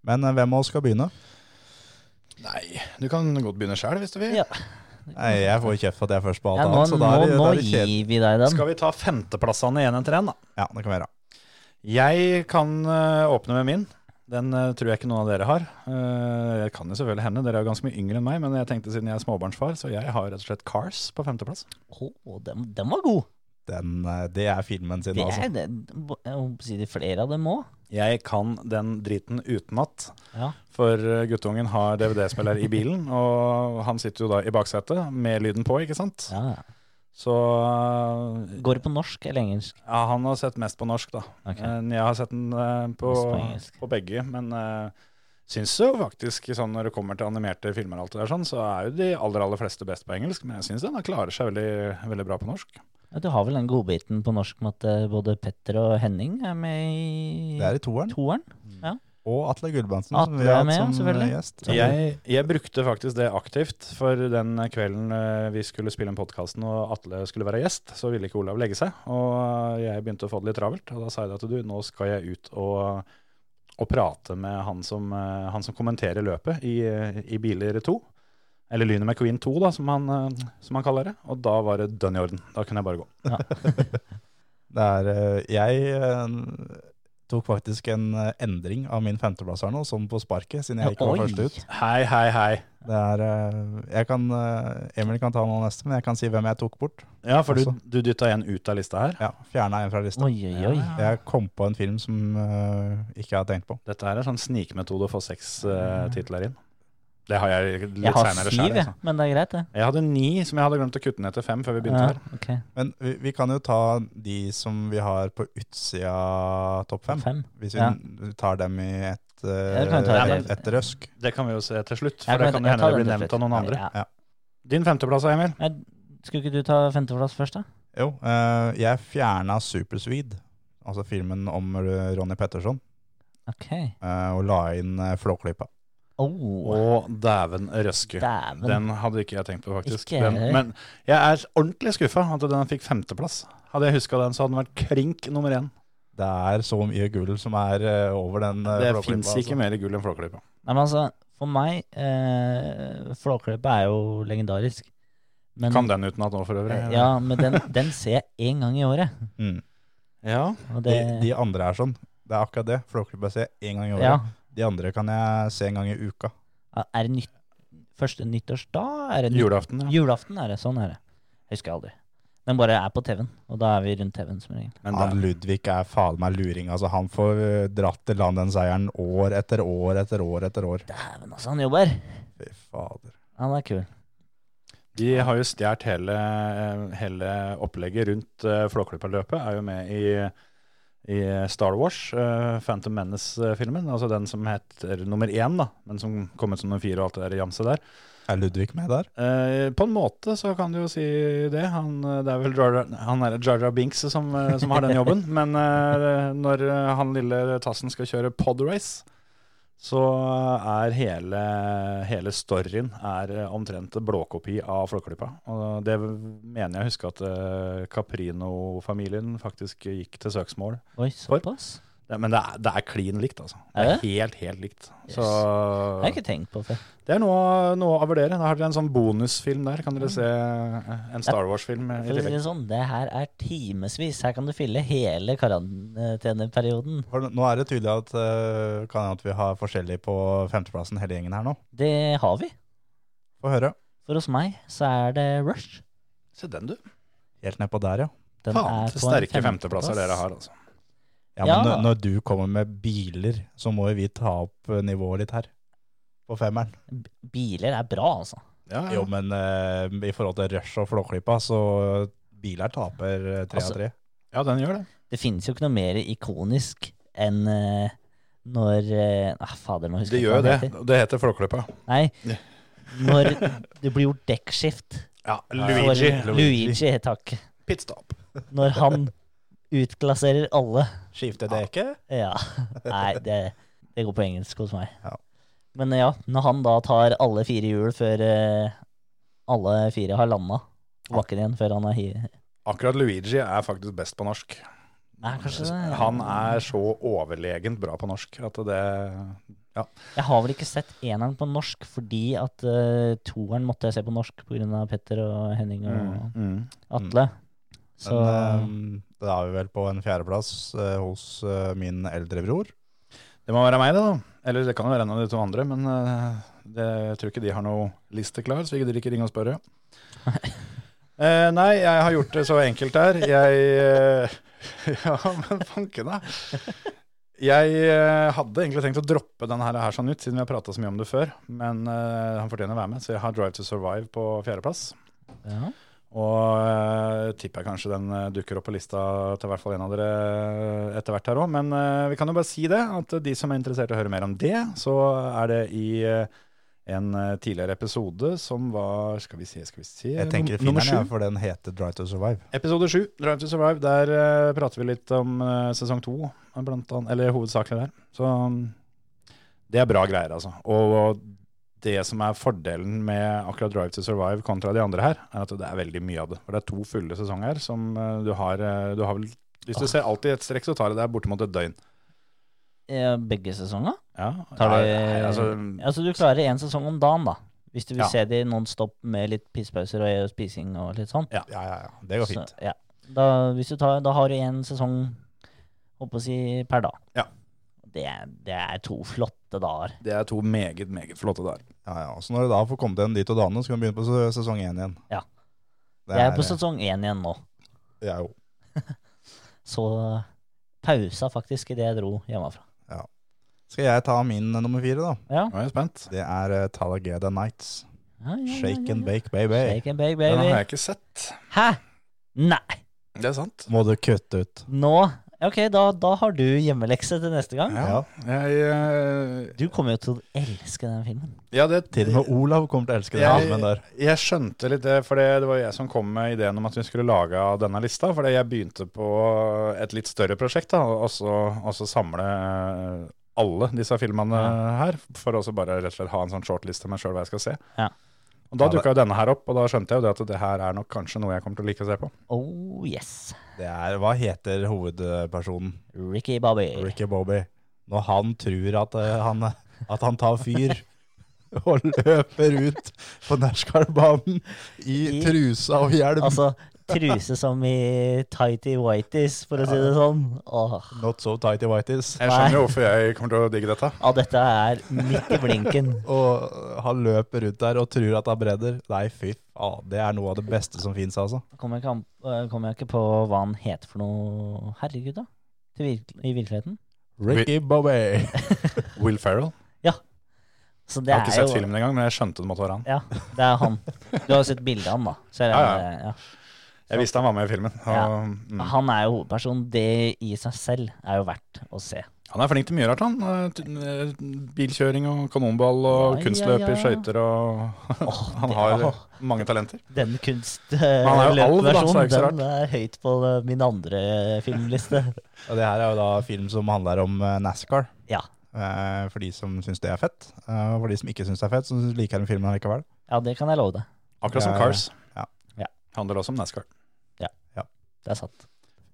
Speaker 5: Men eh, hvem av oss skal begynne?
Speaker 3: Nei, du kan godt begynne sjøl hvis du vil.
Speaker 6: Ja.
Speaker 5: Nei, jeg får kjeft for at jeg først på alt
Speaker 6: Ja, nå
Speaker 5: annet, så da
Speaker 6: nå,
Speaker 5: er det,
Speaker 6: nå
Speaker 5: da er det kjedelig.
Speaker 6: gir vi deg den.
Speaker 3: Skal vi ta femteplassene én etter én, da?
Speaker 5: Ja, det kan være.
Speaker 3: Jeg kan eh, åpne med min. Den eh, tror jeg ikke noen av dere har. Eh, jeg kan jo selvfølgelig hende, dere er jo ganske mye yngre enn meg, men jeg tenkte siden jeg er småbarnsfar, så jeg har rett og slett Cars på femteplass.
Speaker 6: Å, den, den var god.
Speaker 5: Den, eh, det er filmen sin,
Speaker 6: Det
Speaker 5: altså.
Speaker 6: er det. Jeg håper å si det er flere av dem òg.
Speaker 3: Jeg kan den driten utenat,
Speaker 6: Ja.
Speaker 3: for eh, guttungen har DVD-spiller i bilen, (laughs) og han sitter jo da i baksetet med lyden på, ikke sant?
Speaker 6: Ja, ja.
Speaker 3: Så eh,
Speaker 6: Går det på norsk eller engelsk?
Speaker 3: ja, han har sett mest på norsk, da.
Speaker 6: Ok.
Speaker 3: Men Jeg har sett den eh, på,
Speaker 6: Mest på engelsk.
Speaker 3: på begge, men uh, syns jo faktisk sånn når det kommer til animerte filmer, og alt det der sånn, så er jo de aller aller fleste best på engelsk. Men jeg syns den klarer seg veldig, veldig bra på norsk.
Speaker 6: Ja, du har vel den godbiten på norsk med at eh, både Petter og Henning er med i
Speaker 5: Det er i toeren.
Speaker 6: toeren?
Speaker 5: Og Atle Gulbrandsen,
Speaker 6: Atle er med, ja, selvfølgelig.
Speaker 5: eh, gjest.
Speaker 3: Jeg, jeg brukte faktisk det aktivt, for den kvelden eh, vi skulle spille inn podkasten og Atle skulle være gjest, så ville ikke Olav legge seg. Og jeg begynte å få det litt travelt, og da sa jeg det at du, nå skal jeg ut og, og prate med han som, eh, han som kommenterer løpet i, eh, i Biler 2. Eller Lynet McQueen 2, da, som han, eh, som han kaller det. Og da var det dønn i orden. Da kunne jeg bare gå.
Speaker 5: Det er, eh, jeg eh, tok faktisk en eh, endring av min femteplass her nå, som på sånn sparket, siden jeg ikke var
Speaker 6: Oi.
Speaker 5: først ut.
Speaker 3: Hei, hei, hei.
Speaker 5: Det er, eh, jeg kan, eh, Emil kan ta noe neste, men jeg kan si hvem jeg tok bort.
Speaker 3: Ja, for du,
Speaker 5: Også.
Speaker 3: du dytta en ut av lista her.
Speaker 5: Ja, Fjerna en fra lista.
Speaker 6: Oi, oi, oi.
Speaker 5: Jeg kom på en film som eh, ikke jeg har tenkt på.
Speaker 3: Dette her er sånn snikmetode å få seks eh, titler inn. Det har jeg litt altså.
Speaker 6: Jeg har
Speaker 3: seinere
Speaker 6: syv,
Speaker 3: sjøl.
Speaker 5: altså.
Speaker 6: jeg, men det er greit, det.
Speaker 3: Jeg hadde ni som jeg hadde glemt å kutte ned til fem før vi begynte
Speaker 6: Ja,
Speaker 3: her.
Speaker 6: ok,
Speaker 5: Men vi, vi kan jo ta de som vi har på utsida av topp fem.
Speaker 6: fem.
Speaker 5: Hvis vi
Speaker 6: Ja.
Speaker 5: tar dem i et,
Speaker 6: det kan vi ta
Speaker 5: eh,
Speaker 6: i
Speaker 5: et,
Speaker 6: dag.
Speaker 5: et røsk.
Speaker 3: Det kan vi jo se til slutt, for
Speaker 6: Jeg
Speaker 3: det kan
Speaker 6: kan-
Speaker 3: jo
Speaker 6: jeg tar
Speaker 3: hende det blir
Speaker 6: den til
Speaker 3: nevnt
Speaker 6: slutt.
Speaker 3: av noen andre.
Speaker 6: Ja.
Speaker 3: Din femteplass, Emil.
Speaker 6: Men Skulle ikke du ta femteplass først, da?
Speaker 5: Jo, eh, jeg fjerna Superswede, altså filmen om eh, Ronny Petterson,
Speaker 6: Ok.
Speaker 5: eh, og la inn eh, Flåklypa.
Speaker 6: Oh,
Speaker 3: Å, dæven røske.
Speaker 6: dæven.
Speaker 3: Den hadde ikke jeg tenkt på, faktisk.
Speaker 6: Ikke
Speaker 3: Den,
Speaker 6: heller.
Speaker 3: men jeg er ordentlig skuffa at den fikk femteplass. Hadde jeg huska den, så hadde den vært klink nummer én.
Speaker 5: Det er så mye gull som er eh, over den eh,
Speaker 3: Det
Speaker 5: Flåklypa,
Speaker 3: fins ikke
Speaker 5: altså.
Speaker 3: mer gull enn Flåklypa.
Speaker 6: Nei, men altså, for meg eh, Flåklypa er jo legendarisk. Men,
Speaker 3: Kan den utenat nå, for øvrig.
Speaker 6: Ja, men den, den ser jeg én gang i året.
Speaker 5: Mm.
Speaker 3: ja.
Speaker 6: Og
Speaker 5: De,
Speaker 6: det,
Speaker 5: de andre er sånn. Det er akkurat det. Flåklypa ser jeg én gang i året.
Speaker 6: ja.
Speaker 5: De andre kan jeg se en gang i uka.
Speaker 6: Er det nytt, første nyttårsdag? Er det nytt,
Speaker 3: Julaften, ja.
Speaker 6: julaften er det. Sånn er det. Jeg husker aldri. Den bare er på TV-en, og da er vi rundt TV-en som regel.
Speaker 3: Men
Speaker 5: Han
Speaker 3: det,
Speaker 5: Ludvig er faen meg luring. Altså, han får eh, dratt til land den seieren år etter år etter år etter år.
Speaker 6: Dæven, altså, han jobber!
Speaker 5: Fy fader.
Speaker 6: Han er kul.
Speaker 3: de har jo stjålet hele, hele opplegget rundt uh, Flåklypa-løpet. Er jo med i, i Star Wars, eh, Phantom Menace-filmen. Altså den som heter nummer én, da, men som kom ut som nummer fire og alt det der jamset der.
Speaker 5: Er Ludvig med der?
Speaker 3: Eh, på en måte så kan du jo si det. Han, eh, det er vel Jar Jar- han er Jar Jar Binks som, eh, som har den
Speaker 6: (laughs)
Speaker 3: jobben. Men eh, når eh, han lille tassen skal kjøre podrace, så eh, er hele, hele storyen er eh, omtrent en blåkopi av Flåklypa. Og det mener jeg å huske at eh, Caprino-familien faktisk gikk til søksmål.
Speaker 6: Oi, såpass?
Speaker 3: Det- Men det er, det er klin likt, altså. Det er
Speaker 6: Er det?
Speaker 3: helt, helt likt.
Speaker 6: Yes.
Speaker 3: Så
Speaker 6: Det har jeg ikke tenkt på før.
Speaker 3: det er noe, noe å vurdere. Da har dere en sånn bonusfilm der. Kan dere se eh, en Star Wars-film eh, i
Speaker 6: For å si
Speaker 3: tillegg?
Speaker 6: det sånn, det her er timevis. Her kan du fylle hele karanteneperioden.
Speaker 5: For Nå er det tydelig at eh, kan hende at vi har forskjellig på femteplassen hele gjengen her nå.
Speaker 6: Det har vi.
Speaker 5: Få høre.
Speaker 6: For hos meg så er det Rush.
Speaker 3: Se den, du.
Speaker 5: Helt nedpå der, ja.
Speaker 6: Den
Speaker 3: Faen,
Speaker 6: er
Speaker 3: så
Speaker 6: på en
Speaker 3: sterke
Speaker 6: femteplass.
Speaker 3: femteplasser dere har,
Speaker 5: ja,
Speaker 3: altså.
Speaker 5: men
Speaker 6: Ja.
Speaker 5: Når, når du kommer med biler, så må jo vi ta opp eh, nivået litt her. På femmeren.
Speaker 6: B- Biler er bra, altså.
Speaker 3: Ja, ja.
Speaker 5: Jo, men eh, i forhold til Rush og Flåklypa, så biler taper eh, tre
Speaker 6: Altså,
Speaker 5: av tre.
Speaker 3: ja, den gjør det.
Speaker 6: Det finnes jo ikke noe mer ikonisk enn eh, når eh, ah, Fader, nå husker
Speaker 3: Det
Speaker 6: jeg
Speaker 3: gjør jo
Speaker 6: hva
Speaker 3: det.
Speaker 6: han heter.
Speaker 3: Det heter Flåklypa.
Speaker 6: Nei, når det blir gjort dekkskift
Speaker 3: Ja,
Speaker 6: for
Speaker 3: Luigi.
Speaker 6: Luigi, takk.
Speaker 3: Pitstop.
Speaker 6: Når han utglasserer alle.
Speaker 5: Skifte dekke?
Speaker 3: (laughs)
Speaker 6: Ja. Nei, det, det går på engelsk hos meg.
Speaker 5: Ja.
Speaker 6: Men ja, når han da tar alle fire hjul før eh, alle fire har landa på bakken igjen før han er hi...
Speaker 3: Akkurat Luigi er faktisk best på norsk.
Speaker 6: Nei, kanskje det.
Speaker 3: Han er så overlegent bra på norsk at det
Speaker 6: Jeg har vel ikke sett eneren på norsk fordi at eh, toeren måtte jeg se på norsk pga. Petter og Henning og
Speaker 3: mm, mm.
Speaker 6: Atle. Så
Speaker 5: Men, eh, da er vi vel på en fjerdeplass eh, hos eh, min eldre bror.
Speaker 3: Det må være meg, det, da. Eller det kan jo være en av de to andre, men eh, det, jeg tror ikke de har noe liste klar, så ikke de ikke ringe og spørre. (laughs) Eh, nei, jeg har gjort det så enkelt her. Jeg eh, (laughs) Ja, men fanken, da. Jeg eh, hadde egentlig tenkt å droppe denne her, her sånn ut, siden vi har prata så mye om det før. Men eh, han fortjener å være med, så jeg har Drive to Survive på fjerdeplass. eh,
Speaker 6: ja.
Speaker 3: Og eh, tipper jeg kanskje den eh, dukker opp på lista til hvert fall en av dere eh, etter hvert her òg. Men eh, vi kan jo bare si det, at de som er interessert i å høre mer om det, så er det i eh, en eh, tidligere episode som var Skal vi se, skal vi se
Speaker 5: Jeg tenker finner
Speaker 3: num- Nummer
Speaker 5: den, jeg,
Speaker 3: sju.
Speaker 5: for den heter Drive to Survive.
Speaker 3: Episode sju, Drive to Survive. Der eh, prater vi litt om eh, sesong to, eh, blant annet. Eller hovedsakelig der. Så mm, det er bra greier, altså. Og, og det som er fordelen med akkurat Drive to Survive kontra de andre her, er at det er veldig mye av det. For det er to fulle sesonger som eh, du har, eh, du har vel Hvis du ser alltid et strekk, så tar det deg bortimot et døgn.
Speaker 6: Eh, Begge sesonger?
Speaker 3: Ja,
Speaker 6: Tar du,
Speaker 3: Nei, nei, altså,
Speaker 6: altså du klarer én sesong om dagen, da. Hvis du vil
Speaker 3: Ja.
Speaker 6: se de non stop med litt pisspauser og spising og litt sånn.
Speaker 5: Ja, ja, ja. Det går fint.
Speaker 6: Så, ja. da, hvis du tar, da har du én sesong holdt på å si, per dag.
Speaker 3: Ja.
Speaker 6: Det, er- det er to flotte flotte dager.
Speaker 3: Det er to meget, meget flotte dager.
Speaker 5: Ja, ja. Så når du da får kommet igjen dit og dane, så kan du begynne på se- sesong én igjen.
Speaker 6: Ja.
Speaker 5: Det
Speaker 6: Jeg er på sesong én igjen nå.
Speaker 5: Ja, jo.
Speaker 6: Så pausa faktisk idet jeg dro hjemmefra.
Speaker 5: Skal jeg ta min eh, nummer fire, da?
Speaker 6: Ja.
Speaker 3: Nå er jeg spent.
Speaker 5: Det er eh, Talageda Nights.
Speaker 6: Ja, ja, ja,
Speaker 5: Shake
Speaker 6: ja,
Speaker 5: and
Speaker 6: ja.
Speaker 5: bake, baby.
Speaker 6: Shake and bake,
Speaker 3: Den har
Speaker 6: baby.
Speaker 3: jeg ikke sett.
Speaker 6: Hæ? Nei.
Speaker 3: Det er sant.
Speaker 5: Må du kutte ut.
Speaker 6: Nå Ok, da, da har du hjemmelekse til neste gang.
Speaker 3: Ja, jeg, eh,
Speaker 6: Du kommer jo til å elske den filmen.
Speaker 3: ja det
Speaker 5: Til og med Olav kommer til å elske den
Speaker 3: Jeg-
Speaker 5: filmen der.
Speaker 3: Jeg skjønte litt det, for det det var jeg som kom med ideen om at vi skulle lage av denne lista. Fordi jeg begynte på et litt større prosjekt, da, og så, og så samle eh, alle disse filmene her. For også bare rett og slett ha en sånn shortliste med sjøl hva jeg skal se.
Speaker 6: Ja.
Speaker 3: Og Da
Speaker 5: Ja, det-
Speaker 3: dukka jo denne her opp, og da skjønte jeg jo det at det her er nok kanskje noe jeg kommer til å like å se på.
Speaker 6: Oh yes.
Speaker 5: Det er, Hva heter hovedpersonen?
Speaker 6: Ricky Bobby.
Speaker 5: Ricky Bobby. Når han tror at, eh, han, at han tar fyr (laughs) og løper ut på Nashgarbanen i
Speaker 6: I-
Speaker 5: trusa og hjelm.
Speaker 6: Altså truse som i tighty whities, for å si det sånn. Åh.
Speaker 3: Altså-
Speaker 5: Not so tighty whities.
Speaker 3: Jeg skjønner jo hvorfor jeg kommer til å digge dette.
Speaker 6: Ja, dette er midt i blinken.
Speaker 5: Og han løper ut der og tror at han bredder. Nei, fy faen. Det er noe av det beste som fins, altså.
Speaker 6: Kommer jeg, ikke an- øh, kommer jeg ikke på hva han heter for noe Herregud, da. Til virk- I virkeligheten.
Speaker 5: Ricky Bobby.
Speaker 3: Will Ferrell.
Speaker 6: Så det
Speaker 3: Jeg har
Speaker 6: er
Speaker 3: ikke sett
Speaker 6: jo
Speaker 3: filmen engang, men jeg skjønte det måtte være han.
Speaker 6: Ja, det er han. Du har jo sett bilde av han, da. Så jeg
Speaker 3: Ja,
Speaker 6: regner, ja,
Speaker 3: Jeg visste han var med i filmen. Og,
Speaker 6: Ja.
Speaker 3: mm.
Speaker 6: Han er jo hovedpersonen. Det i seg selv er jo verdt å se.
Speaker 3: Han er flink til mye rart, han. Eh, t- eh, Bilkjøring og kanonball og
Speaker 6: Ja,
Speaker 3: kunstløp
Speaker 6: ja, ja.
Speaker 3: i skøyter og Han
Speaker 6: det-
Speaker 3: har
Speaker 6: åh.
Speaker 3: mange talenter.
Speaker 6: Den kunst
Speaker 3: han er jo alv, da, så det er ikke så
Speaker 6: den er høyt på øh, min andre filmliste.
Speaker 5: Og det her er jo da film som handler om eh, NASCAR.
Speaker 6: Ja.
Speaker 5: Eh, For de som syns det er fett. eh, Og for de som ikke syns det er fett, så liker den filmen likevel.
Speaker 6: Ja, det kan jeg love deg.
Speaker 3: Akkurat som
Speaker 5: Ja,
Speaker 3: Cars.
Speaker 5: ja.
Speaker 6: Ja.
Speaker 3: Handler også om NASCAR.
Speaker 6: Det er sant.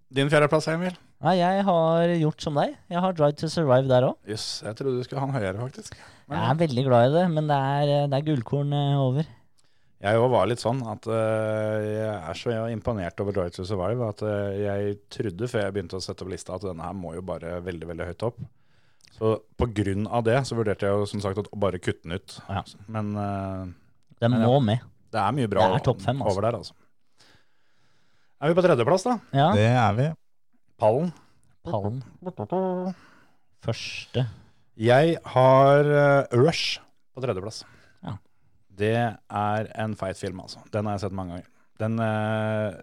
Speaker 3: Din fjerdeplass, Emil?
Speaker 6: Nei, jeg har gjort som deg. Jeg har Drive to Survive der òg.
Speaker 3: Jøss, jeg trodde du skulle ha den høyere, faktisk.
Speaker 6: Jeg er veldig glad i det, men det er, det er gullkorn eh, over.
Speaker 3: Jeg òg var litt sånn at eh, jeg er så imponert over Drive to Survive at eh, jeg trodde før jeg begynte å sette opp lista at denne her må jo bare veldig, veldig høyt opp. Så på grunn av det så vurderte jeg jo som sagt å bare kutte den ut.
Speaker 6: Ja.
Speaker 3: Men eh,
Speaker 6: Den
Speaker 3: Men ja.
Speaker 6: må med.
Speaker 3: Det er mye bra
Speaker 6: Det er topp fem, altså.
Speaker 3: over der, altså. Er vi på tredjeplass, da?
Speaker 6: Ja,
Speaker 5: Det er vi.
Speaker 3: Pallen.
Speaker 6: pallen. Første.
Speaker 3: Jeg har eh, Rush på tredjeplass.
Speaker 6: Ja.
Speaker 3: Det er en feit film, altså. Den har jeg sett mange ganger. Den eh,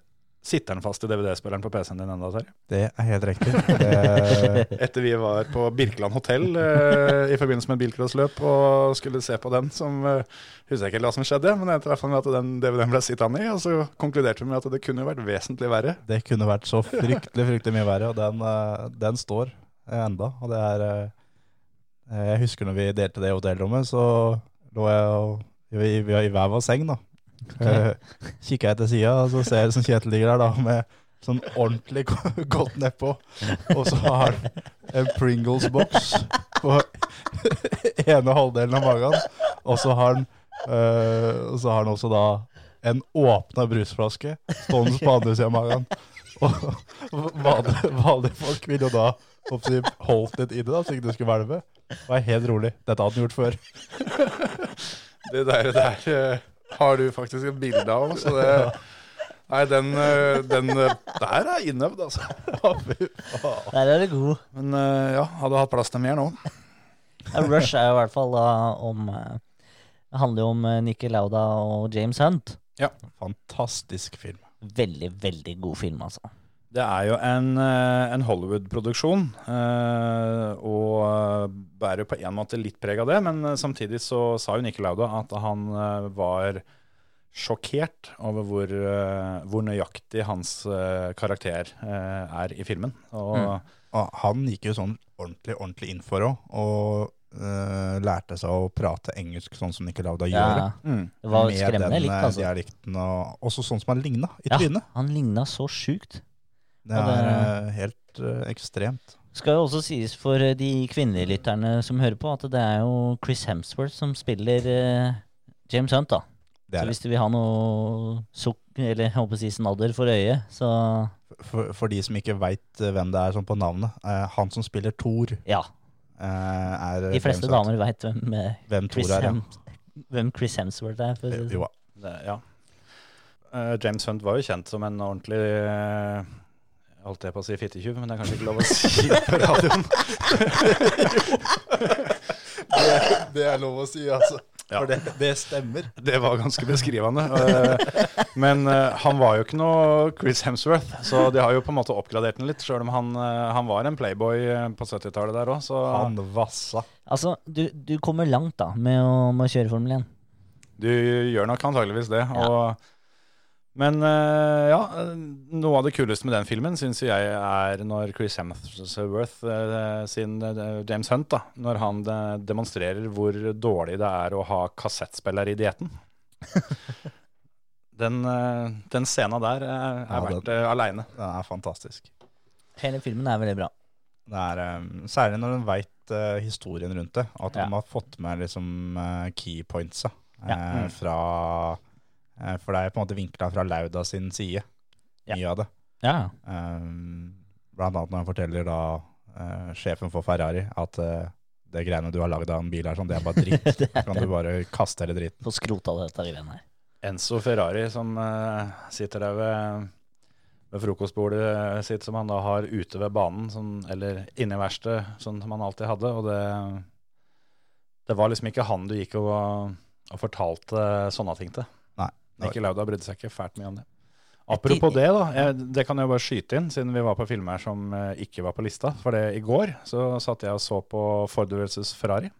Speaker 3: sitter den fast i DVD-spilleren på PC-en din enda, Terje.
Speaker 5: Det er helt riktig. Det,
Speaker 3: Etter vi var på Birkeland hotell eh, i forbindelse med bilcrossløp og skulle se på den som eh, Husker jeg ikke hva som skjedde, men jeg traff han med at den DVD-en ble sittende i, og så konkluderte vi med at det kunne jo vært vesentlig verre.
Speaker 5: det kunne vært så fryktelig fryktelig mye verre, og den, eh, den står enda. Og det er eh, Jeg husker når vi delte det hotellrommet, så lå jeg og vi, vi var i hver vår seng, da. Eh, Kikka jeg til sida, og så ser jeg som Kjetil ligger der da med sånn ordentlig (laughs) go- godt nedpå. Og så har han en Pringles-boks på (laughs) ene halvdelen av magen. Og så har han eh, Og så har han også da en åpna brusflaske stående på andre sida av magen. Og vanlige, vanlige folk ville jo da håper jeg, holdt litt i det, da, så ikke det skulle hvelve. Det var helt rolig. Dette hadde han gjort før.
Speaker 3: Det der, der eh, har du faktisk et bilde av, så det Nei, den, eh, den eh, der er innøvd, altså.
Speaker 6: Der er det god.
Speaker 3: Men eh, ja, hadde hatt plass til mer nå.
Speaker 6: Ja, Rush er jo i hvert fall da om eh, Det handler jo om eh, Nicky Lauda og James Hunt.
Speaker 5: Fantastisk film.
Speaker 6: Veldig, veldig god film, altså.
Speaker 3: Det er jo en, eh, en Hollywood-produksjon, eh, og bærer jo på en måte litt preg av det, men eh, samtidig så sa jo Nikke Lauda at han eh, var sjokkert over hvor, eh, hvor nøyaktig hans eh, karakter eh, er i filmen. Og
Speaker 6: Mm.
Speaker 5: Og han gikk jo sånn ordentlig, ordentlig inn for òg, og eh, lærte seg å prate engelsk sånn som Nicolai da gjør.
Speaker 6: Ja,
Speaker 3: mm.
Speaker 6: det var
Speaker 5: med
Speaker 6: skremmende
Speaker 5: den,
Speaker 6: likt,
Speaker 5: eh,
Speaker 6: altså.
Speaker 5: dialekten, og også sånn som han ligna i
Speaker 6: Ja.
Speaker 5: trynet.
Speaker 6: Han ligna så sjukt.
Speaker 5: Det
Speaker 6: Og
Speaker 5: er
Speaker 6: det-
Speaker 5: eh, helt eh, ekstremt.
Speaker 6: Skal jo også sies for eh, de kvinnelige lytterne som hører på, at det er jo Chris Hemsworth som spiller eh, James Hunt, da.
Speaker 5: Det
Speaker 6: Så
Speaker 5: er,
Speaker 6: hvis du vil ha noe sukk, eller jeg håper å si snadder for øyet, så
Speaker 5: for, for de som ikke veit hvem det er sånn på navnet, eh, han som eh, spiller Thor,
Speaker 6: ja.
Speaker 5: eh, er
Speaker 6: De fleste
Speaker 5: fremsatt.
Speaker 6: damer veit hvem, eh,
Speaker 5: Hvem
Speaker 6: Chris
Speaker 5: Thor er, ja.
Speaker 6: Hems- hvem Chris Hemsworth er. For å si det. sånn.
Speaker 5: Jo, da.
Speaker 3: Det, ja. Eh, James Hunt var jo kjent som en ordentlig eh, Holdt jeg på å si fittetjuv, men det er kanskje ikke lov å si (laughs) det på radioen.
Speaker 5: Det er lov å si, altså.
Speaker 3: Ja.
Speaker 5: For det, det stemmer.
Speaker 3: Det var ganske beskrivende. eh, Men eh, han var jo ikke noe Chris Hemsworth, så de har jo på en måte oppgradert den litt, sjøl om han, eh, han var en playboy eh, på 70-tallet der òg, så
Speaker 5: Han vassa.
Speaker 6: Altså, du, du kommer langt da med å, med å kjøre Formel 1.
Speaker 3: Du gjør nok antageligvis det. Og, men eh, ja, noe av det kuleste med den filmen syns jeg er når Chris Hemsworth eh, sin eh, James Hunt, da, når han eh, demonstrerer hvor dårlig det er å ha kassettspiller i
Speaker 5: (laughs)
Speaker 3: dietten. Den, eh, den scena der er,
Speaker 5: Ja,
Speaker 3: er
Speaker 5: den-
Speaker 3: verdt det aleine.
Speaker 5: Den er fantastisk.
Speaker 6: Hele filmen er veldig bra.
Speaker 5: Det er eh, Særlig når en veit historien rundt det. At
Speaker 6: Ja.
Speaker 5: de har fått med liksom eh, key pointsa eh,
Speaker 6: Ja.
Speaker 3: Mm.
Speaker 5: fra eh, For det er på en måte vinkla fra Lauda sin side,
Speaker 6: Ja.
Speaker 5: mye av det.
Speaker 6: Ja.
Speaker 5: Um, blant annet når han forteller da eh, sjefen for Ferrari at eh, det greiene du har lagd av en bil her, sånn, det er bare
Speaker 3: (laughs)
Speaker 5: dritt.
Speaker 6: (laughs) Det er
Speaker 5: Kan du bare kaste hele dritten?
Speaker 6: Få skrota dette greiene her.
Speaker 3: Enzo Ferrari som eh, sitter der ved, ved frokostbordet eh, sitt, som han da har ute ved banen, sånn, eller inne i verkstedet, sånn som han alltid hadde. Og det, det var liksom ikke han du gikk og, og fortalte sånne ting til.
Speaker 5: Nei.
Speaker 3: Nikki Lauda brydde seg ikke fælt mye om det. Apropos det, da. Jeg, det kan jeg jo bare skyte inn, siden vi var på filmer som eh, ikke var på lista. For det, i går så satt jeg og så på Ford vs. Ferrari.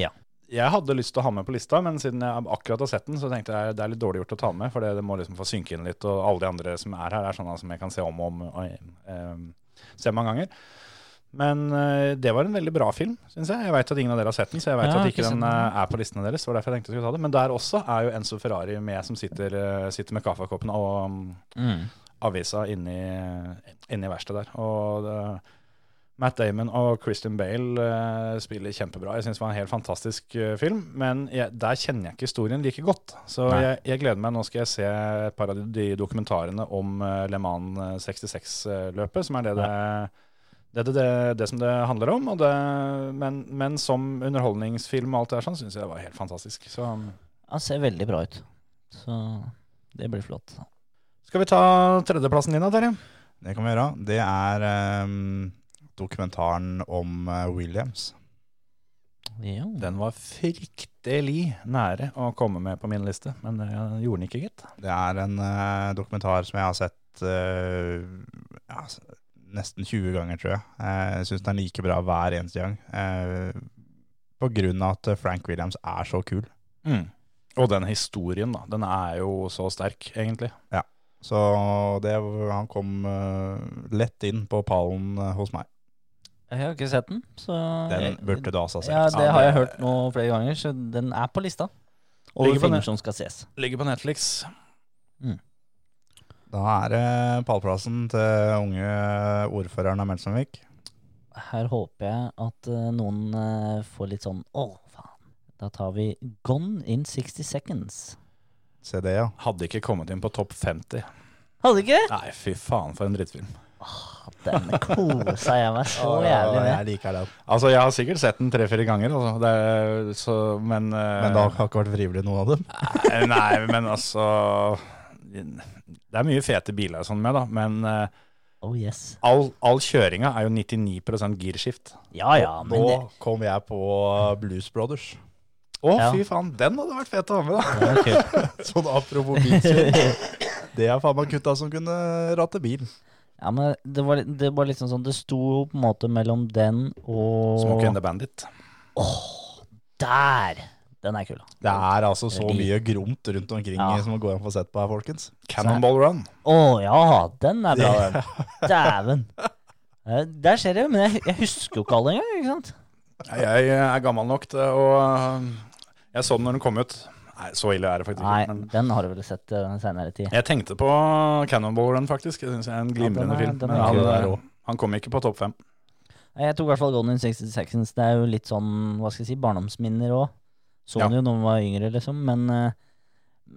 Speaker 6: Ja.
Speaker 3: Jeg hadde lyst til å ha med på lista, men siden jeg akkurat har sett den, så tenkte jeg det er litt dårlig gjort å ta med, for det, det må liksom få synke inn litt. Og alle de andre som er her, er sånne som jeg kan se om og om. Og, eh, se mange ganger. Men eh, det var en veldig bra film, syns jeg. Jeg veit at ingen av dere har sett den, så jeg veit
Speaker 6: Ja,
Speaker 3: at
Speaker 6: ikke
Speaker 3: ikke den
Speaker 6: sett den.
Speaker 3: eh, er på listene deres. Det var derfor jeg tenkte jeg skulle ta det. Men der også er jo Enzo Ferrari med, som sitter, eh, sitter med kaffekoppen og mm,
Speaker 6: Mm.
Speaker 3: avisa inni, inni verkstedet der. Og det, Matt Damon og Christian Bale eh, spiller kjempebra. Jeg syns det var en helt fantastisk eh, film, men jeg, der kjenner jeg ikke historien like godt. Så
Speaker 6: Nei.
Speaker 3: jeg, jeg gleder meg. Nå skal jeg se et par av de- de dokumentarene om eh, Le Mans 66-løpet, som er det det det, er det, det, det som det handler om, og det, men, men som underholdningsfilm og alt det der sånn, syns jeg det var helt fantastisk. Så um,
Speaker 6: Han ser veldig bra ut. Så det blir flott.
Speaker 3: skal vi ta tredjeplassen din da, Terje?
Speaker 5: Det kan vi gjøre. Det er ehm, dokumentaren om eh, Williams.
Speaker 6: Jo.
Speaker 3: Den var fryktelig nære å komme med på min liste, men det gjorde den ikke, gitt.
Speaker 5: Det er en eh, dokumentar som jeg har sett eh, ja, s- nesten 20 ganger, tror jeg. Eh, jeg syns den er like bra hver eneste gang. eh, på grunn av at Frank Williams er så kul.
Speaker 3: Mm. Og den historien, da. Den er jo så sterk, egentlig.
Speaker 5: Så det, han kom eh, lett inn på pallen eh, hos meg.
Speaker 6: Jeg har ikke sett den, så
Speaker 5: Den burde du altså ha sett.
Speaker 6: Ja, det har jeg hørt nå flere ganger, så den er på lista. Over
Speaker 3: Ligger på
Speaker 6: filmer
Speaker 3: nett.
Speaker 6: som skal ses.
Speaker 3: Ligger på Netflix.
Speaker 5: Da er det pallplassen til unge eh, ordføreren av Melsomvik.
Speaker 6: Her håper jeg at eh, noen eh, får litt sånn Å, faen. Da tar vi Gone in 60 Seconds.
Speaker 5: Se det, ja.
Speaker 3: Hadde ikke kommet inn på topp 50.
Speaker 6: Hadde ikke?
Speaker 3: Nei, fy faen, for en drittfilm.
Speaker 6: Den kosa jeg meg så jævlig
Speaker 5: Å,
Speaker 6: med.
Speaker 5: Jeg liker den.
Speaker 3: Altså, jeg har sikkert sett den tre-fire ganger, altså. det er, så, men eh,
Speaker 5: Men det har ikke vært frivillig noen av dem.
Speaker 3: Nei, men altså Det er mye fete biler og sånn med, da, men eh,
Speaker 6: Oh yes.
Speaker 3: all, all kjøringa er jo 99 girskift.
Speaker 6: Ja ja, men
Speaker 5: Nå
Speaker 6: det,
Speaker 5: kom jeg på Blues Brothers.
Speaker 3: Å,
Speaker 6: Ja.
Speaker 3: fy faen, den hadde vært fet å ha med, da!
Speaker 6: det
Speaker 3: (laughs)
Speaker 6: var kult.
Speaker 5: Sånn apropos bilkjøring.
Speaker 6: (laughs)
Speaker 5: Det er faen meg gutta som kunne ratte bil.
Speaker 6: Ja, men det var, litt- det var liksom sånn Det sto på en måte mellom den og
Speaker 3: Smoke and the Bandit.
Speaker 6: Der! Den er kul.
Speaker 5: Det er altså så
Speaker 6: Fordi-
Speaker 5: mye gromt rundt omkring
Speaker 6: Ja.
Speaker 5: som går an å få sett på her, folkens.
Speaker 3: Cannonball Run.
Speaker 6: Å ja, den er bra,
Speaker 3: (laughs)
Speaker 6: den. Dæven. Eh, Der skjer det, men jeg, jeg husker jo ikke alle engang, ikke sant?
Speaker 3: Jeg er gammel nok til å Jeg så den når den kom ut. Nei, så ille er det faktisk
Speaker 6: Nei,
Speaker 3: ikke. Men
Speaker 6: den har du vel sett eh, den senere tid.
Speaker 3: jeg tenkte på Cannonball Run, faktisk. Jeg synes jeg er en glimrende
Speaker 6: Ja, den er-
Speaker 3: film.
Speaker 6: den er
Speaker 3: Men
Speaker 6: kul.
Speaker 3: han,
Speaker 6: Den
Speaker 5: er rå.
Speaker 3: eh, han kom ikke på topp fem.
Speaker 6: Nei, Jeg tok i hvert fall Golden in 66. Det er jo litt sånn, hva skal jeg si, barndomsminner òg. Så
Speaker 3: Ja.
Speaker 6: den jo da man var yngre, liksom. Men, eh,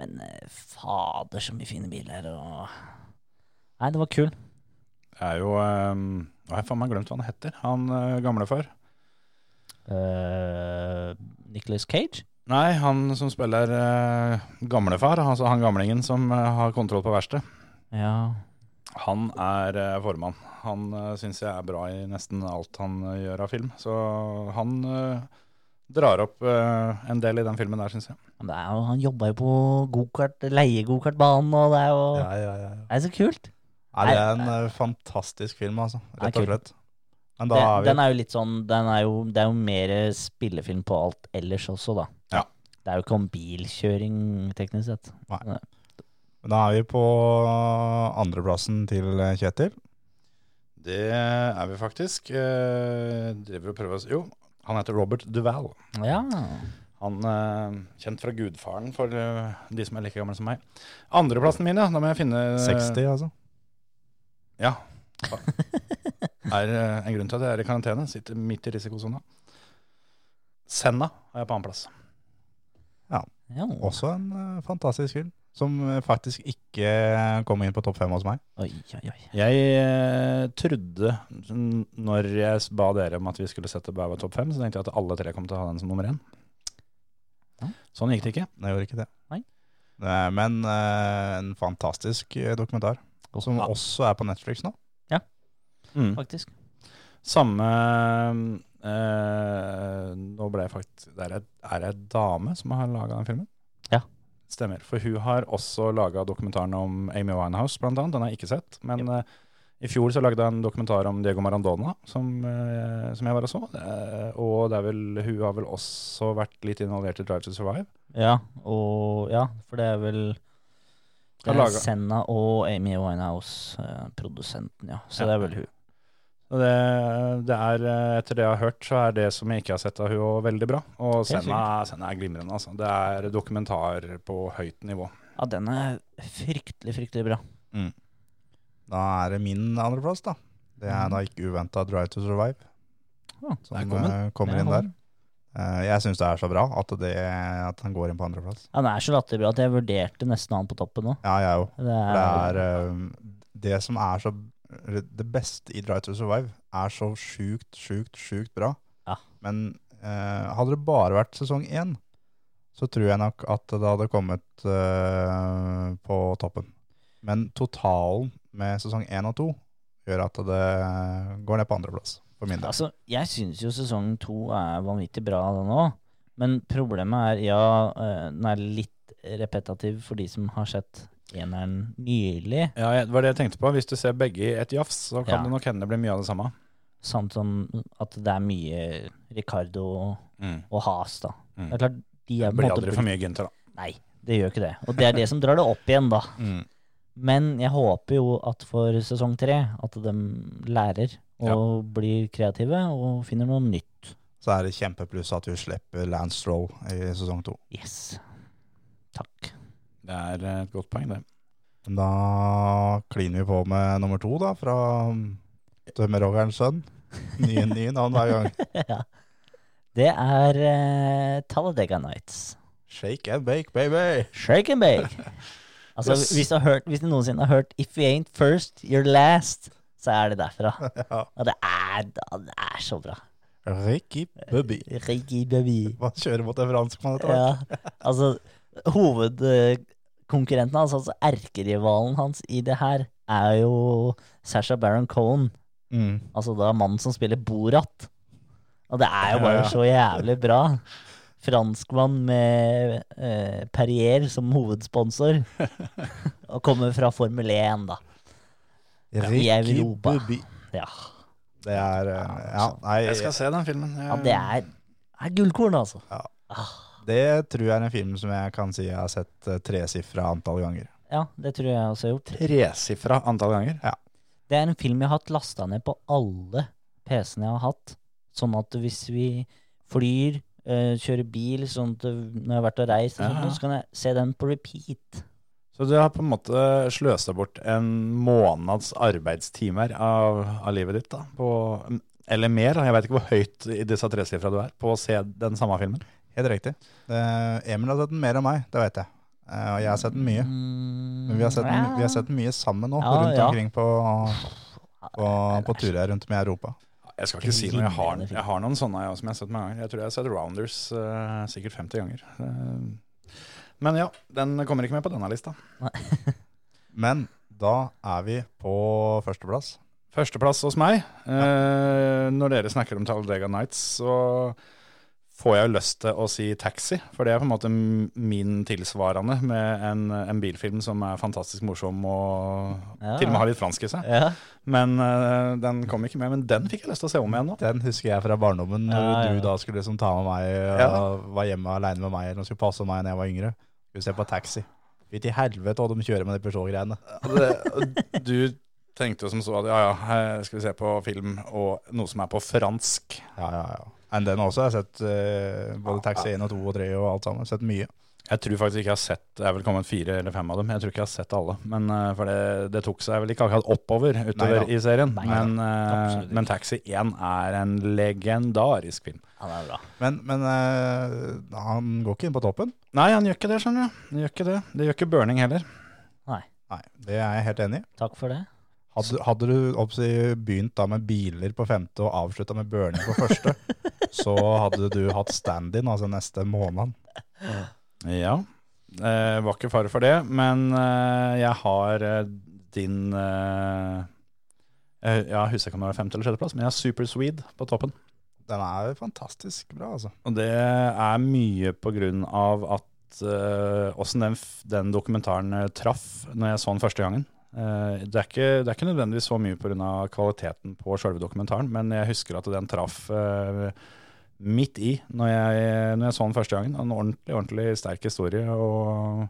Speaker 6: men eh, fader, så mye fine biler og Nei, det var kul.
Speaker 3: ehm, Det er jo eh, Å, jeg faen meg glemt hva han heter. Han eh, gamlefar.
Speaker 6: eh, Nicolas Cage.
Speaker 3: Nei, han som spiller eh, gamlefar, altså han gamlingen som eh, har kontroll på verkstedet,
Speaker 6: Ja.
Speaker 3: han er eh, formann. Han uh, syns jeg er bra i nesten alt han eh, gjør av film. Så han eh, drar opp eh, en del i den filmen der, syns jeg.
Speaker 6: Men det er jo, han jobba jo på gokart, leiegokartbanen, og det er jo
Speaker 5: Ja, ja, ja.
Speaker 6: Det er så kult.
Speaker 5: Ja, det er en eh, fantastisk film, altså.
Speaker 6: Nei,
Speaker 5: Rett og
Speaker 6: kul.
Speaker 5: slett. Men
Speaker 6: Det,
Speaker 5: da er vi
Speaker 6: den er jo litt sånn den er jo, Det er jo mer spillefilm på alt ellers også, da.
Speaker 3: Ja.
Speaker 6: Det er jo ikke om bilkjøring, teknisk sett.
Speaker 5: Da er vi på eh, andreplassen til eh, Kjetil.
Speaker 3: Det er vi faktisk. Eh, driver og prøver oss Jo, han heter Robert Duval.
Speaker 6: (laughs) Ja.
Speaker 3: Han eh, Kjent fra Gudfaren for eh, de som er like gamle som meg. Andreplassen min, ja. Da må jeg finne eh,
Speaker 5: 60, altså.
Speaker 3: Ja. Er eh, en grunn til at jeg er i karantene. Sitter midt i risikosona. Senna har jeg på annenplass.
Speaker 6: ja.
Speaker 5: Også en eh, fantastisk film. Som eh, faktisk ikke eh, kom inn på topp fem hos meg.
Speaker 6: Oi, oi, oi.
Speaker 3: Jeg eh, trodde, n- når jeg s- ba dere om at vi skulle sette Bauer topp fem, så tenkte jeg at alle tre kom til å ha den som nummer én.
Speaker 6: Ja.
Speaker 3: Sånn gikk det ikke.
Speaker 5: Det gjorde ikke det.
Speaker 6: Nei.
Speaker 5: Eh, Men eh, en fantastisk eh, dokumentar. Som
Speaker 6: Ja,
Speaker 5: også er på Netflix nå.
Speaker 3: Mm.
Speaker 6: faktisk.
Speaker 3: Samme eh, Nå ble jeg faktisk Det er ei- er ei dame som har laga den filmen.
Speaker 6: Ja.
Speaker 3: Stemmer. For hun har også laga dokumentaren om Amy Winehouse, blant annet. Den har jeg ikke sett. Men eh, i fjor så lagde jeg en dokumentar om Diego Marandona, som, eh, som jeg var og så. Eh, og det er vel, hun har vel også vært litt involvert i Drive to Survive.
Speaker 6: Ja, og Ja, for det er vel
Speaker 3: Har
Speaker 6: det er
Speaker 3: laget-
Speaker 6: Senna og Amy Winehouse, eh, produsenten, ja. Så
Speaker 3: Ja.
Speaker 6: det er vel hun.
Speaker 3: Og Det, det er, eh, etter det jeg har hørt, så er det som jeg ikke har sett av hun også veldig bra. Og
Speaker 6: Helt
Speaker 3: Senna, Senna er glimrende, altså. Det er dokumentar på høyt nivå.
Speaker 6: Ja, den er fryktelig, fryktelig bra.
Speaker 5: Da er det min andreplass, da. Det er da ikke uventa Drive to Survive.
Speaker 6: Ja,
Speaker 5: som
Speaker 3: der kom den.
Speaker 5: eh, kommer
Speaker 6: Den
Speaker 5: inn
Speaker 6: kom
Speaker 5: der. Eh, Jeg syns det er så bra at, det, at han går inn på andreplass.
Speaker 6: Ja, den er så latterlig bra at jeg vurderte nesten han på toppen nå.
Speaker 5: Ja, jeg òg.
Speaker 6: Det
Speaker 5: For
Speaker 6: er,
Speaker 5: det er eh, Det som er så eller Det beste i Drive to Survive er så sjukt, sjukt, sjukt bra.
Speaker 6: Ja.
Speaker 5: Men eh, hadde det bare vært sesong én, så tror jeg nok at det hadde kommet eh, på toppen. Men totalen med sesong én og to gjør at det går ned på andreplass, for min del.
Speaker 6: altså, jeg syns jo sesong to er vanvittig bra, den òg. Men problemet er, ja, eh, den er litt repetativ for de som har sett eneren nylig.
Speaker 3: Ja, jeg- det var det jeg tenkte på. Hvis du ser begge i et jafs, så kan
Speaker 6: Ja.
Speaker 3: det nok hende det blir mye av det samme.
Speaker 6: Samt som at det er mye Ricardo og, og Has, da.
Speaker 3: Mm.
Speaker 6: Det er klart, de
Speaker 3: Det
Speaker 6: er på en
Speaker 3: blir
Speaker 6: måte
Speaker 3: aldri for mye Gynter, da.
Speaker 6: Nei, det gjør ikke det. Og det er det som drar det opp igjen, da.
Speaker 3: Mm.
Speaker 6: Men jeg håper jo at for sesong tre at de lærer og blir kreative og finner noe nytt.
Speaker 5: Så er det kjempepluss at vi slipper Lance Stroll i sesong to.
Speaker 6: Yes. Takk.
Speaker 3: Det er eh, et godt poeng, det.
Speaker 5: Da kliner vi på med nummer to, da, fra Tømmerhoggerens sønn. Nye, nye navn hver gang.
Speaker 6: ja. Det er eh, Talladega Nights.
Speaker 5: Shake and bake, baby!
Speaker 6: Shake and bake. Altså,
Speaker 3: Yes.
Speaker 6: hvis, du har hørt, hvis du noensinne har hørt 'If you ain't first, you're last', så er det derfra.
Speaker 5: Ja.
Speaker 6: Og det er, det er så bra.
Speaker 5: Ricky Bubby.
Speaker 6: Riggy baby.
Speaker 5: Man kjører mot en franskmann etter hvert.
Speaker 6: Ja, altså Hovedkonkurrenten hans, altså erkerivalen hans i det her, er jo Sasha Baron Cohen.
Speaker 5: Mm.
Speaker 6: Altså da mannen som spiller Borat. Og det er jo
Speaker 5: Ja,
Speaker 6: bare
Speaker 5: ja.
Speaker 6: så jævlig bra. Franskmann med eh, Perrier som hovedsponsor. Og kommer fra Formel 1, da.
Speaker 5: Ricky
Speaker 6: Europa.
Speaker 5: Bubby.
Speaker 6: Ja,
Speaker 5: Det er eh, Ja, nei,
Speaker 3: Jeg skal se den filmen. Jeg-
Speaker 6: ja det er, er gullkorn, altså.
Speaker 5: det tror jeg er en film som jeg kan si jeg har sett eh, tresifra antall ganger.
Speaker 6: Ja, det tror jeg også jeg har gjort.
Speaker 3: tresifra antall ganger.
Speaker 6: Det er en film jeg har hatt lasta ned på alle PC-ene jeg har hatt. Sånn at hvis vi flyr, eh, kjører bil, sånn at når jeg har vært og reist, og sånt,
Speaker 3: Ja.
Speaker 6: så kan jeg se den på repeat.
Speaker 3: Så du har på en måte sløsa bort en måneds arbeidstimer av, av livet ditt, da. På, eller mer, da. jeg veit ikke hvor høyt i disse tresifra du er, på å se den samme filmen.
Speaker 5: Helt riktig. Eh, Emil har sett den mer enn meg, det vet jeg. Eh, Og jeg har sett den mye.
Speaker 6: Mm,
Speaker 5: Men vi har sett den, vi har sett den mye sammen nå, rundt
Speaker 6: Ja, ja.
Speaker 5: omkring på, på, på turer rundt om i Europa.
Speaker 3: Jeg skal ikke si noe. Jeg har, jeg har noen sånne jeg, også, som jeg har sett mange ganger. Jeg tror jeg har sett Rounders eh, sikkert 50 ganger. Eh, men ja, den kommer ikke med på denne lista.
Speaker 5: Men da er vi på førsteplass.
Speaker 3: Førsteplass hos meg. Eh, når dere snakker om Talladega Nights, så får jeg jo lyst til å si Taxi. For det er på en måte m- min tilsvarende med en, en bilfilm som er fantastisk morsom og
Speaker 6: Ja.
Speaker 3: til og med har litt fransk i seg.
Speaker 6: Ja.
Speaker 3: Men eh, den kom ikke med. Men den fikk jeg lyst til å se om igjen nå.
Speaker 5: Den husker jeg fra barndommen, når
Speaker 6: Ja, ja.
Speaker 5: du da skulle liksom ta med meg og
Speaker 3: Ja.
Speaker 5: var hjemme aleine med meg, eller skulle passe meg når jeg var yngre. Skulle se på taxi. Fy til helvete hva de kjører med de Peugeot-greiene.
Speaker 3: Og Du tenkte jo som så at ja ja, her skal vi se på film og noe som er på fransk.
Speaker 5: Ja, ja, ja. Men den også har jeg sett eh, både Taxi 1 og 2 og 3 og alt sammen. Sett mye.
Speaker 3: Jeg tror faktisk ikke jeg har sett det er vel kommet fire eller fem av dem. Jeg tror ikke jeg har sett alle. Men eh, For det, det tok seg vel ikke akkurat oppover utover
Speaker 5: Nei da.
Speaker 3: i serien.
Speaker 6: Nei da.
Speaker 3: men, eh,
Speaker 6: Absolutt ikke.
Speaker 3: men Taxi 1 er en legendarisk film.
Speaker 6: ja, det er bra.
Speaker 5: Men, men eh, han går ikke inn på toppen.
Speaker 3: Nei, han gjør ikke det, skjønner du. Han gjør ikke det. Det gjør ikke Burning heller.
Speaker 5: Nei, det er jeg helt enig i.
Speaker 6: Takk for det.
Speaker 5: Hadde, hadde du oppsi, begynt da med biler på femte og avslutta med burning på første, så hadde du hatt stand-in altså neste måned.
Speaker 3: Ja. Eh, var ikke fare for det, men eh, jeg har eh, din eh, eh, Ja, jeg husker ikke om det var femte eller sjetteplass, men jeg har Super Swede på toppen.
Speaker 5: Den er fantastisk bra, altså.
Speaker 3: Og det er mye på grunn av at eh, åssen den, f- den dokumentaren eh, traff når jeg så den første gangen. Eh, det, er ikke, det er ikke nødvendigvis så mye pga. kvaliteten på selve dokumentaren, men jeg husker at den traff eh, midt i når jeg, når jeg så den første gangen. En ordentlig, ordentlig sterk historie. og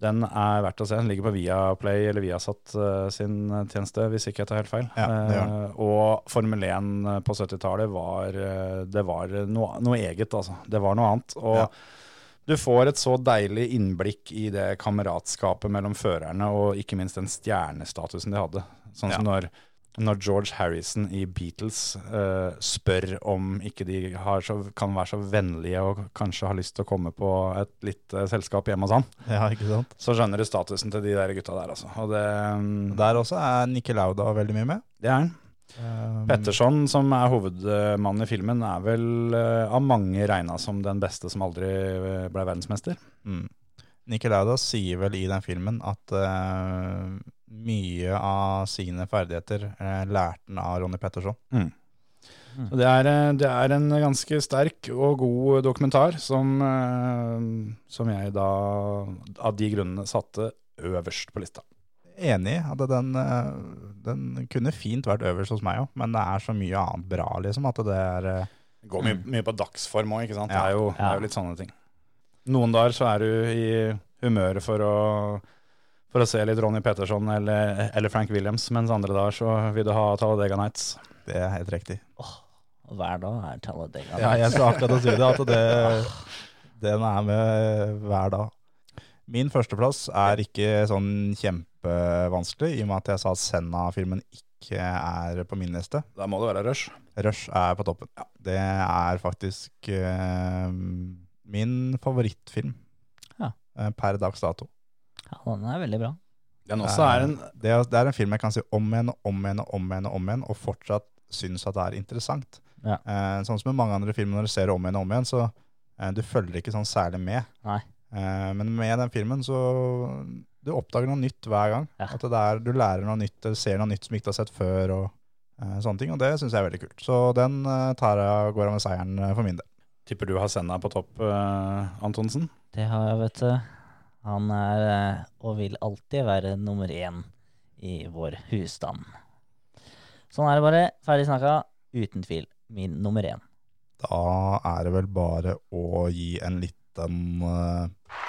Speaker 3: den er verdt å se. Den ligger på Viaplay eller Viasat eh, sin tjeneste, hvis ikke jeg tar helt feil.
Speaker 5: Ja, det gjør
Speaker 3: Eh, og Formel 1 på 70-tallet var, eh, det var noe, noe eget, altså. Det var noe annet. Og
Speaker 5: Ja.
Speaker 3: du får et så deilig innblikk i det kameratskapet mellom førerne, og ikke minst den stjernestatusen de hadde. Sånn som når, når George Harrison i Beatles eh, spør om ikke de har så, kan være så vennlige og kanskje har lyst til å komme på et lite selskap hjemme hos han
Speaker 5: (laughs) Ja, ikke sant?
Speaker 3: så skjønner du statusen til de der gutta der, altså. Og det, det,
Speaker 5: Der også er Nikke Lauda veldig mye med.
Speaker 3: er han.
Speaker 5: Um,
Speaker 3: Petterson, som er hovedmannen i filmen, er vel eh, av mange regna som den beste som aldri eh, ble verdensmester.
Speaker 5: Mm. Nikke Lauda sier vel i den filmen at eh, mye av sine ferdigheter eh, lærte han av Ronny Petterson.
Speaker 3: Mm. Så Det er, eh, det er en ganske sterk og god dokumentar som, eh, som jeg da, av de grunnene, satte øverst på lista.
Speaker 5: Enig i at den, eh, den kunne fint vært øverst hos meg òg, men det er så mye annet bra, liksom, at det er eh,
Speaker 3: Det går mye, mye på dagsform òg, ikke sant.
Speaker 5: Ja.
Speaker 3: Det, er jo, det er jo litt sånne ting. Noen dager så er du i humøret for å, for å se litt Ronny Peterson eller, eller Frank Williams, mens andre dager så vil du ha Talladega Nights.
Speaker 5: Det er helt riktig.
Speaker 6: (laughs) Og Hver dag er Talladega.
Speaker 5: Ja, jeg skal akkurat å si det, at det, (laughs) den er med hver dag. Min førsteplass er ikke sånn kjempevanskelig, i og med at jeg sa at Senna-filmen ikke er på min liste.
Speaker 3: Da må det være rush.
Speaker 5: Rush er på toppen. Det er faktisk eh, min favorittfilm
Speaker 6: Ja.
Speaker 5: eh, per dags dato.
Speaker 6: Ja, den er veldig bra.
Speaker 3: Den også er en
Speaker 5: Det er, det er en film jeg kan se om igjen og om igjen og om igjen, og om igjen, og fortsatt synes at det er interessant.
Speaker 6: Ja.
Speaker 5: Eh, sånn som med mange andre filmer når du ser det om igjen og om igjen, så eh, du følger ikke sånn særlig med.
Speaker 6: Nei.
Speaker 5: Eh, men med den filmen så du oppdager noe nytt hver gang.
Speaker 6: Ja.
Speaker 5: At det er, du lærer noe nytt, eller ser noe nytt som ikke du har sett før, og eh, sånne ting, og det synes jeg er veldig kult. Så den eh, tar jeg går av med seieren eh, for min del.
Speaker 3: Tipper du har Senna på topp, eh, Antonsen?
Speaker 6: Det har jeg, vet du. Han er, eh, og vil alltid være, nummer én i vår husstand. Sånn er det bare. Ferdig snakka. Uten tvil min nummer én.
Speaker 5: Da er det vel bare å gi en liten... eh,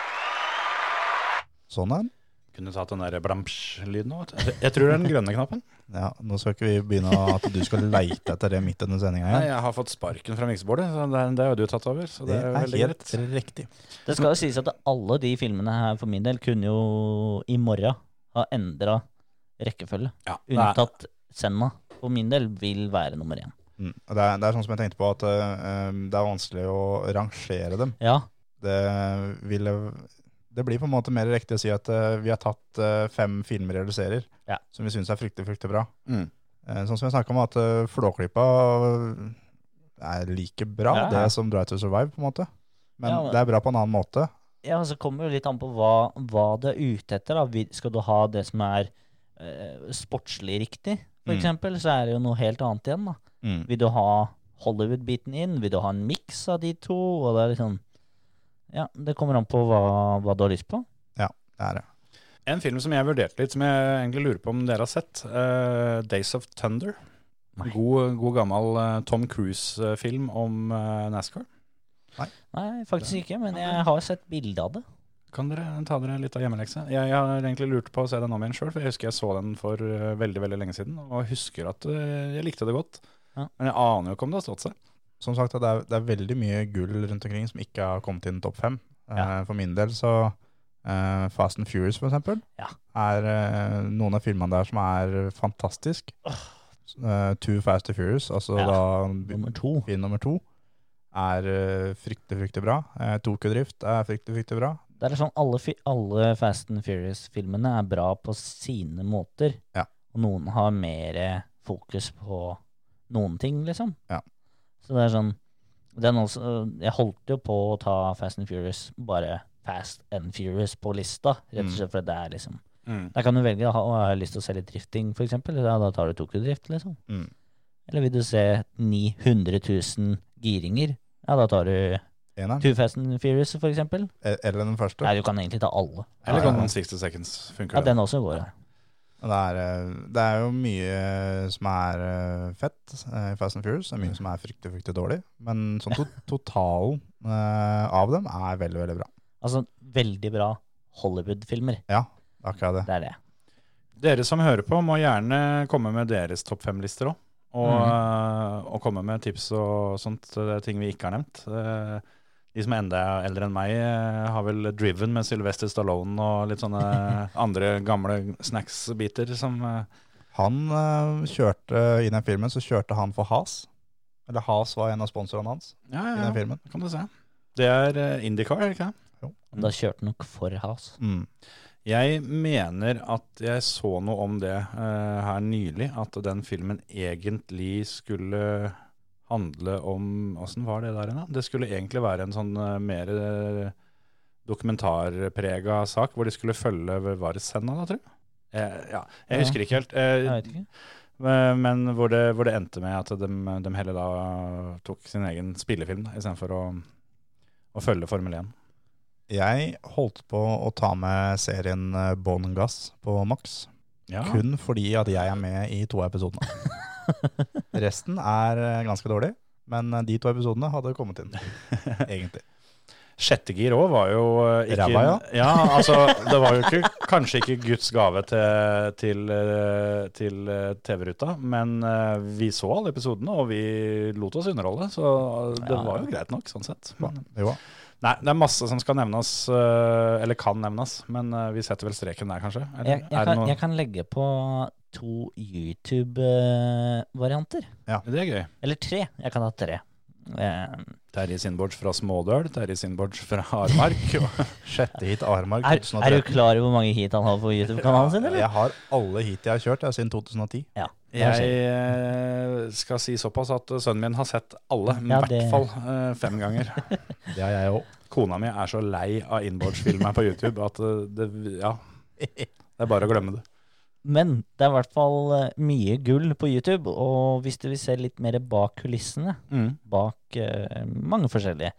Speaker 5: Sånn en.
Speaker 3: Kunne tatt den der blamsj-lyden òg, vet du. Jeg tror det er den grønne knappen.
Speaker 5: Ja, Nå skal ikke vi begynne å- at du skal leite etter det midt under sendinga
Speaker 3: Nei,
Speaker 5: igjen.
Speaker 3: jeg har fått sparken fra miksebordet, så det, det har jo du tatt over. Så det,
Speaker 5: Det
Speaker 3: er jo
Speaker 5: er
Speaker 3: veldig
Speaker 5: helt
Speaker 3: greit.
Speaker 5: riktig.
Speaker 6: Det skal jo sies at alle de filmene her for min del kunne jo i morgen ha endra rekkefølge.
Speaker 3: Ja, det er-
Speaker 6: Unntatt Senna. For min del vil være nummer én.
Speaker 5: Mm. Og Det, er, det er sånn som jeg tenkte på, at eh, um, det er vanskelig å rangere dem.
Speaker 6: Ja,
Speaker 5: Det, ville, det blir på en måte mer riktig å si at eh, vi har tatt eh, fem filmer eller serier
Speaker 6: Ja.
Speaker 5: som vi syns er fryktelig, fryktelig bra.
Speaker 3: Mm.
Speaker 5: Eh, Sånn som jeg snakka om, at eh, Flåklypa eh, er like bra,
Speaker 3: Ja, ja.
Speaker 5: det som Drive to Survive, på en måte. Men
Speaker 6: Ja, men-
Speaker 5: det er bra på en annen måte.
Speaker 6: Ja, og så kommer det jo litt an på hva, hva du er ute etter. Da. Vil- Skal du ha det som er eh, sportslig riktig, for
Speaker 5: Mm.
Speaker 6: eksempel, så er det jo noe helt annet igjen. da. Vil du ha Hollywood-biten inn? Vil du ha en miks av de to? Og det er liksom Ja, det kommer an på hva, hva du har lyst på.
Speaker 5: Det er det.
Speaker 3: En film som jeg vurderte litt, som jeg egentlig lurer på om dere har sett. eh, 'Days of Thunder'. God, god gammel eh, Tom Cruise-film om eh, NASCAR.
Speaker 6: Nei, faktisk ikke, men jeg har sett bilde av det.
Speaker 3: Kan dere ta dere litt av hjemmelekse? Jeg, jeg har egentlig lurt på å se den om igjen sjøl, for jeg husker jeg så den for eh, veldig veldig lenge siden, og husker at eh, jeg likte det godt.
Speaker 6: Ja.
Speaker 3: Men jeg aner jo ikke om det har stått seg.
Speaker 5: Som sagt, det er, det er veldig mye gull rundt omkring som ikke har kommet inn i topp fem. Eh, For min del så eh, Fast and Furious, for eksempel,
Speaker 6: Ja.
Speaker 5: er eh, noen av filmene der som er fantastisk. Eh, Two Fast and Furious, altså
Speaker 6: Ja.
Speaker 5: da
Speaker 6: Nummer to.
Speaker 5: film nummer to, er eh, fryktelig, fryktelig bra. Eh, Tokyo-drift er fryktelig, fryktelig bra.
Speaker 6: Det er sånn alle, fi- alle Fast and Furious-filmene er bra på sine måter.
Speaker 5: Ja.
Speaker 6: Og noen har mer eh, fokus på noen ting, liksom.
Speaker 5: Ja.
Speaker 6: Så det er sånn den også, Jeg holdt jo på å ta Fast and Furious, bare Fast and Furious på lista, rett og slett fordi det er liksom
Speaker 3: Mm.
Speaker 6: Der kan du velge å ha å, jeg har lyst til å se litt drifting, for eksempel. Ja, da tar du Tokyo-drift, liksom.
Speaker 5: Mm.
Speaker 6: Eller vil du se 900 000 giringer? Ja, da tar du
Speaker 5: Eneren,
Speaker 6: Two Fast and Furious, for eksempel.
Speaker 5: eh, eller den første.
Speaker 6: Nei, du kan egentlig ta alle.
Speaker 3: Eller
Speaker 5: Ja, ja.
Speaker 3: kan 60 Seconds funker
Speaker 6: Ja,
Speaker 3: det?
Speaker 6: den også går, ja.
Speaker 5: Og Det er, eh, det er jo mye som er eh, fett eh, i Fast and Furious, og mye som er fryktelig, fryktelig dårlig. Men sånn to (laughs) totalen eh, av dem er veldig, veldig bra.
Speaker 6: Altså, veldig bra Hollywood-filmer.
Speaker 5: Ja, det er akkurat det.
Speaker 6: Det er det.
Speaker 3: Dere som hører på, må gjerne komme med deres topp fem-lister òg. Og, øh, og komme med tips og sånt, øh, ting vi ikke har nevnt. Eh, De som enda er eldre enn meg, eh, har vel Driven med Sylvester Stallone og litt sånne andre gamle snacks-biter som eh,
Speaker 5: Han eh, kjørte i den filmen, så kjørte han for Has. Eller Has var en av sponsorene hans
Speaker 3: Ja,
Speaker 5: i
Speaker 3: ja,
Speaker 5: den
Speaker 3: ja,
Speaker 5: filmen.
Speaker 3: kan du se. Det er eh, Indycar, er det ikke det?
Speaker 6: Da
Speaker 3: Mm.
Speaker 6: kjørte nok for House.
Speaker 5: Mm.
Speaker 3: Jeg mener at jeg så noe om det eh, her nylig, at den filmen egentlig skulle handle om Åssen var det der igjen, da? Det skulle egentlig være en sånn eh, mer eh, dokumentarprega sak, hvor de skulle følge Var det Senna, da, tror jeg? Eh, ja,
Speaker 6: Ja.
Speaker 3: jeg husker ikke helt. Eh,
Speaker 6: Jeg vet ikke.
Speaker 3: eh, men hvor det, hvor det endte med at de, de heller da tok sin egen spillefilm da, istedenfor å, å følge Formel 1.
Speaker 5: Jeg holdt på å ta med serien eh, Bon Gass på Max.
Speaker 3: Ja.
Speaker 5: Kun fordi at jeg er med i to av episodene.
Speaker 6: (laughs)
Speaker 5: Resten er eh, ganske dårlig, men eh, de to episodene hadde kommet
Speaker 6: (laughs)
Speaker 5: inn, egentlig.
Speaker 3: Sjette gir òg var jo eh, ikke
Speaker 5: Ræva, ja.
Speaker 3: altså, det var jo ikke, kanskje ikke Guds gave til, til, eh, til eh, TV-ruta, men eh, vi så alle episodene, og vi lot oss underholde, så det
Speaker 6: Ja.
Speaker 3: var jo greit nok, sånn sett. Men,
Speaker 5: Jo.
Speaker 3: nei, det er masse som skal nevnes, eh, eller kan nevnes, men eh, vi setter vel streken der, kanskje? Eller,
Speaker 6: Jeg, jeg,
Speaker 3: er det,
Speaker 6: kan,
Speaker 3: noe,
Speaker 6: jeg kan legge på to YouTube-varianter.
Speaker 3: det er gøy.
Speaker 6: Eller tre. Jeg kan ha tre. Eh,
Speaker 3: Terje Sindborg fra Smådøl, Terje Sindborg fra Harmark. og-
Speaker 5: (laughs) Sjette hit Aremark
Speaker 6: Er,
Speaker 3: sånn
Speaker 6: er du
Speaker 5: 2013.
Speaker 6: klar over hvor mange hit han har på YouTube-kanalen sin, eller?
Speaker 5: Jeg har alle hit jeg har kjørt jeg, siden 2010.
Speaker 6: Ja. det er
Speaker 3: Jeg
Speaker 6: sikkert.
Speaker 3: eh, skal si såpass at sønnen min har sett alle, i
Speaker 6: Ja,
Speaker 3: hvert
Speaker 6: det-
Speaker 3: fall eh, fem ganger.
Speaker 6: (laughs)
Speaker 5: Det har jeg òg.
Speaker 3: Kona mi er så lei av inboards-filmer på YouTube at eh, det, ja, det er bare å glemme det.
Speaker 6: Men det er i hvert fall eh, mye gull på YouTube, og hvis du vil se litt mer bak kulissene, bak eh, mange forskjellige,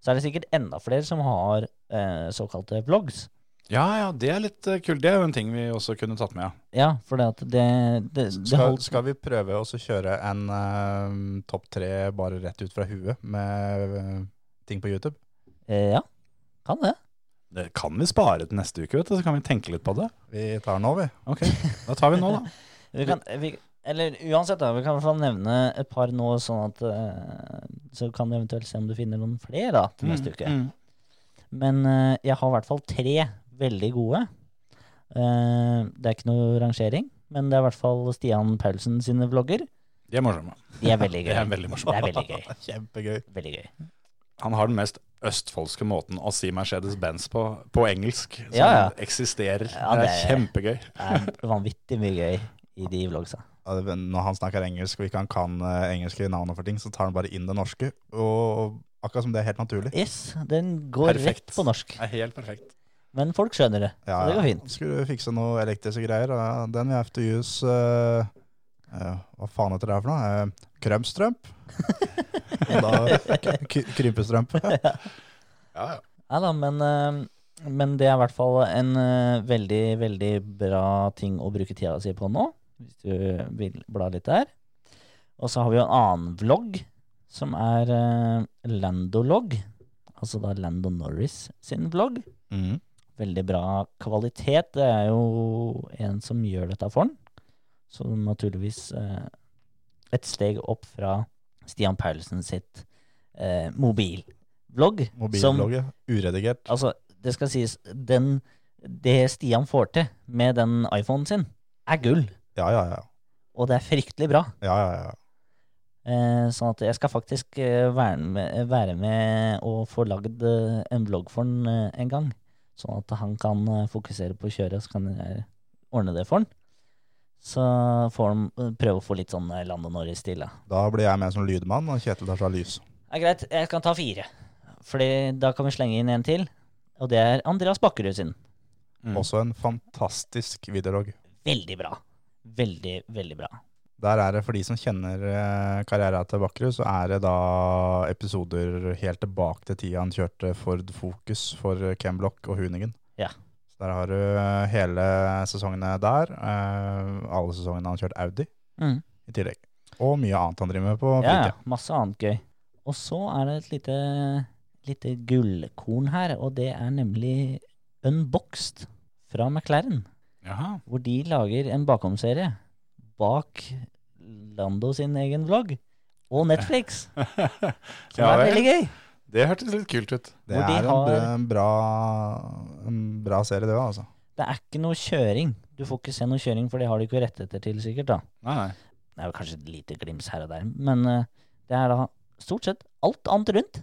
Speaker 6: så er det sikkert enda flere som har eh, såkalte vlogs.
Speaker 3: Ja, ja, det er litt eh, kult. Det er jo en ting vi også kunne tatt med, ja.
Speaker 6: Ja, for det at det, det, det
Speaker 5: Skal,
Speaker 6: holdt-
Speaker 5: skal vi prøve å så kjøre en eh, topp tre bare rett ut fra huet med eh, ting på YouTube?
Speaker 6: eh, Ja, kan det.
Speaker 3: Det kan vi spare til neste uke, vet du, så kan vi tenke litt på det.
Speaker 5: Vi tar nå, vi.
Speaker 3: Ok, da tar vi nå, da.
Speaker 6: Vi kan, vi, eller uansett, da, vi kan i hvert fall nevne et par nå, sånn at eh, Så kan du eventuelt se om du finner noen flere da, (laughs) til neste uke.
Speaker 3: Mm.
Speaker 6: Men eh, jeg har i hvert fall tre veldig gode. Eh, det er ikke noe rangering, men det er i hvert fall Stian Paulsen sine vlogger.
Speaker 3: De er morsomme.
Speaker 6: De er
Speaker 3: (laughs)
Speaker 6: veldig gøy.
Speaker 3: Det er veldig morsomt.
Speaker 6: Det er veldig gøy.
Speaker 5: (laughs) Kjempegøy.
Speaker 6: Veldig gøy.
Speaker 3: Han har den mest østfoldske måten å si Mercedes-Benz på, på engelsk, som
Speaker 6: Ja, ja.
Speaker 3: eksisterer.
Speaker 6: Ja,
Speaker 3: det... er
Speaker 6: det er-
Speaker 3: kjempegøy.
Speaker 6: Det er vanvittig mye gøy i de vloggsa.
Speaker 5: eh, Når han snakker engelsk og ikke han kan eh, engelske navn, og for ting, så tar han bare inn det norske. Og akkurat som det er helt naturlig.
Speaker 6: Yes, den går
Speaker 3: Perfekt.
Speaker 6: rett på norsk.
Speaker 3: er helt perfekt.
Speaker 6: Men folk skjønner det.
Speaker 5: Ja,
Speaker 6: så det
Speaker 5: ja.
Speaker 6: går fint.
Speaker 5: Skulle fikse noe elektriske greier. og Den vi have to use eh, eh, Hva faen heter det her for noe? Uh,
Speaker 6: (laughs)
Speaker 5: krømstrømp? da, k krympestrømp.
Speaker 6: (laughs) Nei da, men, eh, men det er i hvert fall en eh, veldig, veldig bra ting å bruke tida si på nå. Hvis du vil bla litt der. Og så har vi jo en annen vlogg, som er eh, Landolog. Altså da Lando Norris sin vlogg.
Speaker 5: Mhm.
Speaker 6: veldig bra kvalitet. Det er jo en som gjør dette for den. Så naturligvis eh, et steg opp fra Stian Paulsen sitt eh, mobilvlogg. som-
Speaker 5: Mobilvlogget. Uredigert.
Speaker 6: Altså, det skal sies, den, det Stian får til med den iPhonen sin, er gull.
Speaker 5: Ja, ja, ja.
Speaker 6: Og det er fryktelig bra.
Speaker 5: ja, ja, ja.
Speaker 6: Eh, sånn at jeg skal faktisk eh, være med, være med og få lagd eh, en vlogg for han eh, en gang. Sånn at han kan eh, fokusere på å kjøre, så kan jeg ordne det for han. Så får han eh, prøve å få litt sånn eh, Lando Norris-stil. da.
Speaker 5: Da blir jeg med som lydmann, og Kjetil tar seg av lys.
Speaker 6: Ja, greit, jeg kan ta fire. Fordi da kan vi slenge inn en til. Og det er Andreas Bakkerud sin.
Speaker 3: Mm.
Speaker 5: Også en fantastisk videolog.
Speaker 6: Veldig bra. Veldig, veldig bra.
Speaker 5: Der er det, for de som kjenner eh, karrieren til Bakkerud, så er det da episoder helt tilbake til tida han kjørte Ford Focus for Camblock og Huningen.
Speaker 6: Ja.
Speaker 5: Så der har du eh, hele sesongene der, eh, alle sesongene han har kjørt Audi
Speaker 6: Mm.
Speaker 5: i tillegg. Og mye annet han driver med på
Speaker 6: Ja,
Speaker 5: fritida.
Speaker 6: ja, masse annet gøy. Og så er det et lite, lite gullkorn her, og det er nemlig Unboxed fra McLaren.
Speaker 3: Jaha.
Speaker 6: Hvor de lager en bakomserie bak Lando sin egen vlogg. Og
Speaker 3: (laughs)
Speaker 6: Netflix, som
Speaker 3: Ja
Speaker 6: er
Speaker 3: vel.
Speaker 6: veldig gøy.
Speaker 3: Det hørtes litt kult ut.
Speaker 5: Det
Speaker 6: Hvor de
Speaker 5: er en
Speaker 6: har-
Speaker 5: bra, en bra, en bra serie, det òg, altså.
Speaker 6: Det er ikke noe kjøring. Du får ikke se noe kjøring, for det har de ikke rettigheter til, sikkert. da.
Speaker 3: Nei, nei.
Speaker 6: Det er jo kanskje et lite glims her og der, men eh, det er da stort sett alt annet rundt,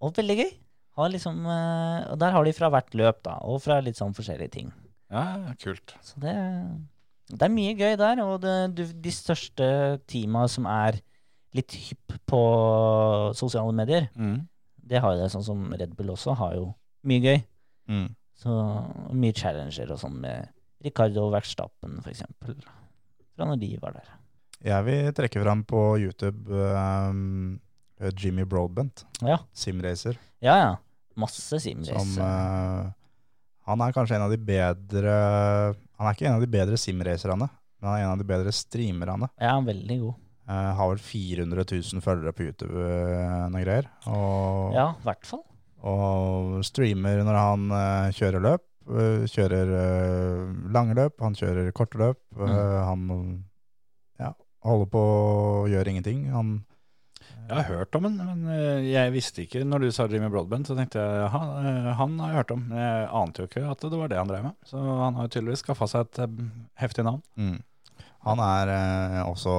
Speaker 6: og veldig gøy. Har liksom, eh, og der har de fra hvert løp, da, og fra litt sånn forskjellige ting.
Speaker 3: Ja, ja, kult.
Speaker 6: Så det, det er mye gøy der, og det, du, de største teama som er litt hypp på sosiale medier,
Speaker 3: Mm.
Speaker 6: det har jo det, sånn som Red Bull også har jo mye gøy. Mm. Så mye challenger og sånn med Ricardo Verstappen, for eksempel, fra når de var der.
Speaker 5: Jeg vil trekke fram på YouTube eh, Jimmy Broadbent,
Speaker 6: Ja.
Speaker 5: simracer.
Speaker 6: Ja, ja. Masse
Speaker 5: Som,
Speaker 6: simrace.
Speaker 5: eh, han er kanskje en av de bedre Han er ikke en av de bedre simracerne, men han er en av de bedre streamerne.
Speaker 6: Ja, veldig god.
Speaker 5: Eh, har vel 400 000 følgere på YouTube uh, noe greier. Og,
Speaker 6: Ja, i hvert fall.
Speaker 5: og streamer når han eh, kjører løp. eh, kjører eh, lange løp, han kjører korte løp. eh,
Speaker 6: Mm.
Speaker 5: Han ja, holder på å gjøre ingenting. Han
Speaker 3: Jeg har hørt om den, men eh, jeg visste ikke når du sa Jimmy Broadbent, så tenkte jeg jaha, eh, han har jeg hørt om. Men Jeg ante jo ikke at det var det han drev med. Så han har tydeligvis skaffa seg et eh, heftig navn.
Speaker 5: Mm. Han er eh, også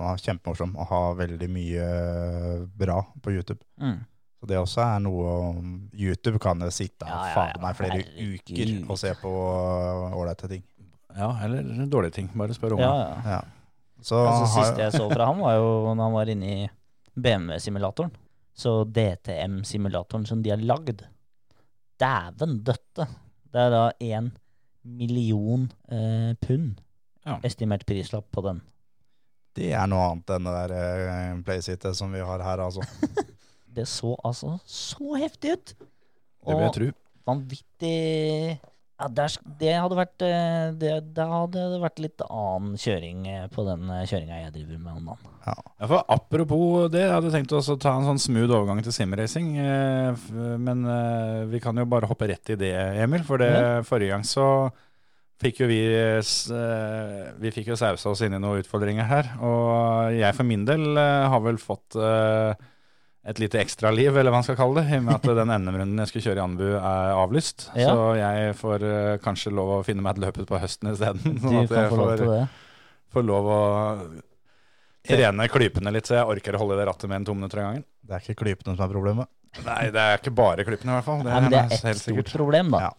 Speaker 5: eh, kjempemorsom og har veldig mye eh, bra på YouTube.
Speaker 6: Mm.
Speaker 5: Så det også er noe om- YouTube kan jo sitte
Speaker 6: Ja,
Speaker 5: ja,
Speaker 6: ja,
Speaker 5: fader
Speaker 6: ja,
Speaker 5: meg flere
Speaker 6: herregud.
Speaker 5: uker og se på eh, ålreite ting.
Speaker 3: Ja, eller dårlige ting. Bare spør
Speaker 6: Ja,
Speaker 3: ungene.
Speaker 6: ja.
Speaker 5: Ja. Så
Speaker 6: Altså,
Speaker 5: har,
Speaker 6: siste jeg så fra ham, var jo når han var inne i BMW-simulatoren. Så DTM-simulatoren som de har lagd Dæven døtte! Det er da én million eh, pund
Speaker 3: Ja.
Speaker 6: estimert prislapp på den.
Speaker 5: det er noe annet enn det der eh, playsitet som vi har her, altså.
Speaker 6: Det så altså så heftig ut!
Speaker 3: Det vil jeg tro.
Speaker 6: vanvittig ja, der, sk- det, hadde vært, eh, det, da hadde det vært litt annen kjøring eh, på den kjøringa jeg driver med om dagen.
Speaker 3: Ja, for apropos det, jeg hadde tenkt også å ta en sånn smooth overgang til simracing. eh, f- Men eh, vi kan jo bare hoppe rett i det, Emil. For det, forrige gang så fikk jo vi eh, s- eh, Vi fikk jo sausa oss inn i noen utfordringer her. Og jeg for min del eh, har vel fått eh, et lite ekstraliv, eller hva man skal kalle det, i og med at den NM-runden jeg skulle kjøre i Anbu er avlyst.
Speaker 6: Ja.
Speaker 3: Så jeg får eh, kanskje lov å finne meg et løp utpå høsten (laughs) sånn isteden.
Speaker 6: Du kan få lov til det.
Speaker 3: får lov å trene klypene litt, så jeg orker å holde i det rattet mer enn to minutter av gangen.
Speaker 5: Det er ikke klypene som er problemet.
Speaker 3: Nei, det er ikke bare klypene i hvert fall. Det
Speaker 6: Nei, men det
Speaker 3: er
Speaker 6: er ett
Speaker 3: helt
Speaker 6: stort
Speaker 3: sikkert.
Speaker 6: problem, da.
Speaker 5: Ja.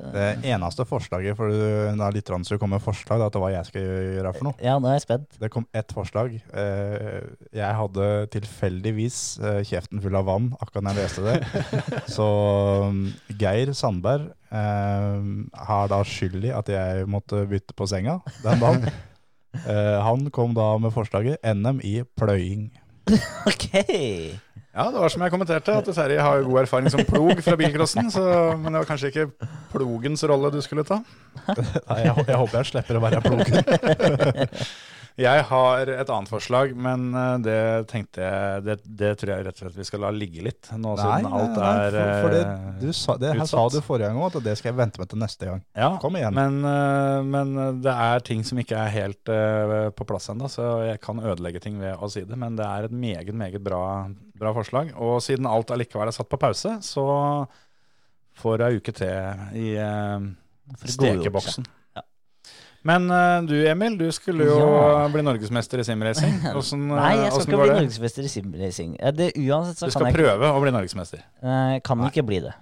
Speaker 5: Det eneste forslaget for da lytterne skulle komme med forslag, det er at det var jeg skal gjøre for noe.
Speaker 6: Ja, nå er jeg spent. (laughs)
Speaker 5: Det kom ett forslag. Eh, Jeg hadde tilfeldigvis eh, kjeften full av vann akkurat når jeg leste
Speaker 6: (laughs)
Speaker 5: det. Så mm, Geir Sandberg eh, har da skyld i at jeg måtte bytte på senga den dagen.
Speaker 6: (laughs)
Speaker 5: Eh, Han kom da med forslaget NM i pløying.
Speaker 6: Ok!
Speaker 3: Ja, det var som jeg kommenterte, at Terje har jo god erfaring som plog fra bilcrossen, så, men det var kanskje ikke plogens rolle du skulle ta.
Speaker 5: (laughs) Nei, jeg, hå- jeg håper jeg slipper å være plog.
Speaker 3: (laughs) Jeg har et annet forslag, men eh, det tenkte jeg Det, det tror jeg rett og slett vi skal la ligge litt, nå
Speaker 5: Nei,
Speaker 3: siden
Speaker 5: nei,
Speaker 3: Altså, alt
Speaker 5: nei,
Speaker 3: er
Speaker 5: for, for det,
Speaker 3: eh,
Speaker 5: du sa, det her sa
Speaker 3: utsatt.
Speaker 5: du forrige gang òg, at det skal jeg vente med til neste gang.
Speaker 3: Ja,
Speaker 5: Kom igjen.
Speaker 3: Men, eh, men det er ting som ikke er helt eh, på plass ennå, så jeg kan ødelegge ting ved å si det. Men det er et meget, meget bra, bra forslag. Og siden alt allikevel er satt på pause, så får jeg uke til i eh,
Speaker 6: For å godgjøre
Speaker 3: stekeboksen.
Speaker 6: Ja.
Speaker 3: Men eh, du Emil, du skulle jo
Speaker 6: Ja.
Speaker 3: bli norgesmester i simracing.
Speaker 6: (laughs)
Speaker 3: Hvordan, eh,
Speaker 6: Nei, jeg skal
Speaker 3: hvordan
Speaker 6: ikke
Speaker 3: går
Speaker 6: bli
Speaker 3: det?
Speaker 6: norgesmester i simracing. Eh, Det, uansett så
Speaker 3: Du
Speaker 6: kan
Speaker 3: skal
Speaker 6: jeg ikke-
Speaker 3: prøve å bli norgesmester.
Speaker 6: Nei, jeg kan ikke bli det.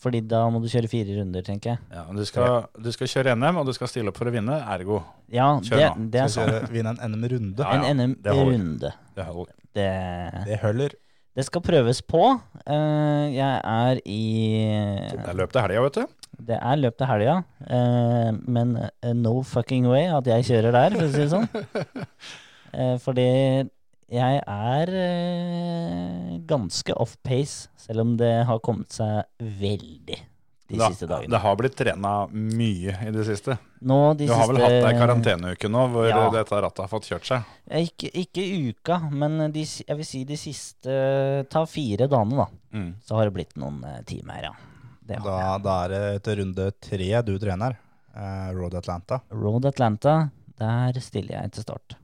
Speaker 6: Fordi da må du kjøre fire runder, tenker jeg.
Speaker 3: Ja, men du, skal, du skal kjøre NM, og du skal stille opp for å vinne. Ergo,
Speaker 6: Ja,
Speaker 3: Kjør
Speaker 6: det,
Speaker 3: nå.
Speaker 6: det er
Speaker 5: Skal
Speaker 6: sant.
Speaker 5: vi vinne en NM-runde?
Speaker 3: Ja, ja,
Speaker 6: En
Speaker 3: det holder.
Speaker 6: NM-runde.
Speaker 3: det holder.
Speaker 6: Det,
Speaker 5: Det holder.
Speaker 6: det skal prøves på. Eh, Jeg er i
Speaker 3: Det er løp til helga, vet du.
Speaker 6: Det er løp til helga, eh, men eh, no fucking way at jeg kjører der, for å si det sånn.
Speaker 3: (laughs)
Speaker 6: Eh, fordi jeg er eh, ganske off pace, selv om det har kommet seg veldig de
Speaker 3: Da-
Speaker 6: siste dagene.
Speaker 3: det har blitt trena mye i det siste.
Speaker 6: Nå de
Speaker 3: Du har vel hatt
Speaker 6: siste-
Speaker 3: deg karanteneuke nå, hvor
Speaker 6: Ja.
Speaker 3: dette rattet har fått kjørt seg.
Speaker 6: Eh, Ikke, ikke uka, men de, si- jeg vil si de siste Ta fire dagene, da. Så har det blitt noen eh, timer, ja. Det har
Speaker 5: Da, da er det til runde tre du trener. eh, Road Atlanta.
Speaker 6: jeg. Road Atlanta, der stiller jeg til start.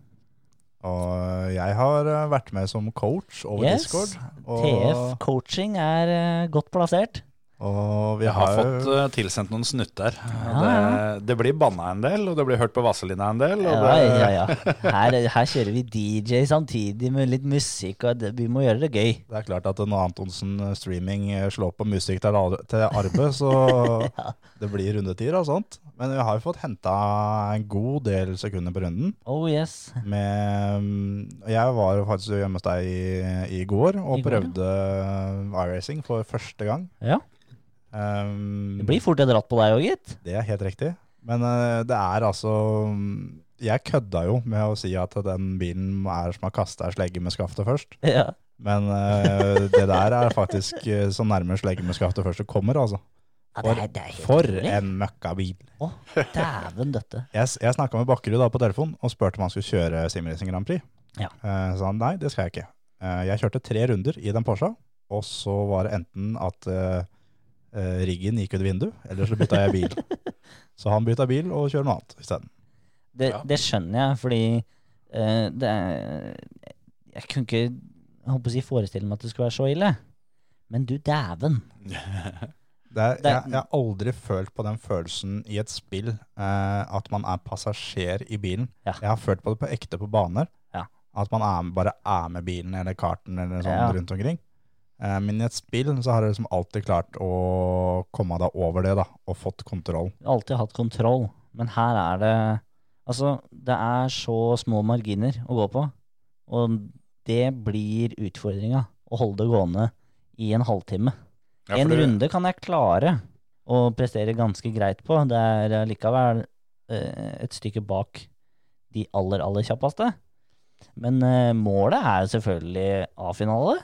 Speaker 5: Og jeg har eh, vært med som coach over Discord.
Speaker 6: TF
Speaker 5: Og,
Speaker 6: Coaching er eh, godt plassert.
Speaker 5: og vi
Speaker 3: Jeg har
Speaker 5: har
Speaker 3: fått
Speaker 5: jo
Speaker 3: eh, tilsendt noen snutter.
Speaker 6: Ja,
Speaker 3: Det, det blir banna en del, og det blir hørt på Vazelina en del. Og
Speaker 6: Ja,
Speaker 3: det,
Speaker 6: ja, ja. Her, her kjører vi DJ samtidig med litt musikk, og det, vi må gjøre det gøy.
Speaker 5: Det er klart at når Antonsen eh, streaming eh, slår på musikk til, al- til arbeid, så
Speaker 6: (laughs)
Speaker 5: det blir rundetider og sånt. Men vi har jo fått henta en god del sekunder på runden.
Speaker 6: Oh yes.
Speaker 5: med mm, Jeg var jo faktisk hjemme hos deg i, i går og
Speaker 6: I går, ja.
Speaker 5: prøvde eh, iRacing for første gang.
Speaker 6: Ja.
Speaker 5: Um,
Speaker 6: Det blir fort et ratt på deg òg, gitt.
Speaker 5: det er helt riktig. Men eh, det er altså mm, Jeg kødda jo med å si at den bilen er som har kasta ei slegge med skaftet først.
Speaker 6: Ja.
Speaker 5: Men eh, det der er faktisk eh, så nærme slegge med skaftet først du kommer, altså.
Speaker 6: Ja, det,
Speaker 5: For-
Speaker 6: er, det er helt
Speaker 5: For
Speaker 6: utrolig.
Speaker 5: en møkkabil.
Speaker 6: Å, dæven døtte.
Speaker 5: Jeg, jeg snakka med Bakkerud da på telefon og spurte om han skulle kjøre Simracing Grand Prix.
Speaker 6: Ja.
Speaker 5: Eh, så han nei, det skal jeg ikke. Eh, jeg kjørte tre runder i den Porscha, og så var det enten at eh, eh, riggen gikk ut vinduet, eller så bytta jeg (laughs) bil. så han bytta bil og kjører noe annet isteden.
Speaker 6: Det,
Speaker 3: Ja.
Speaker 6: det skjønner jeg, fordi eh, det er Jeg kunne ikke jeg håper å si, forestille meg at det skulle være så ille. Men du dæven.
Speaker 5: Det er-
Speaker 6: Det er-
Speaker 5: Jeg, jeg har aldri følt på den følelsen i et spill eh, at man er passasjer i bilen.
Speaker 6: Ja.
Speaker 5: Jeg har følt på det på ekte på baner.
Speaker 6: Ja.
Speaker 5: At man er, bare er med bilen eller karten eller sånn
Speaker 6: Ja.
Speaker 5: rundt omkring. Eh, men i et spill så har jeg liksom alltid klart å komme deg over det da, og fått kontroll.
Speaker 6: Jeg har alltid hatt kontroll, men her er det Altså, det er så små marginer å gå på, og det blir utfordringa. Å holde det gående i en halvtime.
Speaker 3: Ja, for
Speaker 6: en
Speaker 3: du-
Speaker 6: runde kan jeg klare å prestere ganske greit på. Det er likevel eh, et stykke bak de aller, aller kjappeste. Men eh, målet er selvfølgelig A-finale.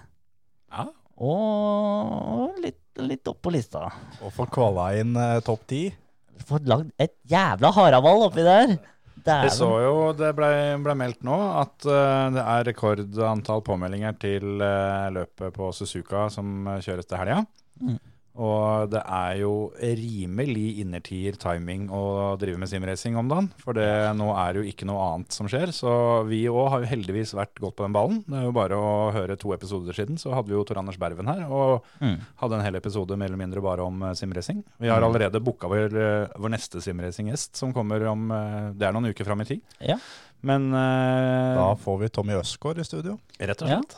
Speaker 3: Ja.
Speaker 6: Og litt, litt opp på lista.
Speaker 5: Og få kvala inn eh, topp ti.
Speaker 6: Fått lagd et jævla haravall oppi der.
Speaker 3: Vi så
Speaker 6: Dæven.
Speaker 3: jo, det ble, ble meldt nå, at eh, det er rekordantall påmeldinger til eh, løpet på Suzuka som eh, kjøres til helga.
Speaker 6: Mm.
Speaker 3: Og det er jo rimelig innertier timing å drive med simracing om dagen. For det, nå er det jo ikke noe annet som skjer. Så vi òg har jo heldigvis vært godt på den ballen. Det er jo bare å høre to episoder siden, så hadde vi jo Tor Anders Berven her. Og
Speaker 6: Mm.
Speaker 3: hadde en hel episode mer eller mindre bare om eh, simracing. Vi har allerede booka vår, eh, vår neste simracing-gjest, som kommer om eh, Det er noen uker fram i tid.
Speaker 6: Ja.
Speaker 3: Men eh,
Speaker 5: Da får vi Tommy Øsgaard i studio.
Speaker 3: rett og
Speaker 6: Ja.
Speaker 3: slett.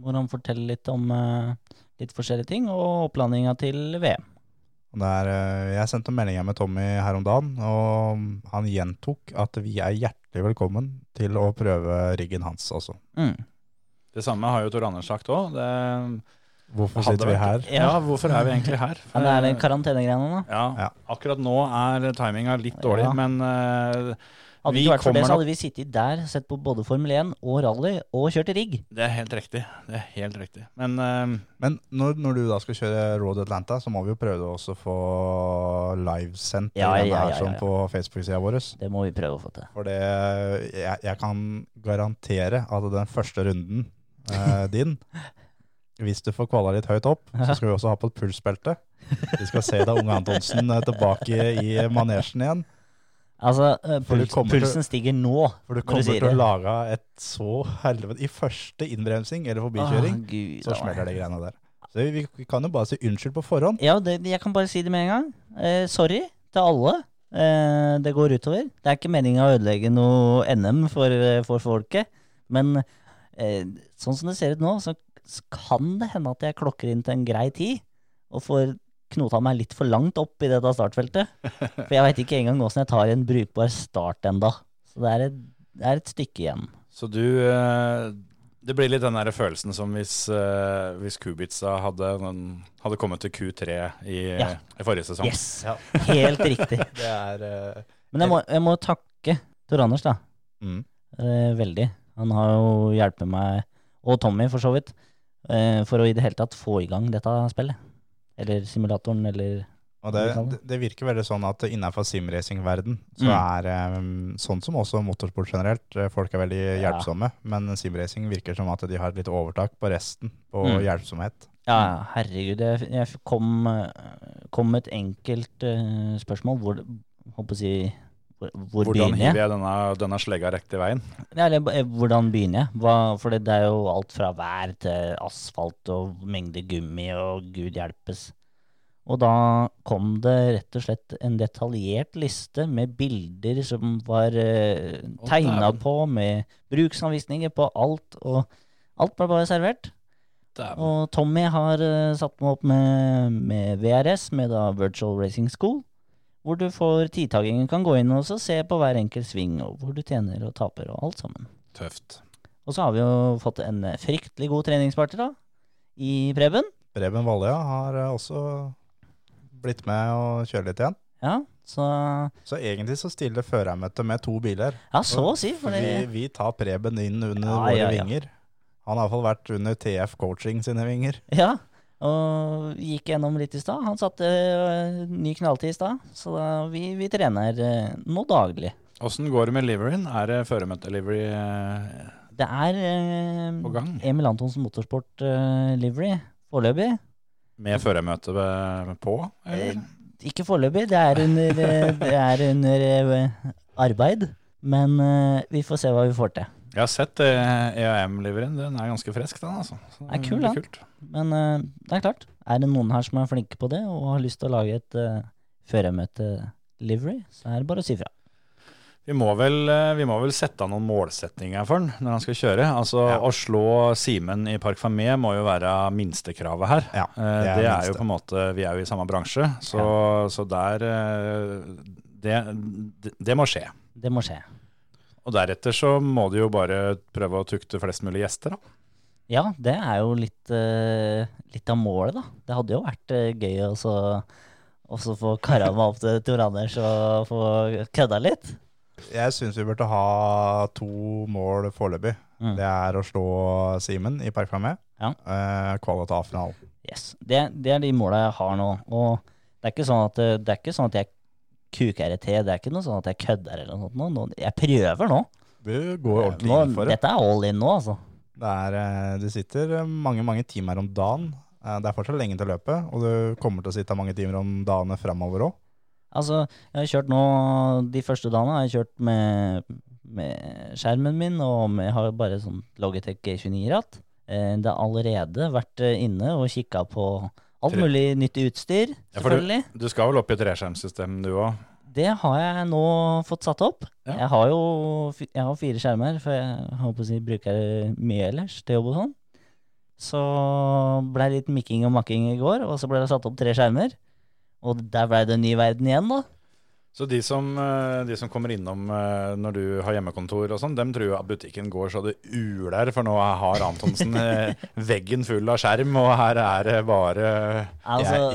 Speaker 6: Hvor han forteller litt om eh, litt forskjellige ting, og opplandinga til VM.
Speaker 5: Og Det er, eh, jeg sendte en melding her med Tommy her om dagen, og han gjentok at vi er hjertelig velkommen til å prøve riggen hans også.
Speaker 6: Mm.
Speaker 3: Det samme har jo Tor Anders sagt òg.
Speaker 5: Hvorfor
Speaker 3: Hadde
Speaker 5: sitter vi
Speaker 3: vært-
Speaker 5: her?
Speaker 3: Ja. hvorfor er vi egentlig her?
Speaker 6: Men
Speaker 5: Eh,
Speaker 6: det er den karantenegreiene, da.
Speaker 3: ja,
Speaker 5: Ja.
Speaker 3: akkurat nå er timinga litt dårlig,
Speaker 6: Ja.
Speaker 3: men eh,
Speaker 6: Hadde det
Speaker 3: Vi
Speaker 6: ikke vært for det,
Speaker 3: kommer
Speaker 6: så hadde vi sittet der, sett på både Formel 1 og rally, og kjørt rigg.
Speaker 3: det er helt riktig. Det er helt riktig. Men eh,
Speaker 5: Men når, når du da skal kjøre Road Atlanta, så må vi jo prøve å også få livesendt
Speaker 6: Ja,
Speaker 5: denne
Speaker 6: ja,
Speaker 5: her
Speaker 6: ja,
Speaker 5: sånn
Speaker 6: ja.
Speaker 5: på Facebook-sida vår.
Speaker 6: Det må vi prøve å få til.
Speaker 5: For det, jeg, jeg kan garantere at den første runden
Speaker 6: (laughs)
Speaker 5: eh, din Hvis du får kvala litt høyt opp, så skal vi også ha på et pulsbelte. Vi skal se deg, Unge Antonsen, eh, tilbake i manesjen igjen.
Speaker 6: Altså, eh,
Speaker 5: For du
Speaker 6: puls,
Speaker 5: kommer til-
Speaker 6: pulsen stiger nå.
Speaker 5: For du
Speaker 6: Når du
Speaker 5: kommer
Speaker 6: sier
Speaker 5: til å
Speaker 6: det.
Speaker 5: lage et så helvete I første innbremsing eller forbikjøring,
Speaker 6: Å, Gud,
Speaker 5: så
Speaker 6: da.
Speaker 5: smeller det greiene der. Så vi, vi kan jo bare si unnskyld på forhånd.
Speaker 6: Ja, det, jeg kan bare si det med en gang. Eh, sorry til alle. Eh, det går utover. Det er ikke meninga å ødelegge noe NM for, eh, for folket. Men eh, sånn som det ser ut nå, så s- kan det hende at jeg klokker inn til en grei tid. Og får knota meg litt for langt opp i dette startfeltet. For jeg veit ikke engang åssen jeg tar en brukbar start enda. Så det er et, det er et stykke igjen.
Speaker 3: Så du eh, Det blir litt den der følelsen som hvis, eh, hvis Kubica hadde, den- hadde kommet til Q3 i,
Speaker 6: Ja.
Speaker 3: i forrige sesong.
Speaker 6: Yes!
Speaker 5: Ja.
Speaker 6: Helt riktig.
Speaker 5: Det er eh,
Speaker 6: Men jeg må, jeg må takke Tor Anders, da.
Speaker 5: Mm.
Speaker 6: Eh, veldig. Han har jo hjulpet meg, og Tommy for så vidt, eh, for å i det hele tatt få i gang dette spillet. Eller simulatoren, eller
Speaker 5: Og det,
Speaker 6: Hva vi kaller
Speaker 5: det virker veldig sånn at innenfor simracing-verden så
Speaker 6: Mm.
Speaker 5: er eh, sånn som også motorsport generelt, eh, folk er veldig
Speaker 6: Ja.
Speaker 5: hjelpsomme, men simracing virker som at de har et litt overtak på resten på
Speaker 6: Mm.
Speaker 5: hjelpsomhet.
Speaker 6: Ja, herregud. Jeg, f- jeg f- kom, eh, kom med et enkelt eh, spørsmål. Hvor, håper å si, hvor, hvor
Speaker 3: Hvordan
Speaker 6: begynner
Speaker 3: hiver
Speaker 6: jeg?
Speaker 3: jeg denne, denne slegga riktig veien?
Speaker 6: Ja, eller eh, hvordan begynner jeg? Hva, for det er jo alt fra vær til asfalt og mengde gummi og gud hjelpes. Og da kom det rett og slett en detaljert liste med bilder som var eh, tegna
Speaker 3: dæven.
Speaker 6: på, med bruksanvisninger på alt, og alt ble bare servert. Og Tommy har eh, satt meg opp med, med VRS, med da Virtual Racing School, hvor du får tidtagingen kan gå inn og så se på hver enkelt sving, og hvor du tjener og taper og alt sammen.
Speaker 3: Tøft.
Speaker 6: Og så har vi jo fått en eh, fryktelig god treningspartner da, i Preben.
Speaker 5: Preben Vallia har eh, også blitt med og kjører litt igjen.
Speaker 6: Ja, så
Speaker 5: Så egentlig så stiller førermøtet med to biler.
Speaker 6: Ja, så å si. For
Speaker 5: vi,
Speaker 6: det,
Speaker 5: vi tar Preben inn under
Speaker 6: Ja,
Speaker 5: våre
Speaker 6: ja, ja.
Speaker 5: vinger. Han har iallfall vært under TF Coaching sine vinger.
Speaker 6: ja, og gikk gjennom litt i stad. Han satte eh, ny knalltid i stad, så da, vi, vi trener eh, nå daglig.
Speaker 3: Åssen går det med liveryen? Er det føremøte-livery eh,
Speaker 6: Det er eh,
Speaker 3: på gang?
Speaker 6: Emil Antonsen Motorsport eh, Livery foreløpig.
Speaker 3: Med føremøte ved- på?
Speaker 6: Eh.
Speaker 3: Eller?
Speaker 6: Ikke foreløpig, det er under, eh, det er under eh, arbeid. Men eh, vi får se hva vi får til.
Speaker 3: Jeg har sett eh, EAM-liveryen. Den er ganske frisk, den. altså. Så
Speaker 6: Den er kul,
Speaker 3: blir
Speaker 6: den.
Speaker 3: kult.
Speaker 6: Men eh, det er klart, er det noen her som er flinke på det, og har lyst til å lage et uh, førermøte-livery, så er det bare å si fra.
Speaker 3: Vi må, vel, eh, vi må vel sette av noen målsetninger for han når han skal kjøre. Altså
Speaker 5: Ja.
Speaker 3: Å slå Simen i Park Fermé må jo være minstekravet her.
Speaker 5: Ja,
Speaker 3: Eh,
Speaker 5: det er
Speaker 3: det er
Speaker 5: minste.
Speaker 3: jo på en måte Vi er jo i samme bransje, så, så der eh, det, det- det må skje.
Speaker 6: Det må skje.
Speaker 3: Og deretter så må du jo bare prøve å tukte flest mulig gjester, da.
Speaker 6: Ja, det er jo litt, eh, litt av målet, da. Det hadde jo vært eh, gøy å så- å så få kara meg opp til Tor Anders og få kødda litt.
Speaker 5: Jeg syns vi burde ha to mål foreløpig.
Speaker 6: Mm.
Speaker 5: Det er å slå Simen i Park Fermé.
Speaker 6: Ja.
Speaker 5: Eh, Kvala til A-finalen.
Speaker 6: Yes. Det, det er de måla jeg har nå. Og det er ikke sånn at, eh, det er ikke sånn at jeg kuker det til. Det er ikke noe sånn at jeg kødder eller noe sånt. nå. Nå- Jeg prøver nå.
Speaker 5: Du går ordentlig
Speaker 6: nå
Speaker 5: inn for det.
Speaker 6: dette er all in nå, altså.
Speaker 5: Det, er, eh, det sitter mange mange timer om dagen. Eh, Det er fortsatt lenge til løpet, og du kommer til å sitte mange timer om dagene framover òg.
Speaker 6: Altså, jeg har kjørt nå De første dagene har jeg kjørt med, med skjermen min, og med, jeg har bare sånn Logitech G29-ratt. Eh, Det har allerede vært eh, inne og kikka på alt
Speaker 3: Tre-
Speaker 6: mulig nytt utstyr,
Speaker 3: Ja, for du-
Speaker 6: selvfølgelig.
Speaker 3: Du skal vel opp i treskjermsystemet du òg?
Speaker 6: Det har jeg nå fått satt opp.
Speaker 3: Ja.
Speaker 6: Jeg har jo fi- jeg har fire skjermer, for jeg håper å si, bruker det mye ellers til jobb og sånn. Så ble det litt mikking og makking i går, og så ble det satt opp tre skjermer. Og der blei det en ny verden igjen, da.
Speaker 3: Så de som, eh, de som kommer innom eh, når du har hjemmekontor og sånn, dem tror jo at butikken går så det uler, for nå har Antonsen eh, veggen full av skjerm, og her er det bare
Speaker 6: Altså,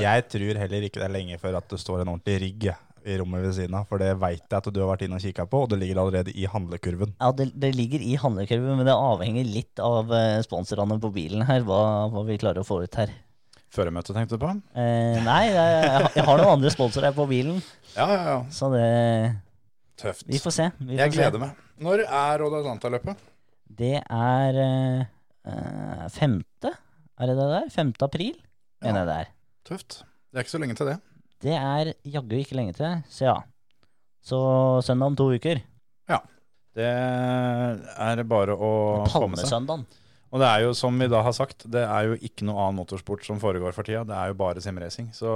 Speaker 5: jeg, jeg tror heller ikke det er lenge før at det står en ordentlig rigg i rommet ved siden av, for det veit jeg at du har vært inne og kikka på, og det ligger allerede i handlekurven.
Speaker 6: Ja, det, det ligger i handlekurven, men det avhenger litt av eh, sponsorene på bilen her, hva, hva vi klarer å få ut her.
Speaker 3: Føremøte, tenkte du på?
Speaker 6: Eh, nei, jeg, jeg, jeg har noen andre sponsorer her på bilen,
Speaker 3: Ja, ja, ja.
Speaker 6: så det
Speaker 3: Tøft.
Speaker 6: Vi får se. Vi får
Speaker 3: Jeg
Speaker 6: se.
Speaker 3: gleder meg. Når er Road Atlanta-løpet?
Speaker 6: Det er eh, eh, femte, er det det der? Femte april, mener jeg det er.
Speaker 3: Tøft. Det er ikke så lenge til det.
Speaker 6: Det er jaggu ikke lenge til, så ja. Så søndag om to uker.
Speaker 3: Det er bare å komme seg.
Speaker 6: Palmesøndagen.
Speaker 3: Og det er jo som vi da har sagt, det er jo ikke noe annen motorsport som foregår for tida. Det er jo bare simracing. Så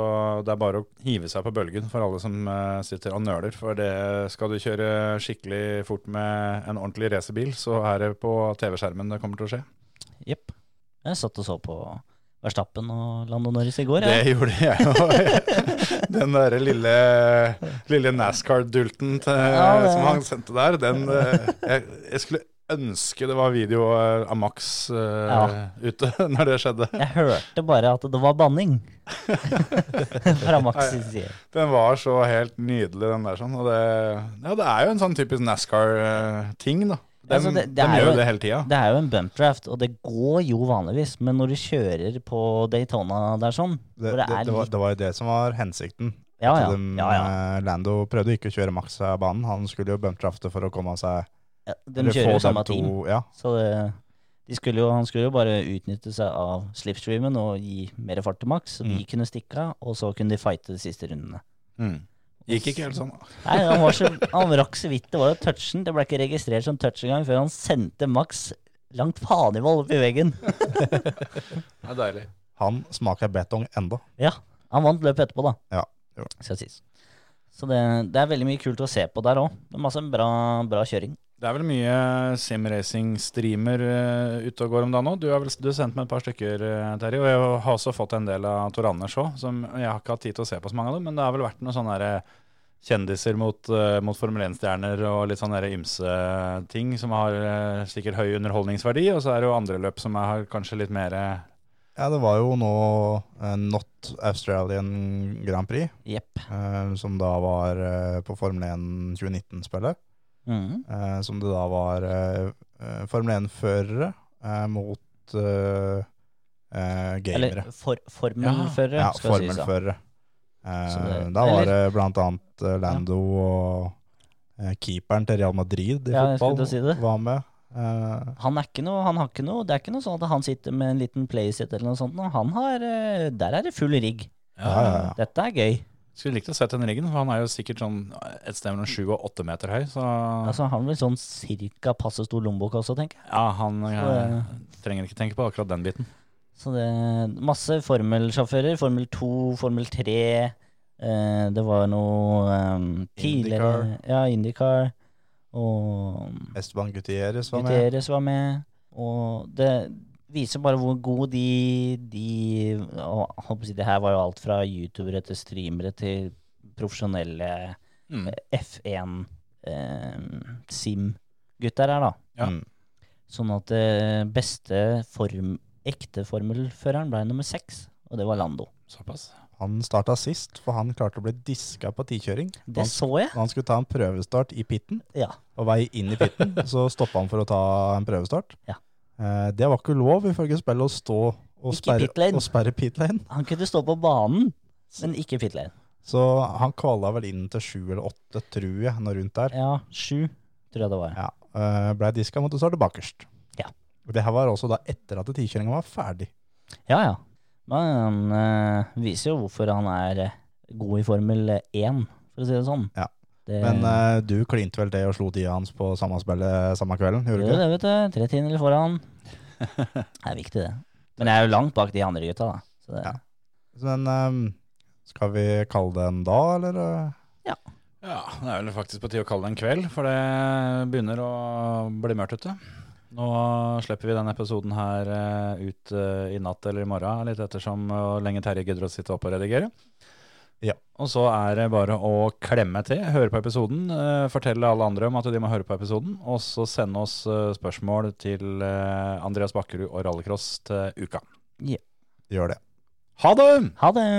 Speaker 3: det er bare å hive seg på bølgen for alle som eh, sitter og nøler. For det skal du kjøre skikkelig fort med en ordentlig racerbil, så er det på TV-skjermen det kommer til å skje.
Speaker 6: Jepp. Jeg satt og så på Verstappen og Lando Norris i går, jeg.
Speaker 3: Det gjorde jeg
Speaker 6: (laughs)
Speaker 3: jo. Den derre lille, lille NASCAR-dulten til-
Speaker 6: Ja, det-
Speaker 3: som han sendte der, den eh, jeg, jeg skulle ønske det var video av Max eh,
Speaker 6: Ja.
Speaker 3: ute (laughs) når det skjedde.
Speaker 6: Jeg hørte bare at det var banning. Fra Max sin side.
Speaker 3: Den var så helt nydelig, den der sånn. Og det, ja, det er jo en sånn typisk NASCAR-ting, da. De,
Speaker 6: Altså, det- det
Speaker 3: de
Speaker 6: er
Speaker 3: gjør
Speaker 6: jo-
Speaker 3: jo det hele tida.
Speaker 6: Det er jo en bump draft, og det går jo vanligvis, men når du kjører på Daytona der sånn
Speaker 5: Det,
Speaker 6: hvor
Speaker 5: det,
Speaker 6: det er
Speaker 5: det, var,
Speaker 6: litt,
Speaker 5: det var jo det som var hensikten.
Speaker 6: ja, ja,
Speaker 5: Så dem,
Speaker 6: ja, ja.
Speaker 5: eh, Lando prøvde ikke å kjøre maks av banen, han skulle jo bumpdrafte for å komme seg
Speaker 6: ja. De
Speaker 5: eh, eller
Speaker 6: kjører
Speaker 5: få
Speaker 6: jo samme
Speaker 5: dem
Speaker 6: team,
Speaker 5: to- Ja,
Speaker 6: så det, de skulle jo, han skulle jo bare utnytte seg av slipstreamen og gi mer fart til Max, så de
Speaker 5: Mm.
Speaker 6: kunne stikke av, og så kunne de fighte de siste rundene.
Speaker 3: Mm. Gikk ikke helt sånn. da.
Speaker 6: Nei, han, var så, han rakk så vidt det var jo touchen. Det ble ikke registrert som touch engang før han sendte Max langt faenivål opp i veggen.
Speaker 3: Det er deilig.
Speaker 5: han smaker betong enda.
Speaker 6: Ja, han vant løpet etterpå,
Speaker 5: Ja,
Speaker 6: da.
Speaker 5: det gjorde
Speaker 6: Skal sies. Så det, det er veldig mye kult å se på der òg. Masse bra, bra kjøring.
Speaker 3: Det er vel mye simracing-streamer eh, ute og går om dagen nå. Du har vel du har sendt meg et par stykker, eh, Terje. Og jeg har også fått en del av Tor Anders òg. som- Jeg har ikke hatt tid til å se på så mange av dem, men det har vel vært noen sånne der, eh, kjendiser mot, eh, mot Formel 1-stjerner og litt sånne der ymse ting som har eh, sikkert høy underholdningsverdi. Og så er det jo andre løp som er kanskje litt mer eh,
Speaker 5: Ja, det var jo nå eh, Not Australian Grand Prix,
Speaker 6: Jepp.
Speaker 5: eh, som da var eh, på Formel 1 2019-spillet.
Speaker 6: Mhm.
Speaker 5: eh, som det da var eh, eh, Formel 1-førere eh, mot eh, eh, gamere.
Speaker 6: Eller for, formelførere,
Speaker 5: ja,
Speaker 6: skal sies. da.
Speaker 5: Formel-førere. Eh,
Speaker 6: Så det-
Speaker 5: da var
Speaker 6: eller-
Speaker 5: det blant annet eh, Lando og eh, keeperen til Real Madrid i
Speaker 6: Ja, jeg skulle
Speaker 5: fotball
Speaker 6: til å si det.
Speaker 5: var med. Eh,
Speaker 6: Han er ikke noe, han har ikke noe. Det er ikke noe sånn at han sitter med en liten playset eller noe sånt. nå. Han har, eh, der er det full rigg.
Speaker 5: ja, ja, ja.
Speaker 6: Dette er gøy.
Speaker 3: Skulle likt å sett den riggen, for han er jo sikkert sånn et sted mellom sju og åtte meter høy. Så
Speaker 6: Altså, han har vel sånn cirka passe stor lommebok også, tenker jeg.
Speaker 3: ja, han eh,
Speaker 6: Så-
Speaker 3: trenger ikke tenke på akkurat den biten.
Speaker 6: Så det er masse formelsjåfører. Formel 2, Formel 3. Eh, det var noe eh, tidligere Ja, Indycar. Og
Speaker 5: Esteban Gutierrez var med.
Speaker 6: Guterres var med. Og det viser bare hvor god de, de og, jeg håper å si, Det her var jo alt fra youtubere til streamere til profesjonelle eh,
Speaker 3: Mm.
Speaker 6: F1-sim-gutter eh, her, da.
Speaker 3: Ja.
Speaker 5: Mm.
Speaker 6: Sånn at eh, beste form, ekte formelføreren ble nummer seks, og det var Lando.
Speaker 3: Såpass.
Speaker 5: Han starta sist, for han klarte å bli diska på tikjøring.
Speaker 6: Det
Speaker 5: Han,
Speaker 6: så jeg.
Speaker 5: han skulle ta en prøvestart i pitten.
Speaker 6: Ja.
Speaker 5: På vei inn i
Speaker 6: (laughs)
Speaker 5: pitten, så stoppa han for å ta en prøvestart.
Speaker 6: Ja.
Speaker 5: Eh, det var ikke lov ifølge spillet å stå og
Speaker 6: Ikke
Speaker 5: sperre,
Speaker 6: pit lane.
Speaker 5: og sperre pit lane.
Speaker 6: Han kunne stå på banen, men ikke pit lane.
Speaker 5: Så han kvala vel inn til sju eller åtte, tror jeg, noe rundt der.
Speaker 6: Ja, sju, tror jeg det var.
Speaker 5: Ja. eh, Blei diska, måtte starte bakerst.
Speaker 6: Ja.
Speaker 5: Og Det her var også da etter at tikjøringa var ferdig.
Speaker 6: Ja, ja. Men han eh, viser jo hvorfor han er eh, god i Formel 1, for å si det sånn.
Speaker 5: Ja.
Speaker 6: Det,
Speaker 5: Men eh, du klinte vel til og slo tida hans på samme spillet samme kvelden, gjorde du
Speaker 6: Jo,
Speaker 5: ikke?
Speaker 6: det vet du. Tre tiendedeler
Speaker 5: (laughs)
Speaker 6: foran. Det er viktig, det. Men jeg er jo langt bak de andre gutta, da. Så det,
Speaker 5: Ja. Men eh, skal vi kalle det en dag, eller? eh?
Speaker 3: Ja, det er vel faktisk på tide å kalle det en kveld, for det begynner å bli mørkt ute. Nå slipper vi denne episoden her eh, ut eh, i natt eller i morgen, litt ettersom eh, hvor lenge Terje gidder å sitte opp og redigere.
Speaker 5: Ja.
Speaker 3: Og så er det bare å klemme til, høre på episoden, eh, fortelle alle andre om at de må høre på episoden, og så sende oss eh, spørsmål til eh, Andreas Bakkerud og Rallycross til uka.
Speaker 5: Gjør det.
Speaker 3: Ha det!
Speaker 6: Ha det!